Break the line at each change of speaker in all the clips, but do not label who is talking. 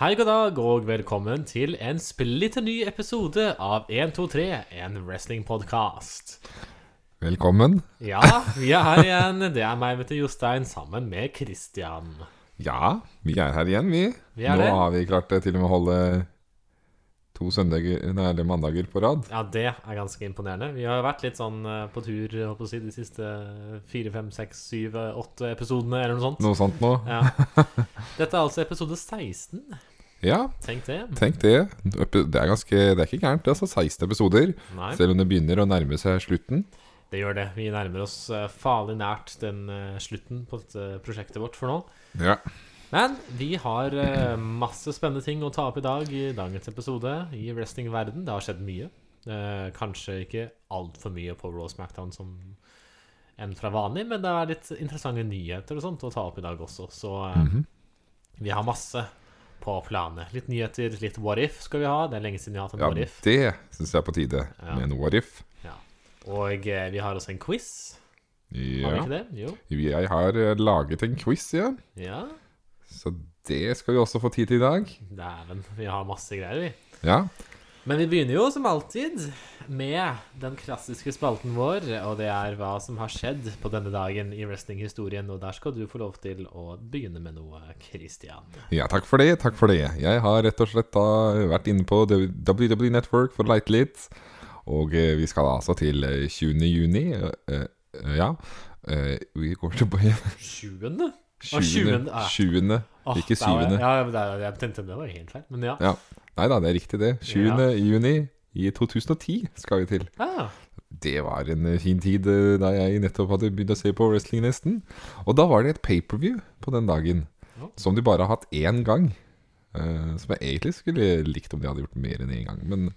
Hei, god dag, og velkommen til en splitter ny episode av 123, en wrestlingpodkast.
Velkommen.
Ja, vi er her igjen. Det er meg, vet du, Jostein, sammen med Christian.
Ja, vi er her igjen, vi.
Vi er
Nå
det.
har vi klart det til og med å holde to søndager, nei, eller mandager på rad.
Ja, det er ganske imponerende. Vi har vært litt sånn eh, på tur jeg håper å si, de siste fire, fem, seks, syv, eh, åtte episodene, eller noe sånt.
Noe sånt nå.
Ja. Dette er altså episode 16.
Ja,
Tenk det.
tenk det. Det er, ganske, det er ikke gærent. Det er altså 16 episoder.
Nei,
Selv om det begynner å nærme seg slutten.
det gjør det. Vi nærmer oss eh, farlig nært den eh, slutten på dette prosjektet vårt for nå.
Ja.
Men vi har eh, masse spennende ting å ta opp i dag i dagens episode i wrestlingverden. Det har skjedd mye. Eh, kanskje ikke altfor mye på Raw Smackdown som enn fra vanlig, men det er litt interessante nyheter og sånt å ta opp i dag også. Så eh,
Mhm.
vi har masse på planet. Litt nyheter, litt what if skal vi ha. Det er lenge siden vi har hatt en
ja
what if.
det syns jeg er på tide
Ja.
med en what if.
Ja. Og eh, vi har også en quiz. Har vi
Ja.
ikke det? Jo.
Jeg har eh, laget en quiz, ja.
Ja.
Så det skal vi også få tid til i dag.
Dæven, vi har masse greier, vi.
Ja.
Men vi begynner jo som alltid med den klassiske spalten vår, og det er hva som har skjedd på denne dagen i wrestlinghistorien. Og der skal du få lov til å begynne med noe, Christian.
Ja, takk for det. takk for det Jeg har rett og slett da vært inne på WW Network for å leite litt. Og eh, vi skal altså til eh, 20. juni. eh, eh, ja. Eh, vi går tilbake
20. Å,
20.
20., ah.
20.
Åh,
Ikke
der var jeg-
7.
Ja, ja, men der- jeg tenkte det var helt feil, men ja.
Ja. Nei da, det er riktig, det. 20. juni i 2010 skal vi til.
Ah,
Det var en eh, fin tid eh, da jeg nettopp hadde begynt å se på wrestling nesten. Og da var det et pay-per-view på den dagen,
Ja.
som de bare har hatt én gang. eh, som jeg egentlig skulle likt om de hadde gjort mer enn én gang. Men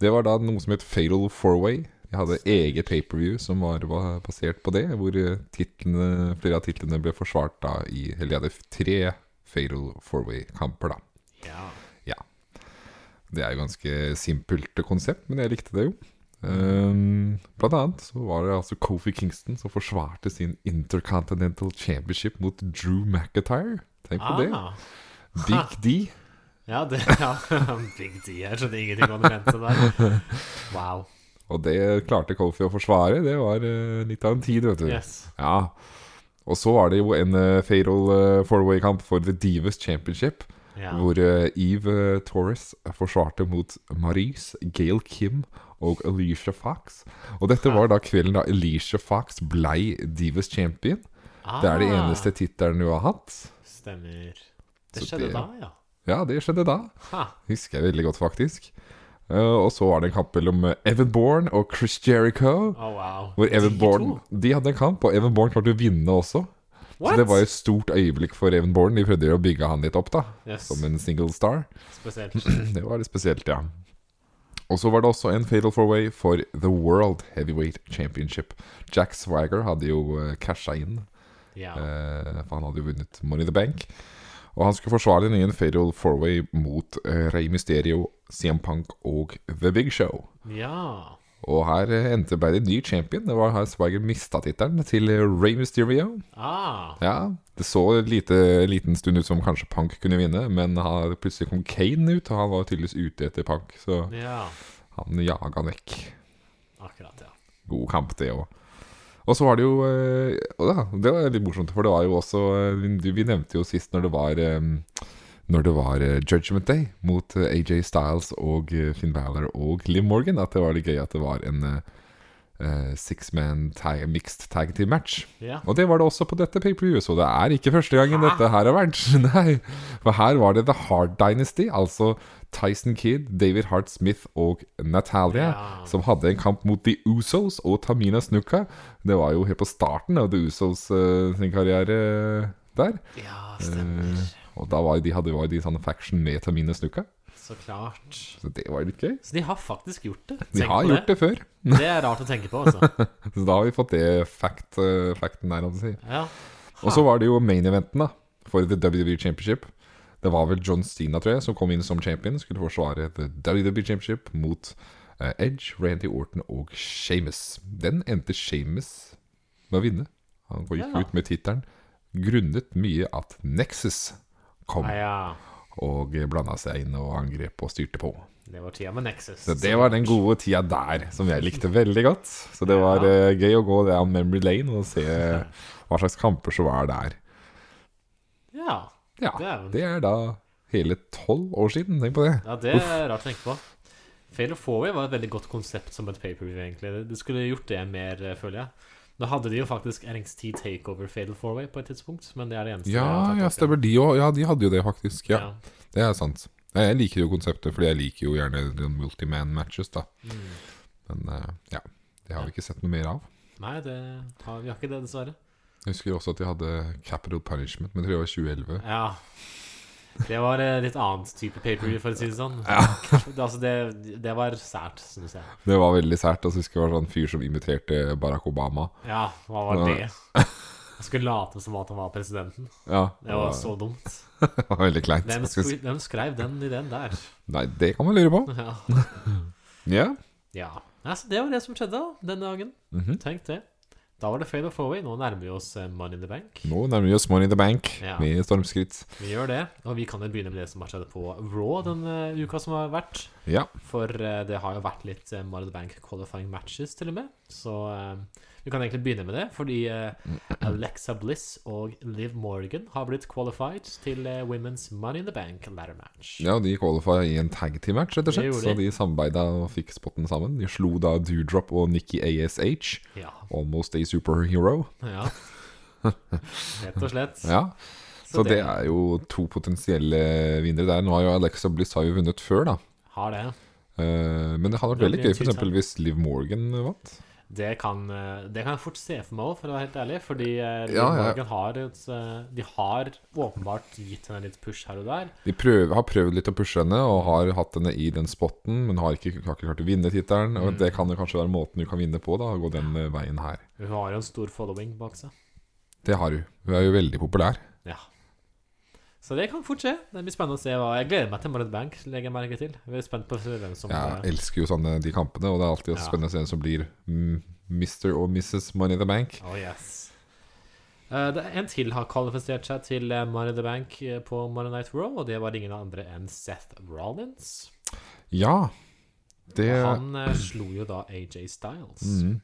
det var da noe som het Fatal Fourway. De hadde eget pay-per-view som var ba- basert på det, hvor eh, titlene, flere av titlene ble forsvart da i Eller de hadde tre Fatal Fourway-kamper, da.
ja.
Det er jo ganske simpelt konsept, men jeg likte det jo. Ehm, blant annet så var det altså Kofi Kingston som forsvarte sin Intercontinental Championship mot Drew McIntyre. Tenk på det.
Ah,
Big D.
ja, det ja. Big D. Jeg skjønner ingenting om hva du mente der. Wow.
Og det klarte Kofi å forsvare. Det var eh, litt av en tid, vet du.
Yes.
Ja. Og så var det jo en eh, fatal four-way-kamp for The Divas Championship,
Ja.
hvor eh, Eve eh, Torres forsvarte mot Maryse, Gail Kim og Alicia Fox. Og dette var da kvelden da Alicia Fox blei Divas champion. Det er det
Ah,
eneste tittelen hun har hatt.
Stemmer. Det
Så
skjedde
det-
da, ja.
Ja, det skjedde da.
Ha.
Husker jeg veldig godt, faktisk. Eh, og så var det en kamp mellom eh, Evan Bourne og Chris Jericho.
Oh, wow.
Hvor Evan
De
Bourne
to?
De hadde en kamp, og Evan Bourne klarte å vinne også.
What?
Så det var et stort øyeblikk for Evan Bourne. De prøvde jo å bygge han litt opp, da.
Yes,
Som en single star.
spesielt.
Det var litt spesielt, ja. Og så var det også en fatal four-way for The World Heavyweight Championship. Jack Swagger hadde jo eh, casha inn,
Ja.
eh, for han hadde jo vunnet Money in the Bank. Og han skulle forsvare den i en fatal four-way mot eh, Rey Mysterio, CM Punk og The Big Show.
ja.
Og her eh, endte ble det en ny champion. Det var her Swagger mista tittelen til eh, Rey Mysterio.
Ah,
Ja, det så en lite, liten stund ut som kanskje Punk kunne vinne, men han, plutselig kom Kane ut, og han var tydeligvis ute etter Punk, så
ja.
han jaga han vekk.
Akkurat, ja.
God kamp, det òg. Og så var det jo eh, og da, Det var litt morsomt, for det var jo også eh, Vi vi nevnte jo sist når det var eh, Når det var eh, Judgment Day mot eh, AJ Styles og eh, Finn Balor og Liv Morgan, at det var litt gøy at det var en eh, eh, six-man tag, mixed tag team match.
Ja.
Og det var det også på dette pay-per-view, så det er ikke første gangen dette her har vært. Nei, For her var det The Hard Dynasty, altså Tyson Kidd, David Hart Smith og Natalia,
Ja.
som hadde en kamp mot The Usos og Tamina Snuka. Det var jo helt på starten av The Usos eh, sin karriere eh, der.
ja, stemmer.
Og da var jo de, hadde, var jo de sånn faction med Tamina Snuka,
Så klart.
så det var litt gøy.
Så de har faktisk gjort det.
De har gjort det før,
det. Det er rart å tenke på, altså.
så da har vi fått det fact, eh, facten der, om du sier.
Ja.
Og så var det jo main eventen da for The WWE Championship. Det var vel John Cena, tror jeg, som kom inn som champion. Skulle forsvare The WWE Championship mot eh, Edge, Randy Orton og Shamus. Den endte Shamus med å vinne. Han gikk
Ja.
ut med tittelen grunnet mye at Nexus kom
Ah, ja.
og blanda seg inn og angrep og styrte på.
Det var tida med Nexus.
Så det var den gode tida der, som jeg likte veldig godt. Så det var
Ja.
eh, gøy å gå down memory lane og se hva slags kamper som var der.
Ja.
Ja,
Det er vel-
det er da hele tolv år siden, tenk på det.
ja, det er rart å tenke på. Fail of Forway var et veldig godt konsept som et paperview, egentlig. Det- Det skulle gjort det mer, eh, føler jeg. Nå hadde de jo faktisk NXT Takeover Fatal Fourway på et tidspunkt, men det er det eneste jeg har
Ja,
tatt
ja,
opp igjen.
stemmer de òg. Ja, de hadde jo det, faktisk. Ja,
Ja.
Det er sant. Nei, Jeg liker jo konseptet, fordi jeg liker jo gjerne sånn multiman-matches, da.
Mm.
Men eh, ja, det har vi ikke sett noe mer av.
Nei, det har vi har ikke det, dessverre.
Jeg husker også at de hadde Capital Punishment, men jeg tror det var 2011.
Ja. Det var eh, litt annet type paperview, for å si det sånn. Det, altså, det, det var sært, syns jeg.
Det var veldig sært. Og så husker jeg det var sånn fyr som imiterte Barack Obama.
Ja, hva var
Ja.
det? Jeg skulle late som at han var presidenten.
Ja,
Det var så dumt.
det var veldig kleint.
Hvem,
skal jeg si.
skri- hvem skrev den ideen der?
Nei, det kan man lure på.
Ja.
Ja.
ja. Altså, det var det som skjedde da, den dagen.
Mhm.
Tenk det. Da var det fail of fourway. Nå nærmer vi oss eh, Money in the Bank.
Nå nærmer vi oss Money in the Bank
Ja.
med stormskritt.
Vi gjør det, og vi kan jo begynne med det som har skjedd på Raw den eh, uka som har vært.
Ja.
For eh, det har jo vært litt uh, Money in the Bank qualifying matches, til og med. Så eh, vi kan egentlig begynne med det, fordi eh, Alexa Bliss og Liv Morgan har blitt qualified til eh, Women's Money in the Bank ladder match.
ja, og de qualifier i en tag team match, rett
Det
og slett.
gjorde
Så
de.
de samarbeida og fikk spotten sammen. De slo da Doodrop og Nikki ASH.
Ja.
Almost a superhero.
ja. Rett og slett.
Ja. Så det er jo to potensielle vinnere der. Nå har jo Alexa Bliss har jo vunnet før, da.
har det.
Eh, Men det hadde vært
Det
veldig
blir
gøy
en
for eksempel
tidsal.
hvis Liv Morgan vant.
Det kan, eh, det kan jeg fort se for meg òg, for å være helt ærlig. Fordi eh, Liv
Ja, ja.
Morgan har et, eh, De har åpenbart gitt henne litt push her og der.
De prøver, har prøvd litt å pushe henne og har hatt henne i den spotten, men har ikke, har ikke klart å vinne tittelen. Og det kan jo kanskje være måten du kan vinne på, da, å gå den eh, veien her.
Hun har jo en stor following bak seg.
Det har hun. Hun er jo veldig populær.
Ja. Så det kan fort skje. Det blir spennende å se hva Jeg gleder meg til Marit Bank, legger jeg merke til. Vi er spent på hvem som
Jeg elsker jo sånne de kampene, og det er alltid
Ja.
spennende å se hvem som blir mm, Mr. og Mrs. Money in the Bank.
Oh yes. Eh, det er en til har kvalifisert seg til eh, Money in the Bank eh, på Money Night Raw, og det var ingen andre enn Seth Rollins.
Ja, det,
Han eh, slo jo da AJ Styles.
mm,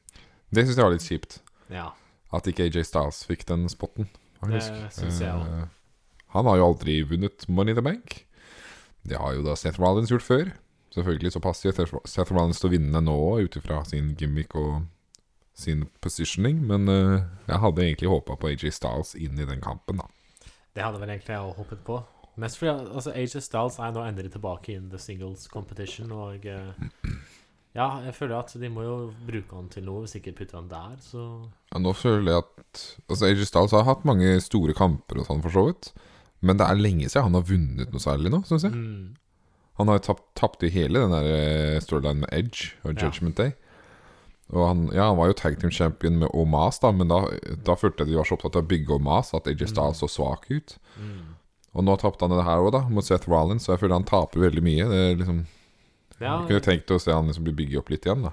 det syns jeg var litt kjipt.
Ja.
At ikke AJ Styles fikk den spotten. faktisk.
Det synes jeg også.
Eh, Han har jo aldri vunnet Money in the Bank. Det har jo da Seth Rollins gjort før. Selvfølgelig så passer jo Seth- Seth Rollins til å vinne nå ut ifra sin gimmick og sin positioning, men eh, jeg hadde egentlig håpa på AJ Styles inn i den kampen, da.
Det hadde vel egentlig jeg også hoppet på. Mest fordi altså, AJ Styles er nå endelig tilbake in the singles competition, og eh, ja, jeg føler at de må jo bruke han til noe, hvis ikke putte han der, så
Ja, nå føler jeg at Altså, AJ Styles har hatt mange store kamper og sånn, for så vidt. Men det er lenge siden han har vunnet noe særlig nå, syns jeg.
mm,
Han har jo tapt, tapt i hele den der eh, storylinen med Edge og
Ja.
Judgment Day. Og han, ja, han var jo tag team champion med Omas, da, men da, da følte jeg de var så opptatt av å bygge Omas at AJ Styles så svak ut.
mm.
Og nå tapte han det her òg, da, mot Seth Rollins, så jeg føler han taper veldig mye. Det er liksom,
Ja,
jeg kunne tenkt å se han liksom bli bygget opp litt igjen, da.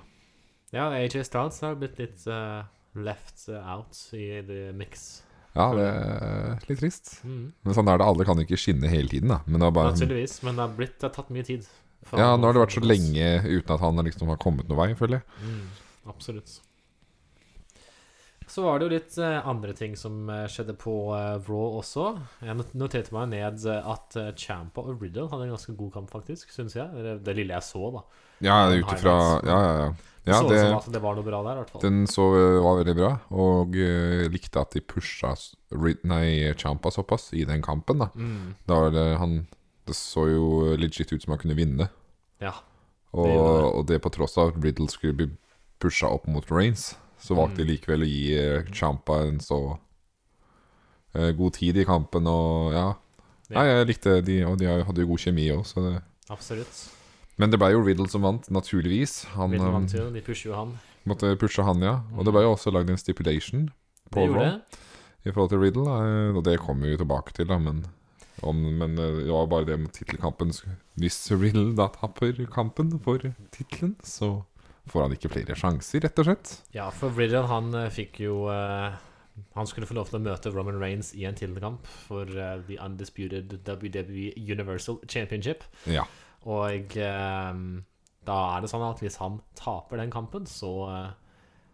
ja, AJ Styles har blitt litt eh, left out i the mix.
Ja, det er litt trist.
Mm,
Men sånn er det. Alle kan ikke skinne hele tiden, da. Men det er bare sånn-
Naturligvis, men det har, blitt, det har tatt mye tid. for
Ja,
han
nå har det
å
vært så
få plass.
lenge uten at han liksom har kommet noen vei, føler jeg.
Mm, absolutt. Så var det jo litt eh, andre ting som eh, skjedde på eh, Raw også. Jeg not- noterte meg ned eh, at eh, Champa og Riddle hadde en ganske god kamp, faktisk, syns jeg. Det, det lille jeg så, da.
Ja, ut ifra Ja, ja, ja.
Det
ja
så ut
det,
som at det var noe bra der, i hvert fall.
den så øh, var veldig bra, og øh, likte at de pusha s- Rid- Nei, Champa såpass i den kampen, da.
Mm,
Da var det han Det så jo legit ut som han kunne vinne,
ja.
og
Det
det,
gjorde det.
og det på tross av at Riddle skulle bli pusha opp mot Reigns, så
Mm.
valgte de likevel å gi eh, Champa en så øh, god tid i kampen, og ja.
Ja.
Nei, jeg likte de, og de hadde jo god kjemi òg, så det
Absolutt.
Men det ble jo Riddle som vant, naturligvis. Han
Riddle vant
eh,
jo, de pusher jo han.
måtte pushe han, ja. Og det ble jo også lagd en stipulation
Det
på
gjorde
Raw
det.
i forhold til Riddle. eh, Og det kommer vi jo tilbake til, da, men om, men eh, det var bare det med tittelkampen. sk- Hvis Riddle da tapper kampen for tittelen, så får han ikke flere sjanser, rett og slett.
Ja, for Riddle, han eh, fikk jo eh, Han skulle få lov til å møte Roman Reigns i en tittelkamp for eh, The Undisputed WWE Universal Championship.
Ja.
Og eh, da er det sånn at hvis han taper den kampen, så eh,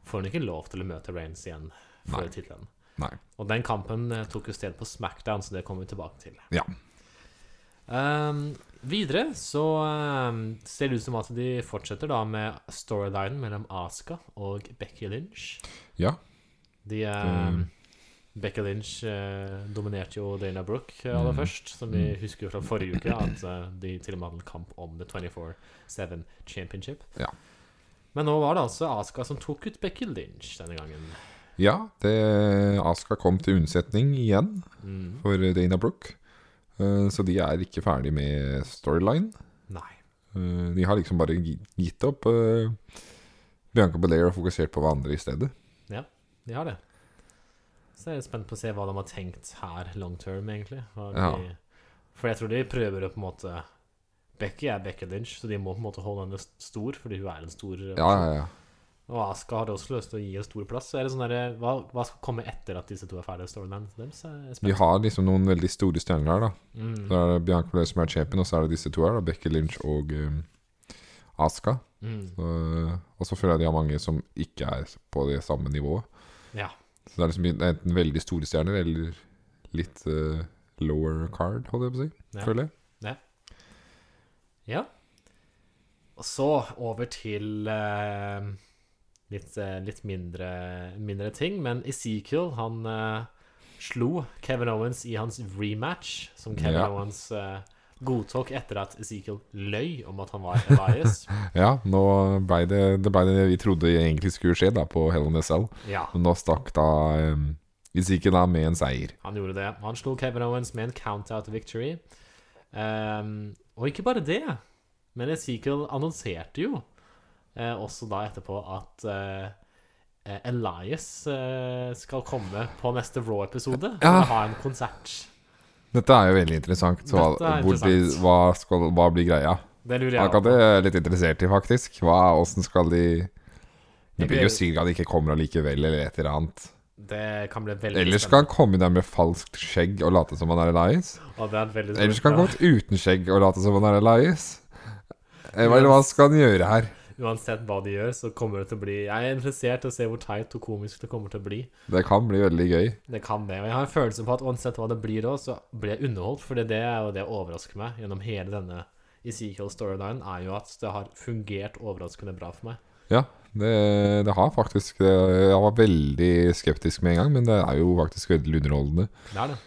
får han ikke lov til å møte Reigns igjen for
Nei.
tittelen.
Nei.
Og den kampen eh, tok jo sted på Smackdown, så det kommer vi tilbake til.
Ja.
Ehm, videre så ehm, ser det ut som at de fortsetter da med storylinen mellom Aska og Becky Lynch.
Ja.
De, ehm,
Mm.
Becky Lynch eh, dominerte jo Dana Brooke eh, aller
Mm.
først, som vi
Mm.
husker fra forrige uke, at eh, de til og med hadde en kamp om The 24-7 Championship.
Ja.
Men nå var det altså Aska som tok ut Becky Lynch denne gangen.
ja det, Aska kom til unnsetning igjen
Mm.
for Dana Brooke. Eh, Så de er ikke ferdig med storyline.
Nei.
Eh, De har liksom bare gi- gitt opp eh, Bianca Belair og fokusert på hverandre i stedet.
De har det. Så jeg er spent på å se hva de har tenkt her long term, egentlig. Hva
Ja.
de, for jeg tror de prøver å på en måte Becky er Becky Lynch, så de må på en måte holde henne st- stor, fordi hun er en stor eh,
Ja, ja, ja.
Og Aska har også lyst til å gi henne stor plass. Så er det sånn derre hva, hva skal komme etter at disse to er ferdige? Storylines deres? Så jeg er
Vi
spent.
har liksom noen veldig store stjerner her, da.
Mm,
Da er det Bianca Belair som er champion, og så er det disse to her, da, Becky Lynch og um, Aska.
mm,
og så føler jeg de har mange som ikke er på det samme nivået.
ja.
Så det er liksom enten veldig store stjerner eller litt eh, lower card, holder jeg på å si.
Ja.
Føler jeg.
ja. Og så over til eh, litt, eh, litt mindre, mindre ting. Men Ezekiel, han eh, slo Kevin Owens i hans rematch, som Kevin
Ja.
Owens eh, godtok etter at Ezekiel løy om at han var Elias.
Ja, nå ble det det, ble det vi trodde egentlig skulle skje da på Hell in a Cell.
ja.
Men nå stakk da um, Izike da med en seier.
Han gjorde det. Han slo Kevin Owens med en count-out victory. Ehm, og ikke bare det, men Ezekiel annonserte jo eh, også da etterpå at eh, eh, Elias eh, skal komme på neste Raw-episode
Ja.
og ha en konsert.
Dette er jo veldig interessant. Så
Dette er
hvor blir-
interessant.
hva, skal, hva blir greia?
Det lurer jeg
Akkurat
på.
det er jeg litt interessert i, faktisk. Hva, Åssen skal de Det
Jeg
blir
gleder-
jo sikkert at de ikke kommer allikevel, eller et eller annet.
Det kan bli veldig
Ellers skal han komme der med falskt skjegg og late som han er Elias.
spennende. Og det er veldig
Ellers
spennende.
kan han gå ut uten skjegg og late som han er Elias. Eh, Hva, eller hva skal han gjøre her?
Uansett hva de gjør, så kommer det til å bli Jeg er interessert i å se hvor teit og komisk det kommer til å bli.
Det kan bli veldig gøy.
Det kan det. Og jeg har en følelse på at uansett hva det blir da, så blir jeg underholdt. For det er jo det overrasker meg gjennom hele denne Ezekiel storyline, er jo at det har fungert overraskende bra for meg.
Ja, det, det har faktisk det, Jeg var veldig skeptisk med en gang, men det er jo faktisk veldig underholdende.
Det er det.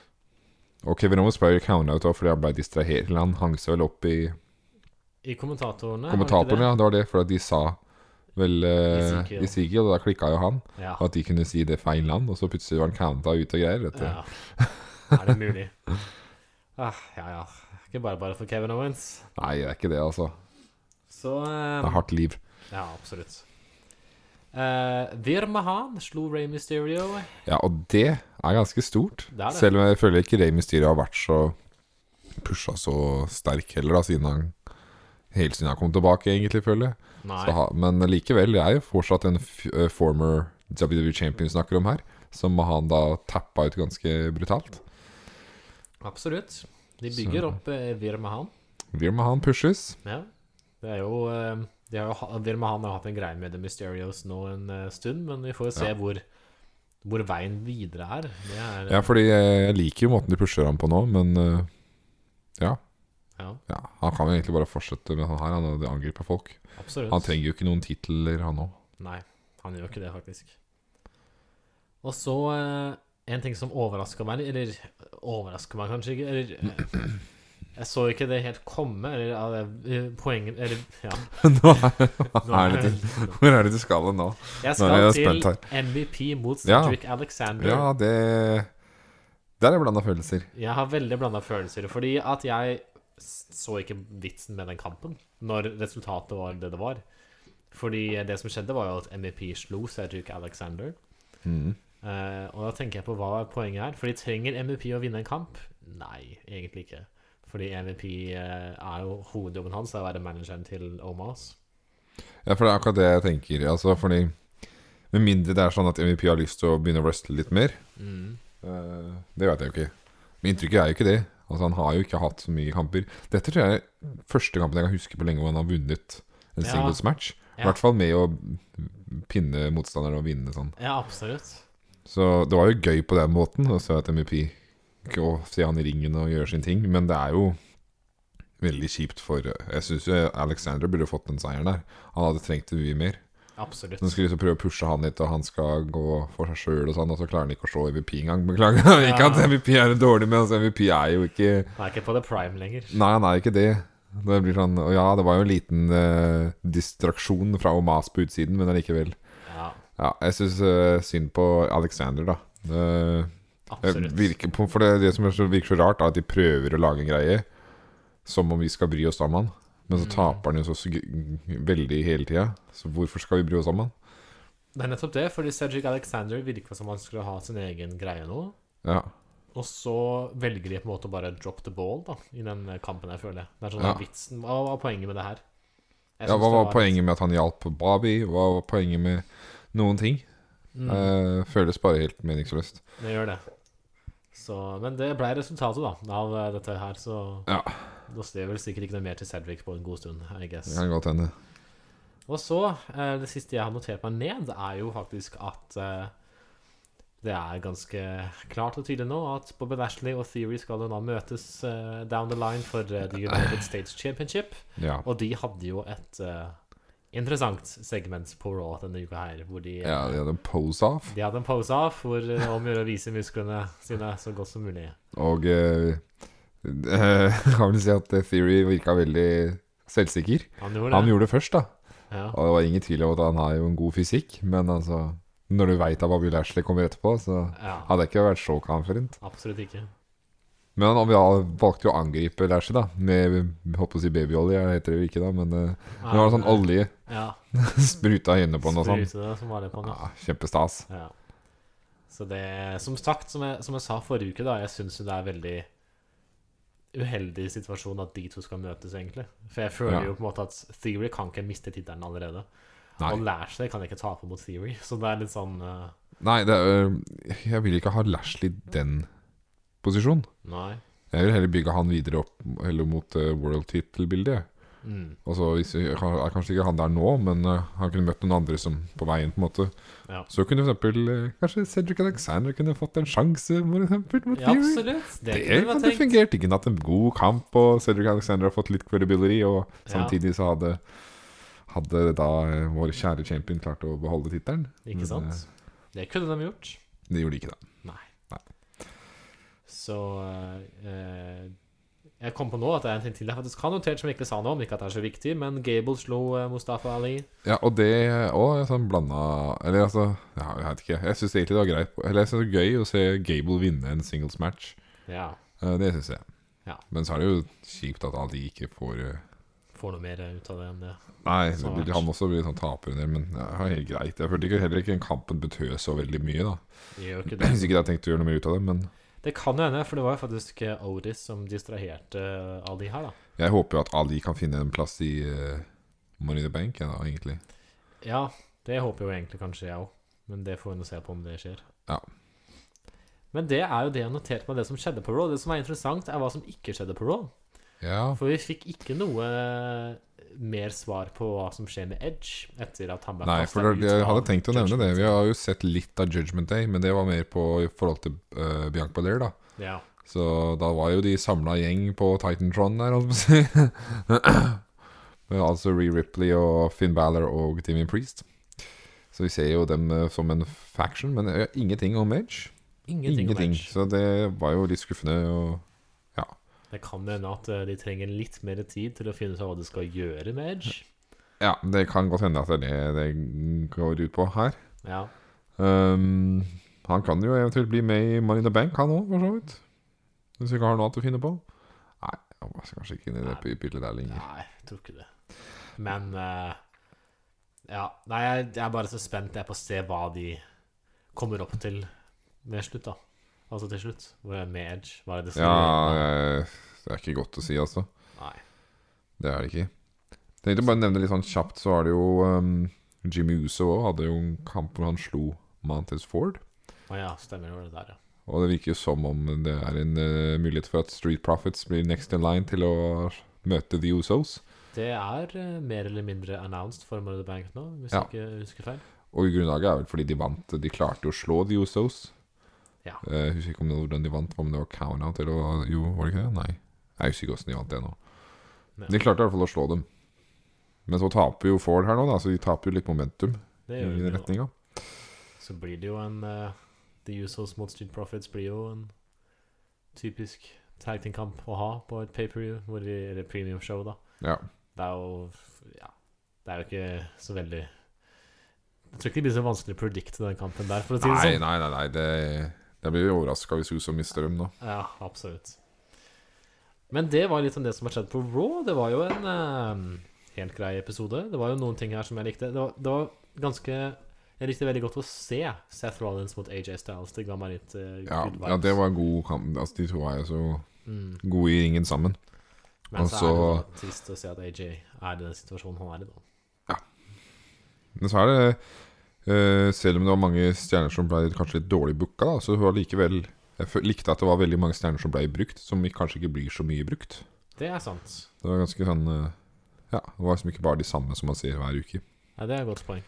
Og Kevin Owens ble jo countout også fordi han ble distrahert. Eller han hang seg vel opp i
I kommentatorene
kommentatoren,
ja.
ja. Det var det, for at de sa vel eh,
Ezekiel.
Ezekiel, og da klikka jo han.
Ja.
At de kunne si det feil navn, og så plutselig var han counta ut og greier. Vet du.
ja. Er det mulig? Ah, ja, ja. Ikke bare bare for Kevin Owens.
Nei, det er ikke det, altså.
Så eh,
Det er hardt liv.
Ja, absolutt. Eh, Vir Mahan slo Ray Mysterio.
Ja, og det er ganske stort.
Det er det.
Selv om jeg føler ikke Rey Mysterio har vært så pusha så sterk heller, da, siden han Helt siden han kom tilbake, egentlig, føler jeg.
Nei.
Så, ha- men likevel, det er jo fortsatt en f eh, former WWE champion vi snakker om her, som han da tappa ut ganske brutalt.
Absolutt. De bygger
Så-
opp eh, Vir Mahan.
Vil med han pushes.
Ja. Det er jo eh, de har jo, ha- Vil med han har hatt en greie med The Mysterios nå en eh, stund, men vi får jo se hvor, hvor veien videre er. Det er
Ja, fordi eh, jeg liker jo måten de pusher ham på nå, men eh, ja,
ja,
ja. Han kan jo egentlig bare fortsette med han her, han og det angriper folk.
absolutt.
Han trenger jo ikke noen titler, han òg.
Nei, han gjør ikke det, faktisk. Og så eh, en ting som overraska meg, eller overrasker meg kanskje ikke Eller eh, jeg så ikke det helt komme, eller ja, det- eh, poenget Eller ja.
Nå er-
nå
hva er det
jeg-
du- Hvor er det du skal hen nå?
Jeg
Nå er
skal
jeg spent
til MVP mot
Ja.
Cedric Alexander.
Ja, det Der er det blanda følelser.
Jeg har veldig blanda følelser, fordi at jeg s- så ikke vitsen med den kampen når resultatet var det det var. Fordi det som skjedde, var jo at MEP slo Cedric Alexander.
Mm.
Eh, og da tenker jeg på hva er poenget her. Fordi trenger MEP å vinne en kamp? Nei, egentlig ikke. Fordi MEP eh, er jo hovedjobben hans, er å være manageren til Omas.
Ja, for det er akkurat det jeg tenker. Altså, fordi Med mindre det er sånn at MVP har lyst til å begynne å wrestle litt mer.
Mm.
Eh, det vet jeg jo ikke. Men inntrykket er jo ikke det. Altså Han har jo ikke hatt så mye kamper. Dette tror jeg er første kampen jeg kan huske på lenge hvor han har vunnet en
Ja.
singles match. I
Ja.
hvert fall med å pinne motstanderen og vinne sånn.
Ja, absolutt.
Så det var jo gøy på den måten å se at MVP ikke å se han i ringen og gjøre sin ting, men det er jo veldig kjipt for eh, Jeg syns jo Alexander burde fått den seieren der. Han hadde trengt det mye mer.
Absolutt.
Nå skal vi så prøve å pushe han litt, og han skal gå for seg sjøl og sånn, og så klarer han ikke å slå MVP engang. Beklager. ikke at MVP er dårlig, men altså, MVP er jo ikke
Han er ikke på the prime lenger.
Nei, han er ikke det. Det blir sånn Og ja, det var jo en liten eh, distraksjon fra Omas på utsiden, men allikevel.
Ja,
Ja, jeg syns synd på Alexander, da. Eh,
absolutt.
jeg Virker på, for det, det som er så, virker så rart, er at de prøver å lage en greie som om vi skal bry oss om han. Men så taper han jo så sy- veldig hele tida. Så hvorfor skal vi bry oss om han?
Det er nettopp det, fordi Cedric Alexander virka som han skulle ha sin egen greie nå.
Ja.
Og så velger de på en måte å bare drop the ball da, i den kampen, jeg føler. Det er sånn
Ja.
vitsen. Hva var poenget med det her? Jeg
ja
synes
hva
det
var poenget med at han hjalp Bobby? Hva var poenget med noen ting?
Mm.
Eh, føles bare helt meningsløst.
Det gjør det. Så, men det ble resultatet da, av eh, dette her, så
Ja.
Da står det vel sikkert ikke noe mer til Cedric på en god stund, I guess.
Det kan godt hende.
Og så, eh, det siste jeg har notert meg ned, er jo faktisk at eh, det er ganske klart og tydelig nå at Bobby Lashley og Theory skal jo da møtes eh, down the line for eh, The United States Championship.
Ja.
Og de hadde jo et eh, interessant segment på Raw denne uka her, hvor de, eh,
ja, de hadde en pose-off.
de hadde en pose-off hvor eh, om å gjøre å vise musklene sine så godt som mulig.
Og eh, eh, kan vel si at Theory virka veldig selvsikker.
Han gjorde det.
Han gjorde det først, da.
Ja.
Og det var ingen tvil om at han har jo en god fysikk, men altså Når du veit at Bobby Lashley kommer etterpå, så
ja,
hadde jeg ikke vært så confident.
absolutt ikke.
Men han vi har- valgte jo å angripe Lashley, da. Med jeg holdt på å si babyolje, det heter det jo ikke da, men eh, det var sånn olje
Ja,
spruta i øynene på han og sånn.
sprute det som var det på nå.
Ja, kjempestas.
Ja. Så det Som sagt, som jeg, som jeg sa forrige uke, da, jeg syns jo det er veldig uheldig situasjon at de to skal møtes, egentlig. For jeg føler
Ja.
jo på en måte at Theory kan ikke miste tittelen allerede.
Nei.
Og Lashley kan ikke tape mot Theory, så det er litt sånn eh,
Nei, det er, øh, jeg vil ikke ha Lashley i den posisjonen.
Nei.
Jeg vil heller bygge han videre opp Heller mot øh, world title-bildet.
Mm,
Altså, hvis, jeg er kanskje ikke han der nå, men øh, han kunne møtt noen andre som på veien. på en måte
ja.
Så kunne for eksempel øh, kanskje Cedric Alexander kunne fått en sjanse for eksempel, mot
ja,
Fury.
absolutt. Det,
Det
kunne
hadde
vært tenkt.
fungert. Ikke hatt en god kamp, og Cedric Alexander har fått litt credibility, og
Ja.
samtidig så hadde hadde da øh, vår kjære champion klart å beholde tittelen. Men,
Ikke sant?
øh,
Det kunne de gjort.
Det gjorde de ikke, da.
Nei.
Nei.
Så eh, Jeg kom på nå at det er en ting til jeg faktisk har notert som jeg ikke sa noe om. Ikke at det er så viktig, men Gable slo eh, Mustafa Ali.
Ja, og det òg sånn blanda Eller altså, ja, jeg vet ikke. Jeg syns egentlig det var greit Eller jeg synes det var gøy å se Gable vinne en singles match.
Ja.
Eh, Det syns jeg.
Ja.
Men så er det jo kjipt at de ikke får eh,
Får noe mer ut av det enn det.
Nei,
Så
det blir,
match.
han også blir sånn taper en del, men ja, det er helt greit. Jeg følte ikke, heller ikke den kampen betød så veldig mye, da.
Det gjør jo ikke det.
Hvis ikke jeg tenkte å gjøre noe mer ut av det, men
Det kan jo hende, for det var jo faktisk eh, Otis som distraherte Ali her, da.
jeg håper jo at Ali kan finne en plass i eh, Money in the Bank, ja, da, egentlig.
Ja, det håper jo egentlig kanskje jeg òg, men det får vi nå se på om det skjer.
Ja.
Men det er jo det jeg noterte meg, det som skjedde på Raw. Det som er interessant, er hva som ikke skjedde på Raw.
Ja.
For vi fikk ikke noe eh, mer svar på hva som skjer med Edge etter at han ble
Nei,
kastet
for det,
ut av
jeg hadde tenkt å nevne det.
Judgment
Vi har jo sett litt av Judgment Day, men det var mer på i forhold til uh, Bianca Belair, da.
Day. Ja.
Så da var jo de samla gjeng på Titantron der, holdt jeg på å si. Men altså Ree Ripley og Finn Balor og Timmy Priest. Så vi ser jo dem eh, som en faction, men eh, ingenting om Edge.
Ingenting, om
ingenting.
Edge.
Så det var jo litt skuffende. Og
Det kan jo hende at eh, de trenger litt mer tid til å finne ut av hva de skal gjøre med Edge.
ja, det kan godt hende at det er det det går ut på her.
Ja.
Ehm, han kan jo eventuelt bli med i Money in the Bank, han òg, for så vidt. Hvis vi ikke har noe annet å finne på. Nei, han var kanskje ikke inn i det
Nei.
bildet der lenger.
Nei, jeg tror ikke det. Men eh, Ja. Nei, jeg, jeg er bare så spent jeg på å se hva de kommer opp til ved slutt, da. Altså til slutt. Hvor er med Edge? Hva er det de skal gjøre?
Ja, eh, det er ikke godt å si, altså.
Nei.
Det er det ikke. Jeg tenkte bare å nevne litt sånn kjapt, så er det jo um, Jimmy Uso også hadde jo en kamp hvor han slo Montez Ford.
Å ja, stemmer jo det der, ja.
Og det virker jo som om det er en eh, mulighet for at Street Profits blir next in line til å møte The Usos.
Det er eh, mer eller mindre announced for Money in the Bank nå, hvis
Ja.
jeg ikke husker feil.
Og grunnlaget er vel fordi de vant. De klarte jo å slå The Usos.
Ja.
Eh, Jeg husker ikke om det, hvordan de vant, om det var count-out eller Jo, var det ikke det? Nei. Jeg husker ikke hvordan de vant det nå.
Nei.
De klarte i hvert fall å slå dem. Men så taper jo Ford her nå, da, så de taper jo litt momentum
Det
i
gjør
den
det jo.
retninga.
Så blir det jo en eh, The Usos mot Street Profits blir jo en typisk tag team-kamp å ha på et pay-per-view, hvor vi- eller premium-show, da.
Ja.
Det er jo Ja. Det er jo ikke så veldig Jeg tror ikke det blir så vanskelig å predikte den kampen der, for å si det
Nei,
sånn.
nei, nei, nei det, Jeg blir overraska hvis Uso mister dem nå.
Ja, absolutt. Men det var litt om det som har skjedd på Raw. Det var jo en eh, helt grei episode. Det var jo noen ting her som jeg likte. Det var, det var ganske Jeg likte veldig godt å se Seth Rollins mot AJ Styles. Det ga meg litt eh,
Ja,
good
ja,
vibes.
det var en god kamp. Altså, de to er jo så
Mm.
gode i ringen sammen.
Men så er det
Altså-
jo sånn trist å se at AJ er i den situasjonen han er i nå.
Men så er det eh, Selv om det var mange stjerner som ble kanskje litt dårlig booka, da, så var det likevel Jeg fø- likte at det var veldig mange stjerner som ble brukt, som kanskje ikke blir så mye brukt.
Det er sant.
Det var ganske sånn eh, Ja, det var liksom ikke bare de samme som man ser hver uke.
Ja, det er et godt poeng.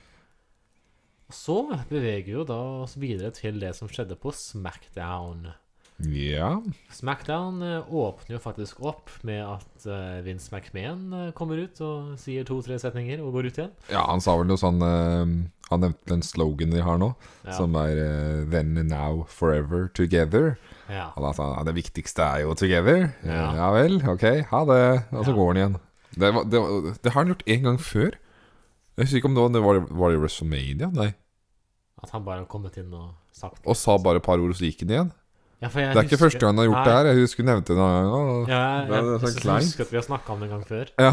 Og Så beveger jo da oss videre til det som skjedde på Smackdown.
Ja
Smackdown eh, åpner jo faktisk opp med at eh, Vince McMahon eh, kommer ut og sier to-tre setninger og går ut igjen.
Ja, han sa vel noe sånn eh, Han nevnte den sloganen de har nå,
Ja.
som er eh, 'Then, now, forever, together'.
Ja.
Og da sa han sånn, ja, det viktigste er jo 'together'. Ja,
Ja.
ja vel, ok, ha det. Og så
Ja.
går han igjen. Det, var, det, var, det har han gjort én gang før. Jeg husker ikke om det var, det var, var det i WrestleMania, nei.
At han bare har kommet inn og sagt
Og sa bare et par ord, og så gikk han igjen.
Ja, for jeg
Det er ikke
husker-
første gang han har gjort det
Nei.
her. Jeg husker hun nevnte det en annen gang.
Ja, jeg,
Det er-
jeg,
det er
jeg,
så
jeg
kleint.
husker at vi har snakka om det en gang før.
Ja.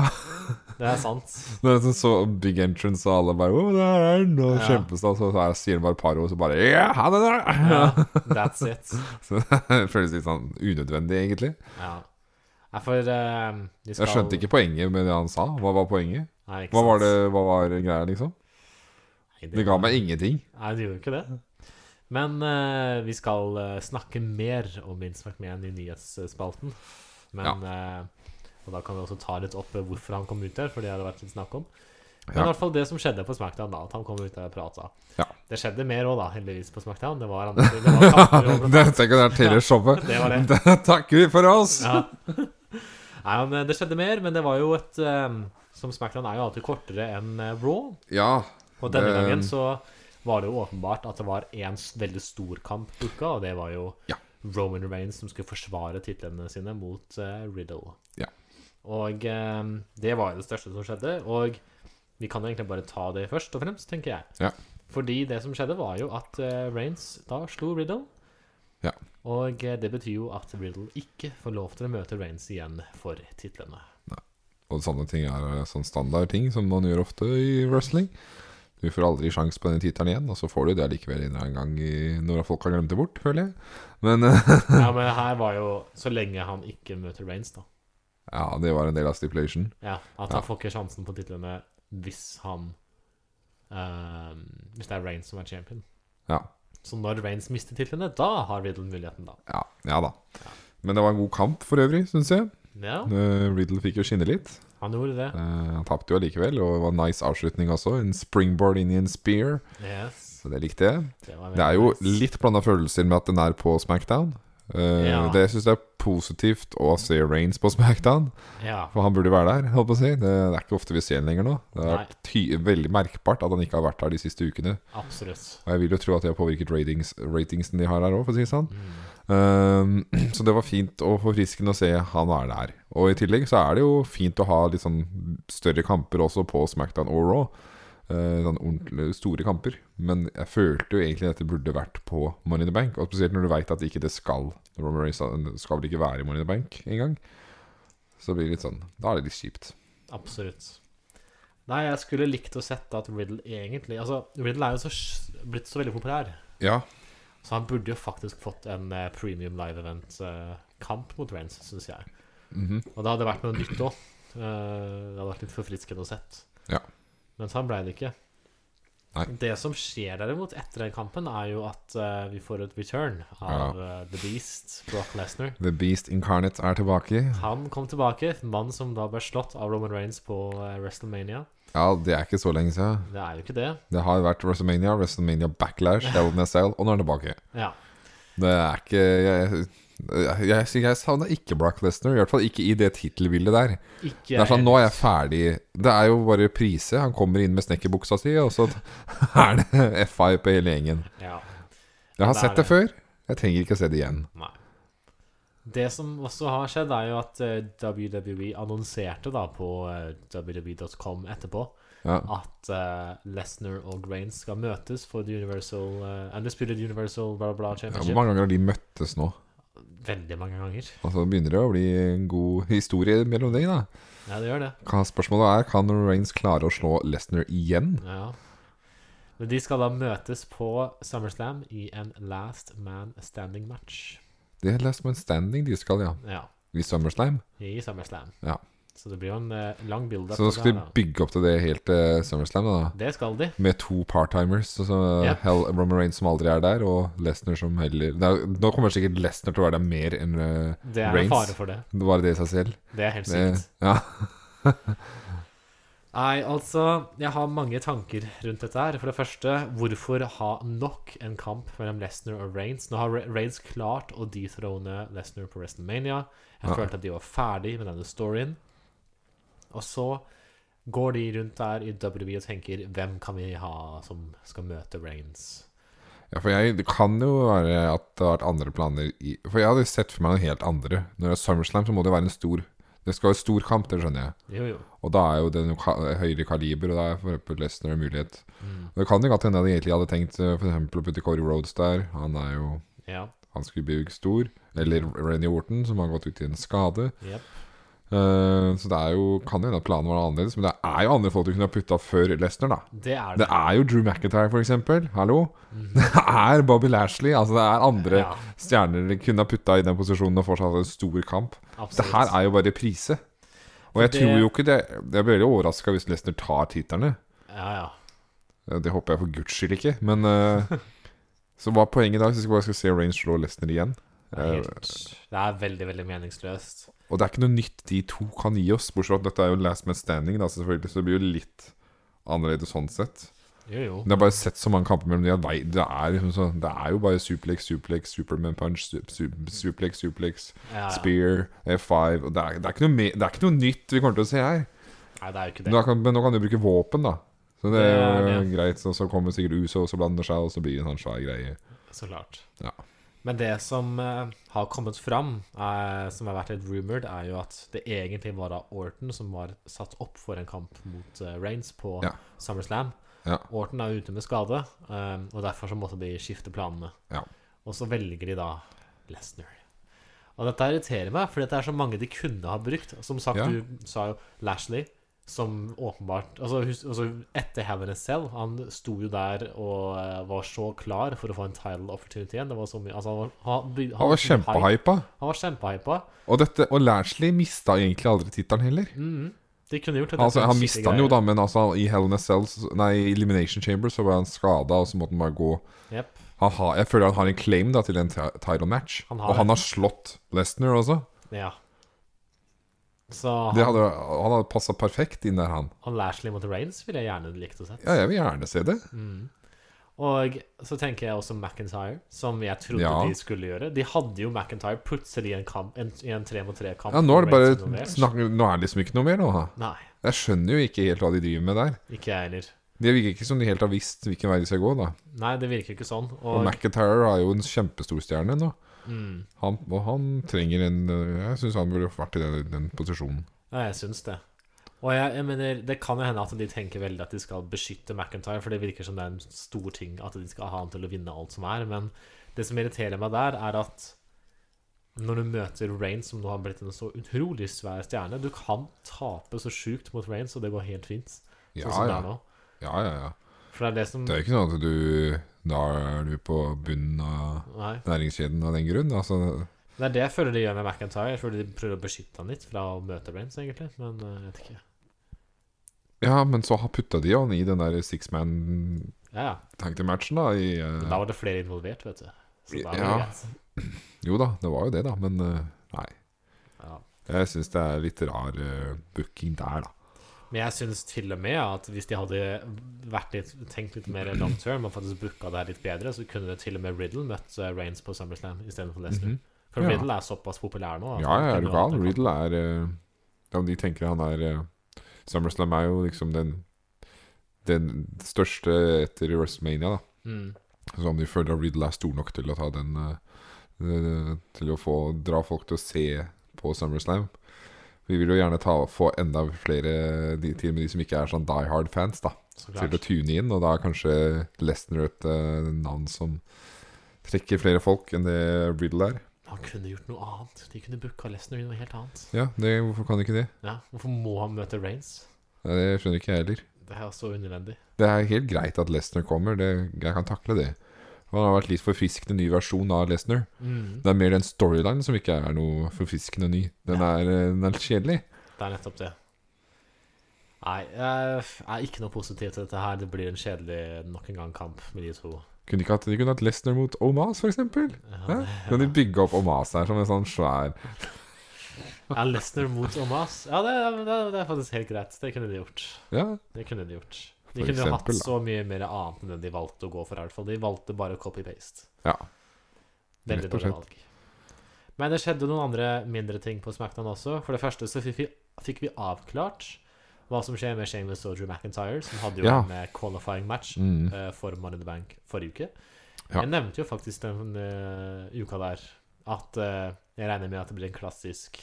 Det er sant.
Det er sånn så big entrance, og alle bare Å, der er han! Og
Ja.
kjempestas. Og så er- sier han bare et par ord, og så bare Ja, ha det, da!
Ja, that's it.
Så det føles litt sånn unødvendig, egentlig.
Ja. Nei, for eh, vi skal
Jeg skjønte ikke poenget med det han sa. Hva var poenget?
Nei, ikke
Hva var,
sant.
det, hva var greia, liksom?
Nei,
Det ga meg ingenting.
Nei, det gjorde jo ikke det. Men eh, vi skal eh, snakke mer om Vince McMahon i nyhetsspalten. Men, eh, og da kan vi også ta litt opp eh, hvorfor han kom ut der, for det har det vært litt snakk om. Men
Ja.
i hvert fall det som skjedde på Smackdown, da, at han kom ut der og prata.
Ja.
Det skjedde mer òg, da, heldigvis, på Smackdown. Det var, andre- det var kamper og
Det tenker jeg er Taylor Showet.
Det var det.
Da takker vi for oss!
Ja. Nei, men det skjedde mer, men det var jo et eh, Som Smackdown er jo alltid kortere enn eh, Raw.
Ja.
Og denne
Det-
gangen så var det jo åpenbart at det var én s- veldig stor kamp booka, og det var jo
Ja.
Roman Reigns som skulle forsvare titlene sine mot eh, Riddle.
Ja.
Og eh, det var jo det største som skjedde, og vi kan jo egentlig bare ta det først og fremst, tenker jeg.
Ja.
Fordi det som skjedde, var jo at eh, Reigns da slo Riddle.
Ja.
Og eh, det betyr jo at Riddle ikke får lov til å møte Reigns igjen for titlene.
Og sånne ting er sånn standard ting som man gjør ofte i wrestling. Du får aldri sjans på den tittelen igjen, og så får du det likevel en eller annen gang i, når folk har glemt det bort, føler jeg. Men eh,
Ja, men her var jo Så lenge han ikke møter Reigns, da.
ja, det var en del av stipulation.
Ja, at han får ikke sjansen på titlene hvis han ehm, Hvis det er Reigns som er champion.
Ja.
Så når Reigns mister titlene, da har Riddle muligheten, da.
Ja, ja da. Men det var en god kamp for øvrig, syns jeg.
Ja,
Eh, Riddle fikk jo skinne litt.
han gjorde
Eh,
det.
han tapte jo allikevel, og det var en nice avslutning også. En springboard inn i en spear,
Yes.
så det likte jeg.
Det, var
Det er jo
veldig nice.
litt blanda følelser med at den er på Smackdown. Eh,
Ja.
Det syns jeg er positivt å se Reigns på Smackdown,
Ja.
for han burde være der. Holdt på å si. det, det er ikke ofte vi ser han lenger nå. Det er
Nei.
ty veldig merkbart at han ikke har vært her de siste ukene.
Absolutt.
Og jeg vil jo tro at det har påvirket ratings, ratingsen de har her òg, for å si det sånn.
Mm.
Ehm, Så det var fint og forfriskende å se han er der. Og i tillegg så er det jo fint å ha litt sånn større kamper også på Smackdown og Raw. Eh, Sånn ordentlig store kamper. Men jeg følte jo egentlig dette burde vært på Money in the Bank. Og spesielt når du veit at ikke det skal Roman Reigns eh, skal vel ikke være i Money in the Bank engang. Så blir det litt sånn Da er det litt kjipt.
Absolutt. Nei, jeg skulle likt å sett at Riddle egentlig Altså, Riddle er jo så, sj- blitt så veldig populær,
Ja,
så han burde jo faktisk fått en eh, premium live event-kamp mot Reigns, syns jeg.
mhm.
Og det hadde vært noe Eh, nytt òg. det hadde vært litt forfriskende og sett.
Ja.
Men sånn ble det ikke.
Nei.
Det som skjer derimot etter den kampen, er jo at eh, vi får et return av eh, The Beast, Brock Lesnar.
The Beast Incarnate er tilbake.
Han kom tilbake, en mann som da ble slått av Roman Reigns på eh, WrestleMania.
Ja, det er ikke så lenge siden.
Det er jo ikke det.
Det har vært WrestleMania, WrestleMania Backlash, Hell in a Cell, og nå er han tilbake.
Ja.
Det er ikke Jeg, jeg, jeg, jeg savna ikke Brock Lesnar, i hvert fall ikke i det tittelbildet der.
Ikke
Det er sånn, Nå er jeg ferdig. Det er jo bare prise. Han kommer inn med snekkerbuksa si, og så er det FI på hele gjengen.
Ja,
Jeg har
Det er
sett det før. Jeg trenger ikke å se det igjen.
nei. Det som også har skjedd, er jo at eh, WWE annonserte da på eh, WWE.com etterpå
Ja.
at eh, Lesnar og Grains skal møtes for the Universal eh, Undisputed Universal bla, bla, bla
Ja, hvor
Championship.
mange ganger har de møttes nå?
Veldig mange ganger.
Altså begynner det å bli en god historie mellom dem, da.
Ja, det gjør det.
Hva spørsmålet er, kan Reigns klare å slå Lesnar igjen?
Ja. Men de skal da møtes på SummerSlam i en Last Man Standing match.
Det er Last Man Standing de skal, ja.
Ja,
I SummerSlam.
i SummerSlam.
Ja.
Så det blir jo en eh, lang build-up.
Så nå
på
skal
det
de
her,
bygge opp til det helt til SummerSlam, da.
da. Det skal de.
Med to part-timers. Så, så
Ja.
Hell, Roman Reigns som aldri er der, og Lesnar som heller Nei, Nå kommer sikkert Lesnar til å være der mer enn uh,
Det er en
Reigns.
fare for det.
det var det i seg selv.
Det er helt
Det,
sykt.
ja.
Nei, altså Jeg har mange tanker rundt dette her. For det første, hvorfor ha nok en kamp mellom Lesnar og Reigns? Nå har Re- Reigns klart å dethrone Lesnar på WrestleMania. Jeg
Ja.
følte at de var ferdig med denne storyen. Og så går de rundt der i WWE og tenker Hvem kan vi ha som skal møte Reigns?
ja, for jeg, det kan jo være at det har vært andre planer i For jeg hadde sett for meg noen helt andre. Når det er SummerSlam, så må det være en stor Det skal være stor kamp, det skjønner jeg.
Jo, jo.
Og da er jo det noe ka- høyere kaliber, og da er for eksempel Lesnar en mulighet. Det kan jo godt hende at de egentlig hadde tenkt eh, for eksempel å putte Corey Rhodes der. Han er jo
Ja.
Han skulle bli stor. Eller Renny Orton, som har gått ut i en skade.
Jepp.
Eh, så det er jo, kan jo hende at planen var annerledes, men det er jo andre folk du kunne ha putta før Lesnar, da.
Det er
Det
det.
er jo Drew McIntyre, for eksempel. Hallo. Det er Bobby Lashley. Altså, det er
Mhm.
andre
Ja.
stjerner de kunne ha putta i den posisjonen og fortsatt hatt en stor kamp. Det
Absolutt.
her er jo bare prise. Og jeg
Det-
tror jo ikke det Jeg blir veldig overraska hvis Lesnar tar titlene.
Ja, ja.
Eh, Det håper jeg for guds skyld ikke, men eh, Så hva er poenget i dag? Så skal jeg bare skal se Range slå Lesnar igjen.
Det er, helt, det er veldig, veldig meningsløst.
Og det er ikke noe nytt de to kan gi oss, bortsett fra at dette er jo last man standing, da, selvfølgelig, så det blir jo litt annerledes sånn sett.
Jo, jo.
Men jeg har bare sett så mange kamper mellom de at vei- det er, liksom sånn, det er jo bare suplex, suplex, superman punch, su- su- suplex, suplex,
Ja, ja.
spear, F5 og det er, det, er ikke noe me, det er ikke noe nytt vi kommer til å se her.
Nei, det er jo ikke det.
Da kan, men nå kan du bruke våpen, da. Så det
Det
er jo
er det.
greit. Og så kommer sikkert Uso, og så blander seg, og så blir det en sånn svær greie.
Så klart.
Ja.
Men det som eh, har kommet fram, eh, som har vært litt rumored, er jo at det egentlig var da Orton som var satt opp for en kamp mot eh, Reigns på
Ja.
SummerSlam.
Ja.
Orton er jo ute med skade, eh, og derfor så måtte de skifte planene.
Ja.
Og så velger de da Lesnar. Og dette irriterer meg, for det er så mange de kunne ha brukt. Som sagt,
Ja.
du sa jo Lashley, som åpenbart Altså, hus- altså etter Hell in a Cell, han sto jo der og eh, var så klar for å få en title opportunity igjen. Det var så mye Altså, han var, han, by-
Han var
så mye hype.
kjempehypa.
Han var kjempehypa.
Og, dette- og Lashley mista egentlig aldri tittelen heller.
De kunne gjort det.
Altså, han mista den jo, da, men altså, i Hell in a Cell Nei, i Elimination Chamber så var han skada, og så måtte han bare gå
Jepp.
han har, Jeg føler han har en claim da til en ti- title match.
Han har
og
det.
han har slått Lesnar også.
Ja. Så
Det hadde, han hadde passa perfekt inn der, han.
han Lashley mot Reigns ville jeg gjerne likt å sett.
Ja, jeg vil gjerne se det.
Og så tenker jeg også McIntyre, som jeg trodde
Ja.
de skulle gjøre. De hadde jo McIntyre plutselig i en kamp en, i en tre mot tre-kamp.
Ja, Nå er det
med Reigns
bare
involvert.
snakk, Nå er det liksom ikke noe mer, nå. da.
Nei,
Jeg skjønner jo ikke helt hva de driver med der.
ikke jeg heller.
Det virker ikke som de helt har visst hvilken vei de skal gå, da.
Nei, det virker ikke sånn. Og,
Og McIntyre er jo en kjempestor stjerne nå.
mm,
Han, og han trenger en øh, Jeg syns han burde vært i den, den posisjonen.
ja, jeg syns det. Og jeg, jeg mener, det kan jo hende at de tenker veldig at de skal beskytte McIntyre, for det virker som det er en stor ting at de skal ha han til å vinne alt som er, men det som irriterer meg der, er at når du møter Reigns, som nå har blitt en så utrolig svær stjerne Du kan tape så sjukt mot Reigns, og det går helt fint. Sånn
Ja,
som det
ja.
er nå.
ja, ja, ja.
For det er det som
Det er jo ikke sånn at du Da er du på bunnen av
Nei.
næringskjeden av den grunn. Altså,
Det er det jeg føler de gjør med McIntyre. Jeg føler de prøver å beskytte han litt fra å møte Reigns, egentlig, men eh, jeg vet ikke.
ja, men så har putta de han i den der six man
Ja, ja.
Tenk til matchen, da. I, eh,
Men da var det flere involvert, vet du. Så da var det
Ja.
greit.
Jo da, det var jo det, da. Men eh, nei.
Ja.
Jeg syns det er litt rar eh, booking der, da.
Men jeg syns til og med at hvis de hadde vært litt, tenkt litt mer long term og faktisk booka det her litt bedre, så kunne det til og med Riddle møtt eh, Reigns på SummerSlam istedenfor Lesnar.
Mhm.
For
Ja.
Riddle er såpass populær nå. at
Mhm. Ja, ja,
han
er du
kunne hatt
gal?
en kamp.
Riddle er eh, Ja, de tenker han er eh, SummerSlam er jo liksom den Den største etter WrestleMania, da.
Mm.
Så om de føler at Riddle er stor nok til å ta den eh, eh, Til å få dra folk til å se på SummerSlam. Vi vil jo gjerne ta, få enda flere, de, til og med de som ikke er sånn Die Hard-fans, da
Så
til å
klart.
tune inn, og da er kanskje Lesnar et eh, navn som trekker flere folk enn det Riddle er.
Han kunne gjort noe annet. De kunne booka Lesnar i noe helt annet.
Ja, det, hvorfor kan de ikke det?
Ja, Hvorfor må han møte Reigns?
Nei, Det skjønner ikke jeg heller.
Det er så unødvendig.
Det er helt greit at Lesnar kommer, det, jeg kan takle det. Han har vært litt forfriskende ny versjon av Lesnar.
Mm.
Det er mer den storylinen som ikke er noe forfriskende ny. Den er, eh, den er litt kjedelig.
Det er nettopp det. Nei, jeg er ikke noe positiv til dette her. Det blir en kjedelig nok en gang kamp med de to.
Kunne de ikke hatt, de kunne hatt Lesnar mot Omas, f.eks.
Ja,
Kan de bygge opp Omas her som en sånn svær
Ja, Lesnar mot Omas. Ja, det, det, det er faktisk helt greit. Det kunne de gjort.
Ja,
Det kunne de gjort. De
For
kunne jo hatt
eksempel, da.
så mye mer annet enn det de valgte å gå for. i hvert fall. De valgte bare copy-paste.
Ja.
Veldig
Rett og
dårlig valg. Men det skjedde noen andre mindre ting på SmackDown også. For det første så fikk vi, fikk vi avklart hva som skjer med Shameless og Drew McIntyre, som hadde jo
Ja.
en eh, qualifying match
mm.
eh, for Money in the Bank forrige uke.
Ja.
Jeg nevnte jo faktisk den eh, uka der at eh, jeg regner med at det blir en klassisk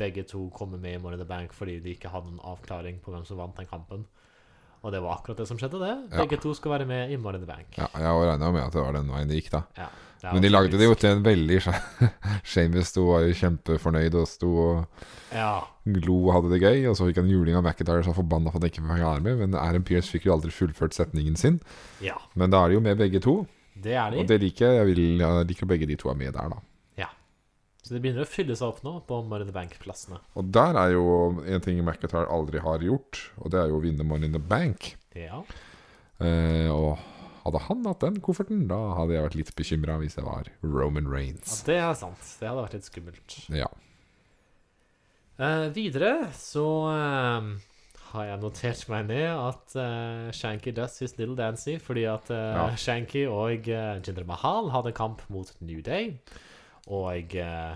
begge to kommer med i Money in the Bank fordi de ikke hadde noen avklaring på hvem som vant den kampen. Og det var akkurat det som skjedde, det.
Ja.
Begge to skal være med i Money in the Bank.
ja jeg regna med at det var den veien det gikk, da.
Det er
Men de
jo
lagde det jo
typisk.
til en veldig Shameless sto var jo kjempefornøyd og sto og
Ja.
glo og hadde det gøy. Og så fikk han juling av McIntyre så forbanna for at han ikke fikk være med. Men Aaron Pierce fikk jo aldri fullført setningen sin.
ja.
Men da er de jo med begge to,
Det er de.
og det liker jeg. Jeg, vil, jeg liker begge de to er med der, da.
Så det begynner å fylle seg opp nå på Money in the Bank-plassene.
Og der er jo en ting McIntyre aldri har gjort, og det er jo å vinne Money in the Bank.
Ja.
Eh, og hadde han hatt den kofferten, da hadde jeg vært litt bekymra hvis jeg var Roman
ja,
Reigns.
det er sant. Det hadde vært litt skummelt.
Ja.
Eh, videre så eh, har jeg notert meg ned at eh, Shanky does his little dancy, fordi at eh,
Ja.
Shanky og eh, Jinder Mahal hadde kamp mot New Day, og eh,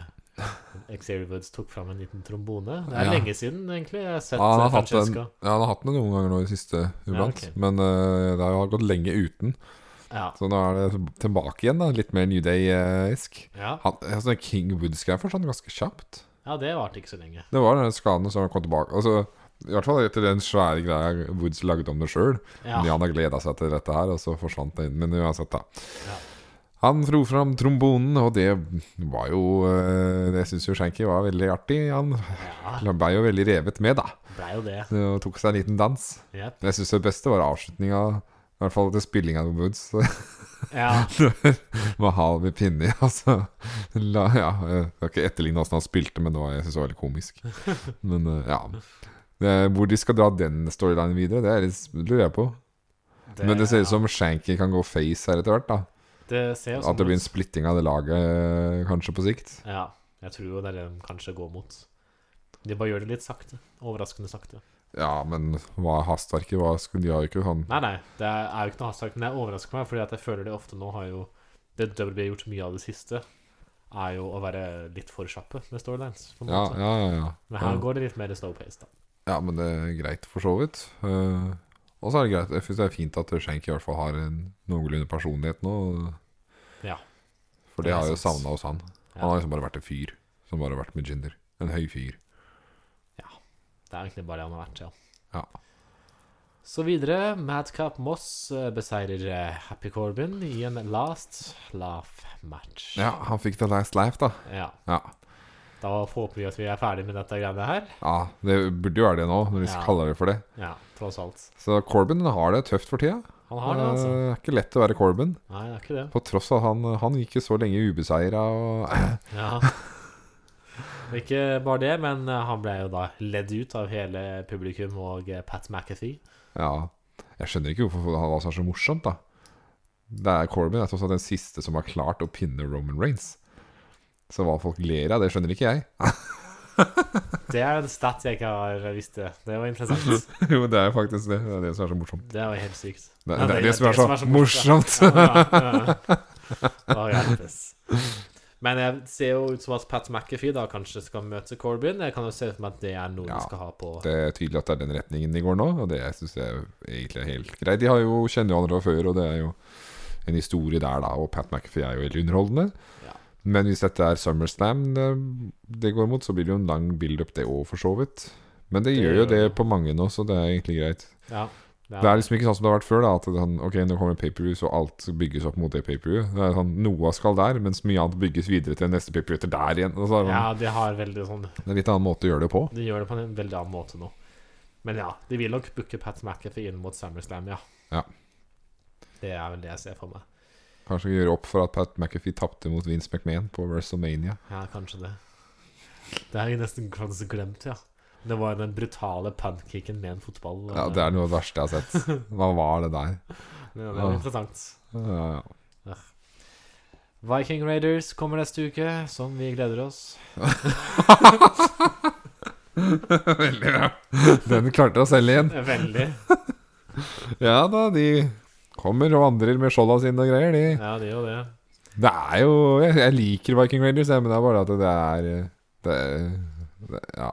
Xavier Woods tok fram en liten trombone. Det er
Ja.
lenge siden, egentlig. Jeg har sett
Ja, han
eh,
har hatt den,
Francesca.
ja, han har hatt den noen ganger nå i det siste iblant.
ok.
Men eh, det har jo gått lenge uten.
Ja.
Så nå er det tilbake igjen, da. Litt mer New Day-esk.
Ja.
Han, altså, den King Woods-greia forsvant ganske kjapt.
ja, det varte ikke så lenge.
Det var den skaden som kom tilbake. Altså, I hvert fall etter den svære greia Woods lagde om det sjøl.
Ja.
Men Han har gleda seg til dette her, og så forsvant det inn. Men uansett, da.
Ja.
Han dro fram trombonen, og det var jo eh, Det syns jo Shanky var veldig artig. Han
ja
ble jo veldig revet med, da.
Blei jo det.
Og tok seg en liten dans.
Jep.
Jeg syns det beste var avslutninga. I hvert fall til spillinga av Woods.
Ja.
Mahal med pinne i, altså. La, ja, jeg skal ikke etterligne åssen han spilte, men det var, jeg synes det var veldig komisk. Men eh, ja Eh, Hvor de skal dra den storylinen videre, det er litt, lurer jeg på. men det ser ut som Shanky kan gå face her etter hvert. da
Det ser jo sånn
At det blir en
ut.
splitting av det laget, eh, kanskje, på sikt.
Ja. Jeg tror jo det er det de kanskje går mot. De bare gjør det litt sakte. Overraskende sakte.
Ja, men hva er hastverket? Hva skulle de ha ikke sånn
Nei, nei, det er jo ikke noe hastverk, men jeg overrasker meg, fordi at jeg føler det ofte nå har jo Det WWE har gjort mye av det siste, er jo å være litt for kjappe med storylines. På en
Ja,
måte.
ja, ja. ja.
Men her
Ja.
går det litt mer slow pace, da.
Ja, men det er greit for så vidt. Eh, og så er det greit Jeg syns det er fint at Shank i hvert fall har en noenlunde personlighet nå.
Ja.
For
Det
det
er
har jeg jo
sant.
savna hos han.
Ja.
Han har liksom bare vært en fyr som bare har vært med Jinder. En høy fyr.
Det er egentlig bare det han har vært, ja.
Ja.
Så videre, Madcap Moss eh, beseirer eh, Happy Corbin i en last laugh match.
Ja, han fikk The Last Laugh, da.
Ja.
Ja.
Da håper vi at vi er ferdig med dette greiene her.
ja det burde jo være det nå, når de
Ja.
kaller det for det.
Ja, tross alt.
Så Corbin har det tøft for tida.
Han har det, altså.
Eh, er ikke lett å være Corbin.
Nei, det er ikke det.
På tross av at han, eh, han gikk jo så lenge ubeseira og
Ja. Og Ikke bare det, men eh, han ble jo da ledd ut av hele publikum og eh, Pat McAfee.
Ja. Jeg skjønner ikke hvorfor det var så morsomt, da. Det er Corbin er tross alt den siste som har klart å pinne Roman Reigns. Så hva folk ler av, det skjønner ikke jeg.
Det er en stat jeg ikke har visst det. Det var interessant.
jo, men det er faktisk det. Det er det som er så morsomt.
Det var helt sykt.
Det,
Ja,
det, er det som er så morsomt.
Ja, ja, ja. Å, hjelpes. Men jeg ser jo ut som at Pat McAfee da kanskje skal møte Corbin. Jeg kan jo se for meg at det er noe
Ja.
de skal ha på
Det er tydelig at det er den retningen de går nå, og det syns jeg egentlig er helt greit. De har jo, kjenner jo andre fra før, og det er jo en historie der, da. Og Pat McAfee er jo veldig underholdende.
Ja.
Men hvis dette er SummerSlam det, det går mot, så blir det jo en lang build-up, det òg, for så vidt. Men
Det
det, gjør jo
gjør
det
det.
på mange nå, så det er egentlig greit.
Ja. ja.
Det er liksom ikke sånn som det har vært før, da. At det er sånn, ok, nå kommer pay-per-view, så alt bygges opp mot det pay-per-view. Det er sånn, Noe skal der, mens mye annet bygges videre til neste pay-per-view etter der igjen. Og så er det
ja,
sånn,
de har veldig sånn
Det er en litt annen måte å gjøre det på.
De gjør det på en veldig annen måte nå. Men ja, de vil nok booke Pat McAfee inn mot SummerSlam, ja.
Ja.
Det er vel det jeg ser for meg.
Kanskje gjøre opp for at Pat McAfee tapte mot Vince McMahon på WrestleMania.
Ja, kanskje det. Det har jeg nesten kanskje glemt, ja. Det var den brutale puntkicken med en fotball.
Ja, Det er noe av det verste jeg har sett. Hva var det der?
Men det var interessant.
Ja, ja.
Viking Raiders kommer neste uke, som vi gleder oss.
Veldig bra. Den klarte å selge igjen.
Veldig.
Ja da, de kommer og vandrer med skjolda sine og greier, de.
Ja, det er jo det.
Det er jo Jeg, jeg liker Viking Raiders, jeg, men det er bare at det er det, er- det, Ja.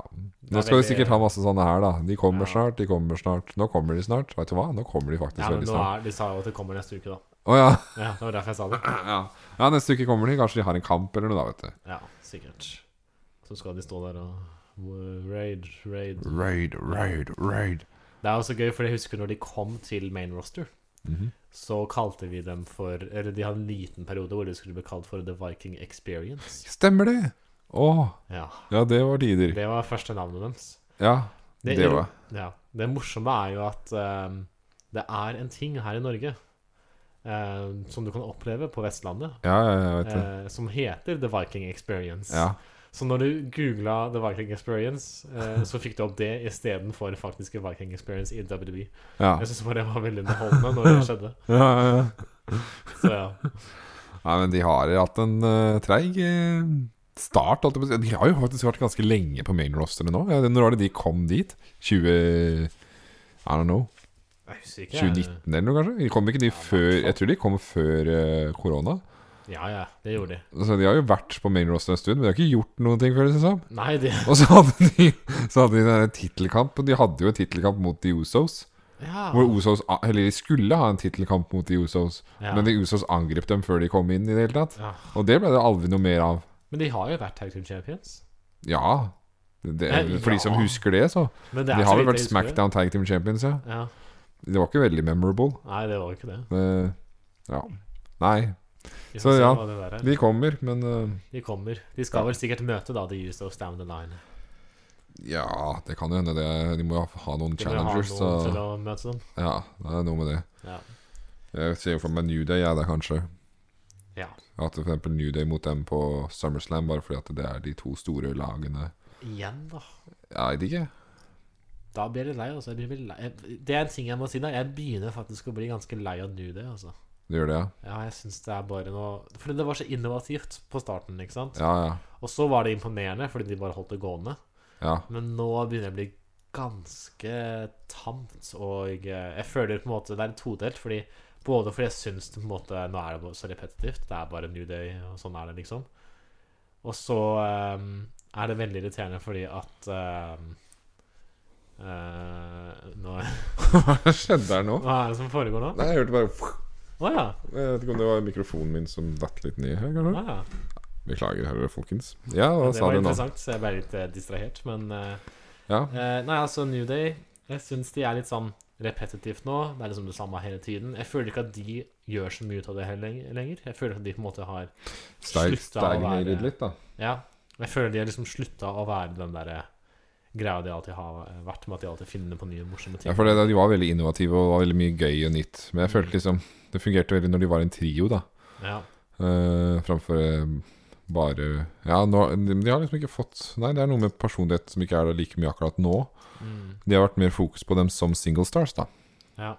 Nå
er
skal vi
veldig-
sikkert ha masse sånne her, da. De kommer
Ja.
snart, de kommer snart. Nå kommer de snart. Vet du hva? Nå kommer de faktisk
Ja, men
veldig
nå
snart.
er, De sa jo at det kommer neste uke, da.
Å ja.
Ja, Det var derfor jeg sa det.
ja. Ja, neste uke kommer de. Kanskje de har en kamp eller noe, da, vet du.
Ja, sikkert. Så skal de stå der og Raid, raid.
Raid, raid, raid.
Det er også gøy, for jeg husker når de kom til main roster,
Mhm.
så kalte vi dem for Eller de hadde en liten periode hvor de skulle bli kalt for The Viking Experience.
Stemmer det! Å,
Ja,
ja, det var tider.
Det var første navnet deres.
Ja, det, var
Ja. Det morsomme er jo at ehm, det er en ting her i Norge ehm, som du kan oppleve på Vestlandet,
Ja, ja, jeg vet det.
eh, som heter The Viking Experience.
Ja.
Så når du googla The Viking Experience, eh, så fikk du opp det istedenfor faktiske Viking Experience i WWE.
Ja.
Jeg syns bare det var veldig underholdende når det skjedde.
ja, ja, ja.
Så ja.
Nei, men de har hatt en eh, treig eh, start. holdt jeg på å si. De har jo faktisk vært ganske lenge på main rosteret nå. Ja, når var det de kom dit? 20... I don't know.
Jeg husker ikke. jeg.
2019 eller noe, kanskje? De kom ikke de før Jeg tror de kom før eh, korona.
Ja, ja, det gjorde de.
Så de har jo vært på main roster en stund, men de har ikke gjort noen ting før. det synes jeg.
Nei, det
Og så hadde de, så hadde de den der tittelkamp, og de hadde jo en tittelkamp mot de Usos.
Ja.
Hvor Usos, eller de skulle ha en tittelkamp mot de Usos,
Ja.
men de Usos angrep dem før de kom inn i det hele tatt.
Ja.
Og det ble det aldri noe mer av.
Men de har jo vært Tag Team Champions.
Ja. Det, det,
Eh,
for
ja.
de som husker det, så.
Men det
De
er
har
så
vel
vidt
vært
jeg husker det.
Smackdown Tag Team Champions, ja.
Ja.
Det var ikke veldig memorable.
Nei, det var jo ikke det.
Eh, ja. Nei.
Vi
Så
får se
ja,
hva det der er.
De kommer, men eh,
De kommer. De skal vel sikkert møte da The Usos down the line.
Ja, det kan jo hende det. De må jo ha noen
De må jo ha noen
challengers, så
til å møte dem.
Ja, det er noe med det.
Ja.
Jeg ser jo for meg New Day, jeg, da, kanskje.
ja.
At for eksempel New Day mot dem på SummerSlam, bare fordi at det er de to store lagene.
Igjen, da.
Jeg vet ikke.
Da blir jeg litt lei. Altså. Jeg blir veldig lei. Det er en ting jeg må si da. Jeg begynner faktisk å bli ganske lei av New Day. Altså.
Du gjør det, ja?
Ja, jeg synes det er bare noe Fordi det var så innovativt på starten, ikke sant.
Ja, ja.
Og så var det imponerende fordi de bare holdt det gående.
ja.
Men nå begynner det å bli ganske tamt, og eh, jeg føler på en måte det er todelt. fordi Både fordi jeg syns det på en måte nå er det bare så repetitivt, det er bare New Day, og sånn er det, liksom. Og så eh, er det veldig irriterende fordi at eh, eh, nå,
Hva skjedde her nå?
Hva er det som foregår nå?
Nei, jeg hørte bare
Å ja.
Jeg vet ikke om det var mikrofonen min som datt litt ned her,
å
kanskje?
ja.
Beklager, herre folkens. Ja, hva
Det
sa
var
du nå?
interessant, så jeg ble litt eh, distrahert. Men eh,
Ja,
Eh, nei, altså New Day Jeg syns de er litt sånn repetitivt nå. Det er liksom det samme hele tiden. Jeg føler ikke at de gjør så mye ut av det heller leng- lenger. Jeg føler at de på en måte har
Steig
sluttet å være-
litt, da.
Ja. Jeg føler de har liksom slutta å være den derre greia de alltid har eh, vært, med at de alltid finner på nye morsomme ting.
Ja, for det, De var veldig innovative og det var veldig mye gøy og nytt. Men jeg følte liksom det fungerte veldig når de var en trio, da.
Ja.
Eh, framfor eh, bare Ja, nå, de de har liksom ikke fått Nei, det er noe med personlighet som ikke er der like mye akkurat nå.
Mm.
De har vært mer fokus på dem som single stars, da.
ja.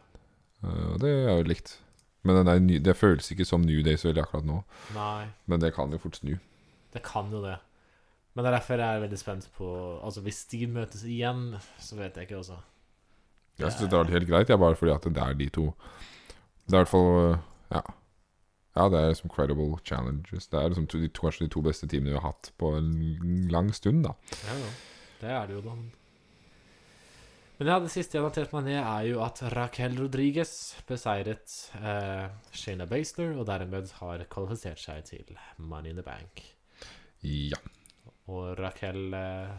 Eh, Og det er jo likt. Men den er ny, det føles ikke som New Day så veldig akkurat nå.
Nei,
Men det kan jo fort snu.
det kan jo det. Men det er derfor jeg er veldig spent på Altså, hvis de møtes igjen, så vet jeg ikke, altså.
Jeg synes dette har vært helt greit, jeg bare fordi at det er de to Det er i hvert fall øh, Ja. Ja, det er liksom credible challenges. Det er liksom to, de to, kanskje de to beste teamene vi har hatt på en lang stund, da.
Ja, ja. Det er det jo, da. Men ja, det siste jeg noterte meg ned, er jo at Raquel Rodriguez beseiret eh, Shayna Baszler, og dermed har kvalifisert seg til Money in the Bank.
Ja.
Og Raquel eh,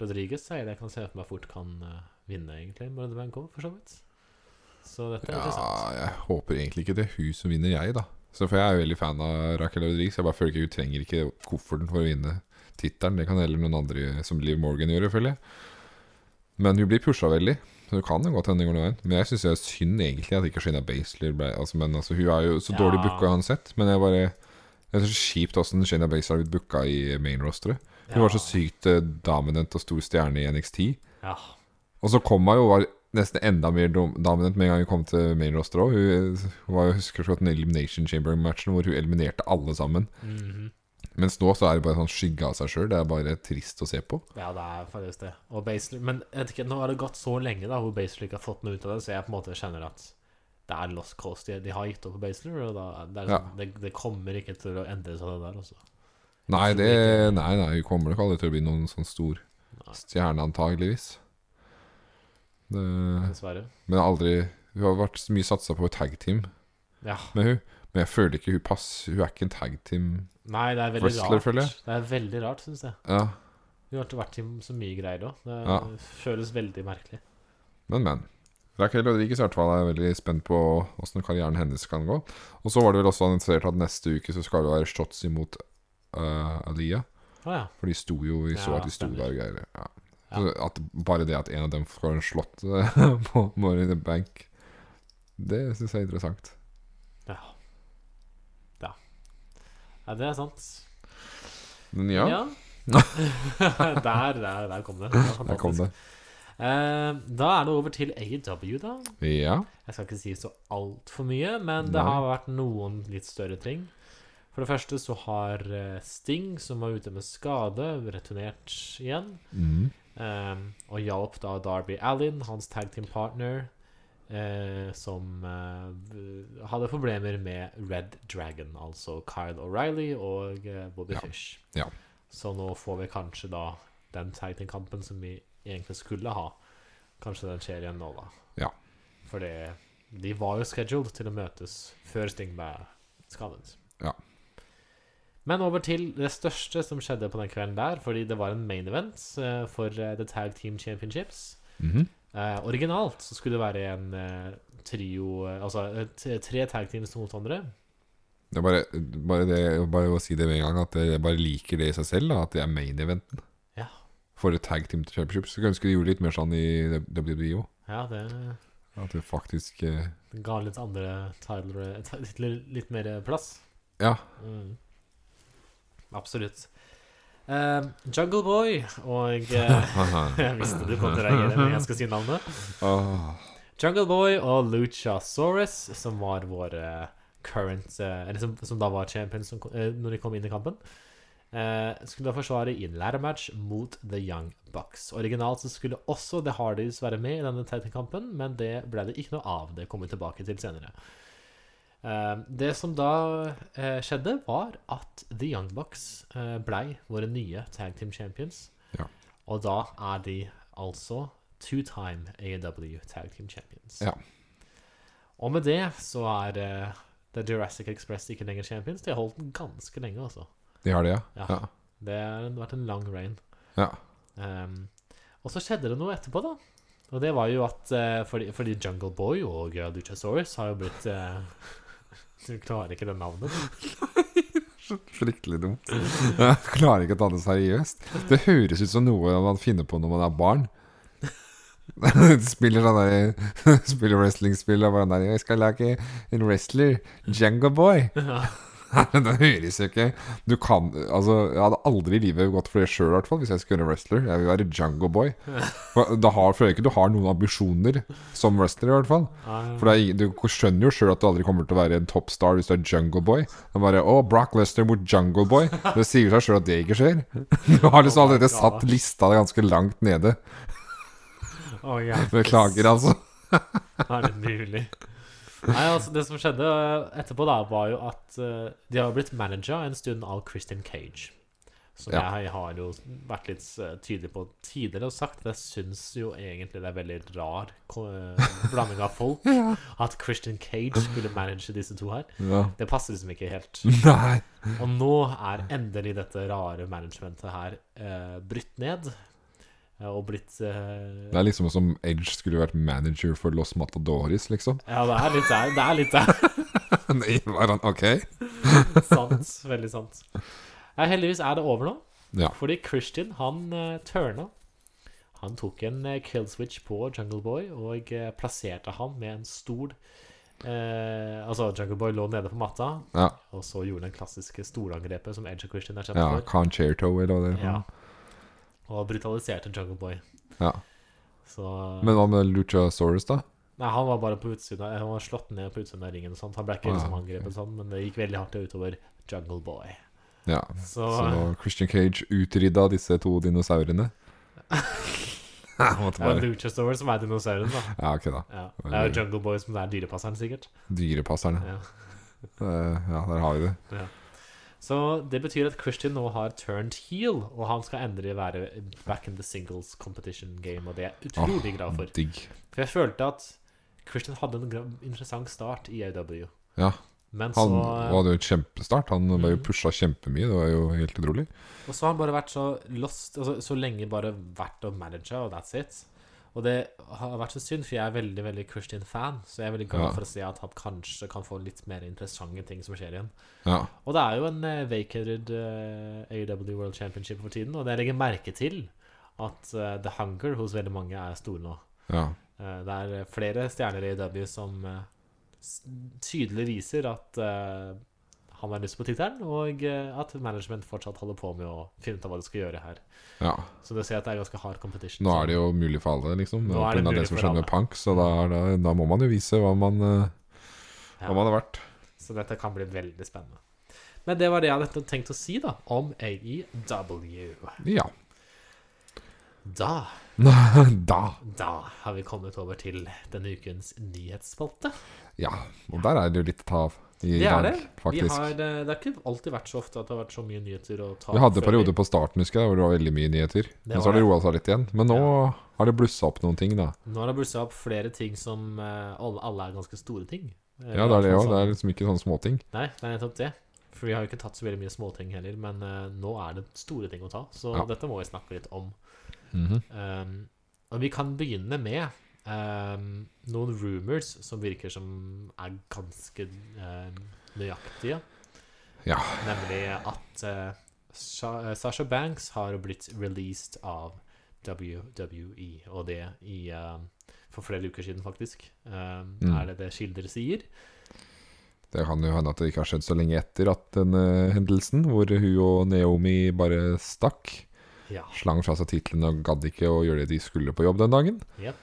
Rodriguez er det jeg kan se for meg fort kan eh, vinne, egentlig, Money in the Bank også, for så vidt. Så dette er interessant.
ja jeg håper egentlig ikke det er hun som vinner, jeg, da. Så For jeg er jo veldig fan av Raquel Rodriguez. Jeg bare føler ikke hun trenger ikke kofferten for å vinne tittelen. Det kan heller noen andre som Liv Morgan gjøre, føler jeg. Men hun blir pusha veldig. Så hun kan jo godt hende det går noen veien. Men jeg syns det er synd egentlig at ikke Shina Basler ble altså, Men altså, hun er jo så
Ja.
dårlig booka uansett. Men jeg bare Jeg syns det er så kjipt åssen Shina Basler har blitt booka i main-rosteret. Hun var så sykt eh, dominant og stor stjerne i NXT.
Ja.
Og så kom hun jo og var nesten enda mer dom- dominant med en gang hun kom til main roster òg. Hun, hun var jo husker så godt den Elimination Chamber-matchen hvor hun eliminerte alle sammen.
mhm.
Mens nå så er det bare sånn skygge av seg sjøl. Det er bare trist å se på.
Ja, det er faktisk det. Og Basler, men jeg vet ikke, nå har det gått så lenge da hvor Basler ikke har fått noe ut av det, så jeg på en måte kjenner at det er lost cause. De, de har gitt opp på Basler, og da, det, er
Ja.
sånn, det, det kommer ikke til å endre seg, det der altså, også.
Nei,
Absolutt
det,
ikke.
nei, nei, hun kommer nok aldri til å bli noen sånn stor
Nei.
stjerne, antageligvis. Det,
Dessverre.
men aldri Hun har vært så mye satsa på tag team
Ja.
med hun Men jeg føler ikke hun passer Hun er ikke en tag team
Nei, det er veldig
Wrestler,
rart.
føler jeg.
Det er veldig rart, syns jeg.
Ja,
Vi har vært i så mye greier òg. Det
Ja.
føles veldig merkelig.
Men, men. Raquel Rodriguez i hvert fall er veldig spent på åssen karrieren hennes kan gå. Og så var det vel også annonsert at neste uke så skal det være shots imot uh, Aliyah.
Å ja.
For de sto jo Vi så
Ja,
at de sto
stemmer.
der og greier. Ja.
Ja.
Så at bare det at en av dem får en slått eh, på Money in the Bank, det syns jeg er interessant.
Ja. ja. Ja, det er sant.
Men ja,
der, der, der kom det. det var
der kom
fantastisk.
det.
Eh, da er det over til AW, da.
Ja.
Jeg skal ikke si så altfor mye, men det
Nei.
har vært noen litt større ting. For det første så har eh, Sting, som var ute med skade, returnert igjen.
Mm.
eh, og hjalp da Darby Allin, hans tag team partner, eh, som eh, hadde problemer med Red Dragon, altså Kyle O'Reilly og eh, Bobby
Ja.
Fish.
Ja.
Så nå får vi kanskje da den tag team-kampen som vi egentlig skulle ha. Kanskje den skjer igjen nå, da.
Ja.
For det- de var jo scheduled til å møtes før Sting ble skadet.
Ja.
Men over til det største som skjedde på den kvelden der, fordi det var en main event eh, for eh, The Tag Team Championships.
Mhm.
Eh, originalt så skulle det være en eh, trio eh, Altså eh, t- tre tag teams mot hverandre.
Det er bare, bare, det, bare å si det med en gang, at jeg bare liker det i seg selv, da, at det er main eventen.
Ja.
For et tag team til championship, så ønsker de gjorde litt mer sånn i WWE òg.
Ja, det
At det faktisk eh,
ga litt andre titler ta- litt, litt mer plass.
Ja.
Mm. Absolutt. Eh, Jungle Boy og eh, Jeg visste du kom til å reagere når jeg skal si navnet.
Åh.
Jungle Boy og Luchasaurus, som var våre current eh, Eller som, som da var champions som, ko- eh, når de kom inn i kampen, eh, skulle da forsvare i en lærermatch mot The Young Bucks. Originalt så skulle også The Hardys være med i denne tette kampen, men det ble det ikke noe av. Det kommer vi tilbake til senere. Eh, det som da eh, skjedde, var at The Young Bucks eh, blei våre nye tag team champions.
Ja.
Og da er de altså two-time AW tag team champions.
Ja.
Og med det så er eh, The Jurassic Express ikke lenger champions. De har holdt den ganske lenge, altså.
De har det, ja?
Ja.
Ja.
Det har vært en lang reign.
ja.
Ehm, og så skjedde det noe etterpå, da. Og det var jo at eh, fordi, fordi Jungle Boy og eh, Luchasaurus har jo blitt eh, Du klarer ikke det navnet.
Fryktelig dumt. Jeg klarer ikke å ta det seriøst. Det høres ut som noe man finner på når man er barn. spiller sånn der Spiller wrestlingspill og bare der, Jeg skal lage en wrestler. Jango Boy. Nei, det høres jo ikke Du kan Altså, jeg hadde aldri i livet gått for det sjøl, i hvert fall, hvis jeg skulle være wrestler. Jeg vil være Jungle Boy. For Da har, føler jeg ikke du har noen ambisjoner som wrestler, i hvert fall. For det er, ingen- Du skjønner jo sjøl at du aldri kommer til å være en toppstar hvis du er Jungle Boy. Det er bare 'Å, Brock Lester mot Jungle Boy'. Det sier seg sjøl at det ikke skjer. Du har liksom allerede satt lista ganske langt nede.
Eh, Å, hjelpes.
Beklager, altså.
Er det mulig? Nei, altså Det som skjedde eh, etterpå, da var jo at eh, de har blitt manager en stund av Christian Cage. Som
Ja.
jeg har jo vært litt eh, tydelig på tidligere og sagt. Jeg syns jo egentlig det er veldig rar ko- eh, blanding av folk at Christian Cage skulle manage disse to her.
Ja.
Det passer liksom ikke helt.
Nei.
Og nå er endelig dette rare managementet her eh, brutt ned. eh, Og blitt eh,
Det er liksom som Edge skulle vært manager for Los Matadoris, liksom.
Ja, det er litt der. Det er litt der.
Nei, var han ok?
sant. Veldig sant. Nei, heldigvis er det over nå,
Ja.
fordi Christian han uh, turna. Han tok en eh, kill switch på Jungle Boy og eh, plasserte han med en stol eh, Altså, Jungle Boy lå nede på matta,
Ja,
og så gjorde han den klassiske stolangrepet som Edge og Christian er kjent
ja
for.
Concerto eller hva det er.
Ja. Og brutaliserte Jungle Boy.
Ja.
Så
Men hva med Luchasaurus, da?
Nei, han var bare på utsiden av, Han var slått ned på utsiden av ringen. og sånt. Han ble ikke
Ah,
liksom angrepet, sånn, men det gikk veldig hardt utover Jungle Boy.
Ja.
Så,
Så Christian Cage utrydda disse to dinosaurene. Jeg måtte
det er
bare
jo Luchasaur som er dinosauren, da.
Ja, ok, da.
Ja. Det er jo Jungle Boy som er dyrepasseren, sikkert.
Dyrepasserne.
Ja.
Eh, Ja, der har vi det.
Så det betyr at Christian nå har turned heel, og han skal endelig være back in the singles competition game, og det er jeg utrolig glad for.
Digg.
For jeg følte at Christian hadde en gra- interessant start i AW,
Ja.
men så Mm.
Han hadde jo et kjempestart. Han ble jo pusha kjempemye. Det var jo helt utrolig.
Og så har han bare vært så lost, altså så lenge bare vært og manager, og that's it. Og det har vært så synd, for jeg er veldig veldig Christian-fan, så jeg er veldig glad
Ja.
for å se at han kanskje kan få litt mer interessante ting som skjer igjen.
Ja.
Og det er jo en eh, vacated eh, AEW World Championship for tiden, og det jeg legger merke til at eh, The Hunger hos veldig mange er stor nå.
ja.
Eh, det er flere stjerner i AEW som eh, s- tydelig viser at eh, han har lyst på tittelen, og eh, at management fortsatt holder på med å finne ut av hva de skal gjøre her.
ja.
Så du ser at det er ganske hard competition.
Nå er det jo mulig for alle, liksom.
Nå
På
er det
grunn av
mulig
det som
for
skjedde
alle.
med Punk. Så da, er det- da må man jo vise hva man, eh,
Ja.
hva man har vært.
Så dette kan bli veldig spennende. Men det var det jeg hadde tenkt å si da, om E AEW.
Ja.
Da
Da.
Da har vi kommet over til denne ukens nyhetsspalte.
Ja. Og der er det jo litt å ta av i
Det er
dag,
det. Vi
faktisk.
har, eh, det har ikke alltid vært så ofte at det har vært så mye nyheter å ta.
Vi hadde
før
perioder på starten husker jeg, hvor det var veldig mye nyheter. Men
var
så har det
det.
roa seg litt igjen. Men nå har det blussa opp noen ting, da.
Nå har det blussa opp flere ting som eh, alle, alle er ganske store ting. Eh,
Ja, det er det òg.
sånn-
Det er liksom ikke sånne småting.
Nei, det er nettopp det. For vi har jo ikke tatt så veldig mye småting heller, men eh, nå er det store ting å ta. Så
Ja.
dette må vi snakke litt om.
Mhm.
Um, og vi kan begynne med um, noen rumors som virker som er ganske um, nøyaktige.
Ja.
Nemlig at uh, Sha- Sasha Banks har blitt released av WWE, og det i um, for flere uker siden, faktisk. Um,
Mm.
Er det det kilder sier?
Det kan jo hende at det ikke har skjedd så lenge etter at den eh, hendelsen, hvor hun og Naomi bare stakk.
Ja.
Slang fra seg titlene og gadd ikke å gjøre det de skulle på jobb den dagen.
Jep.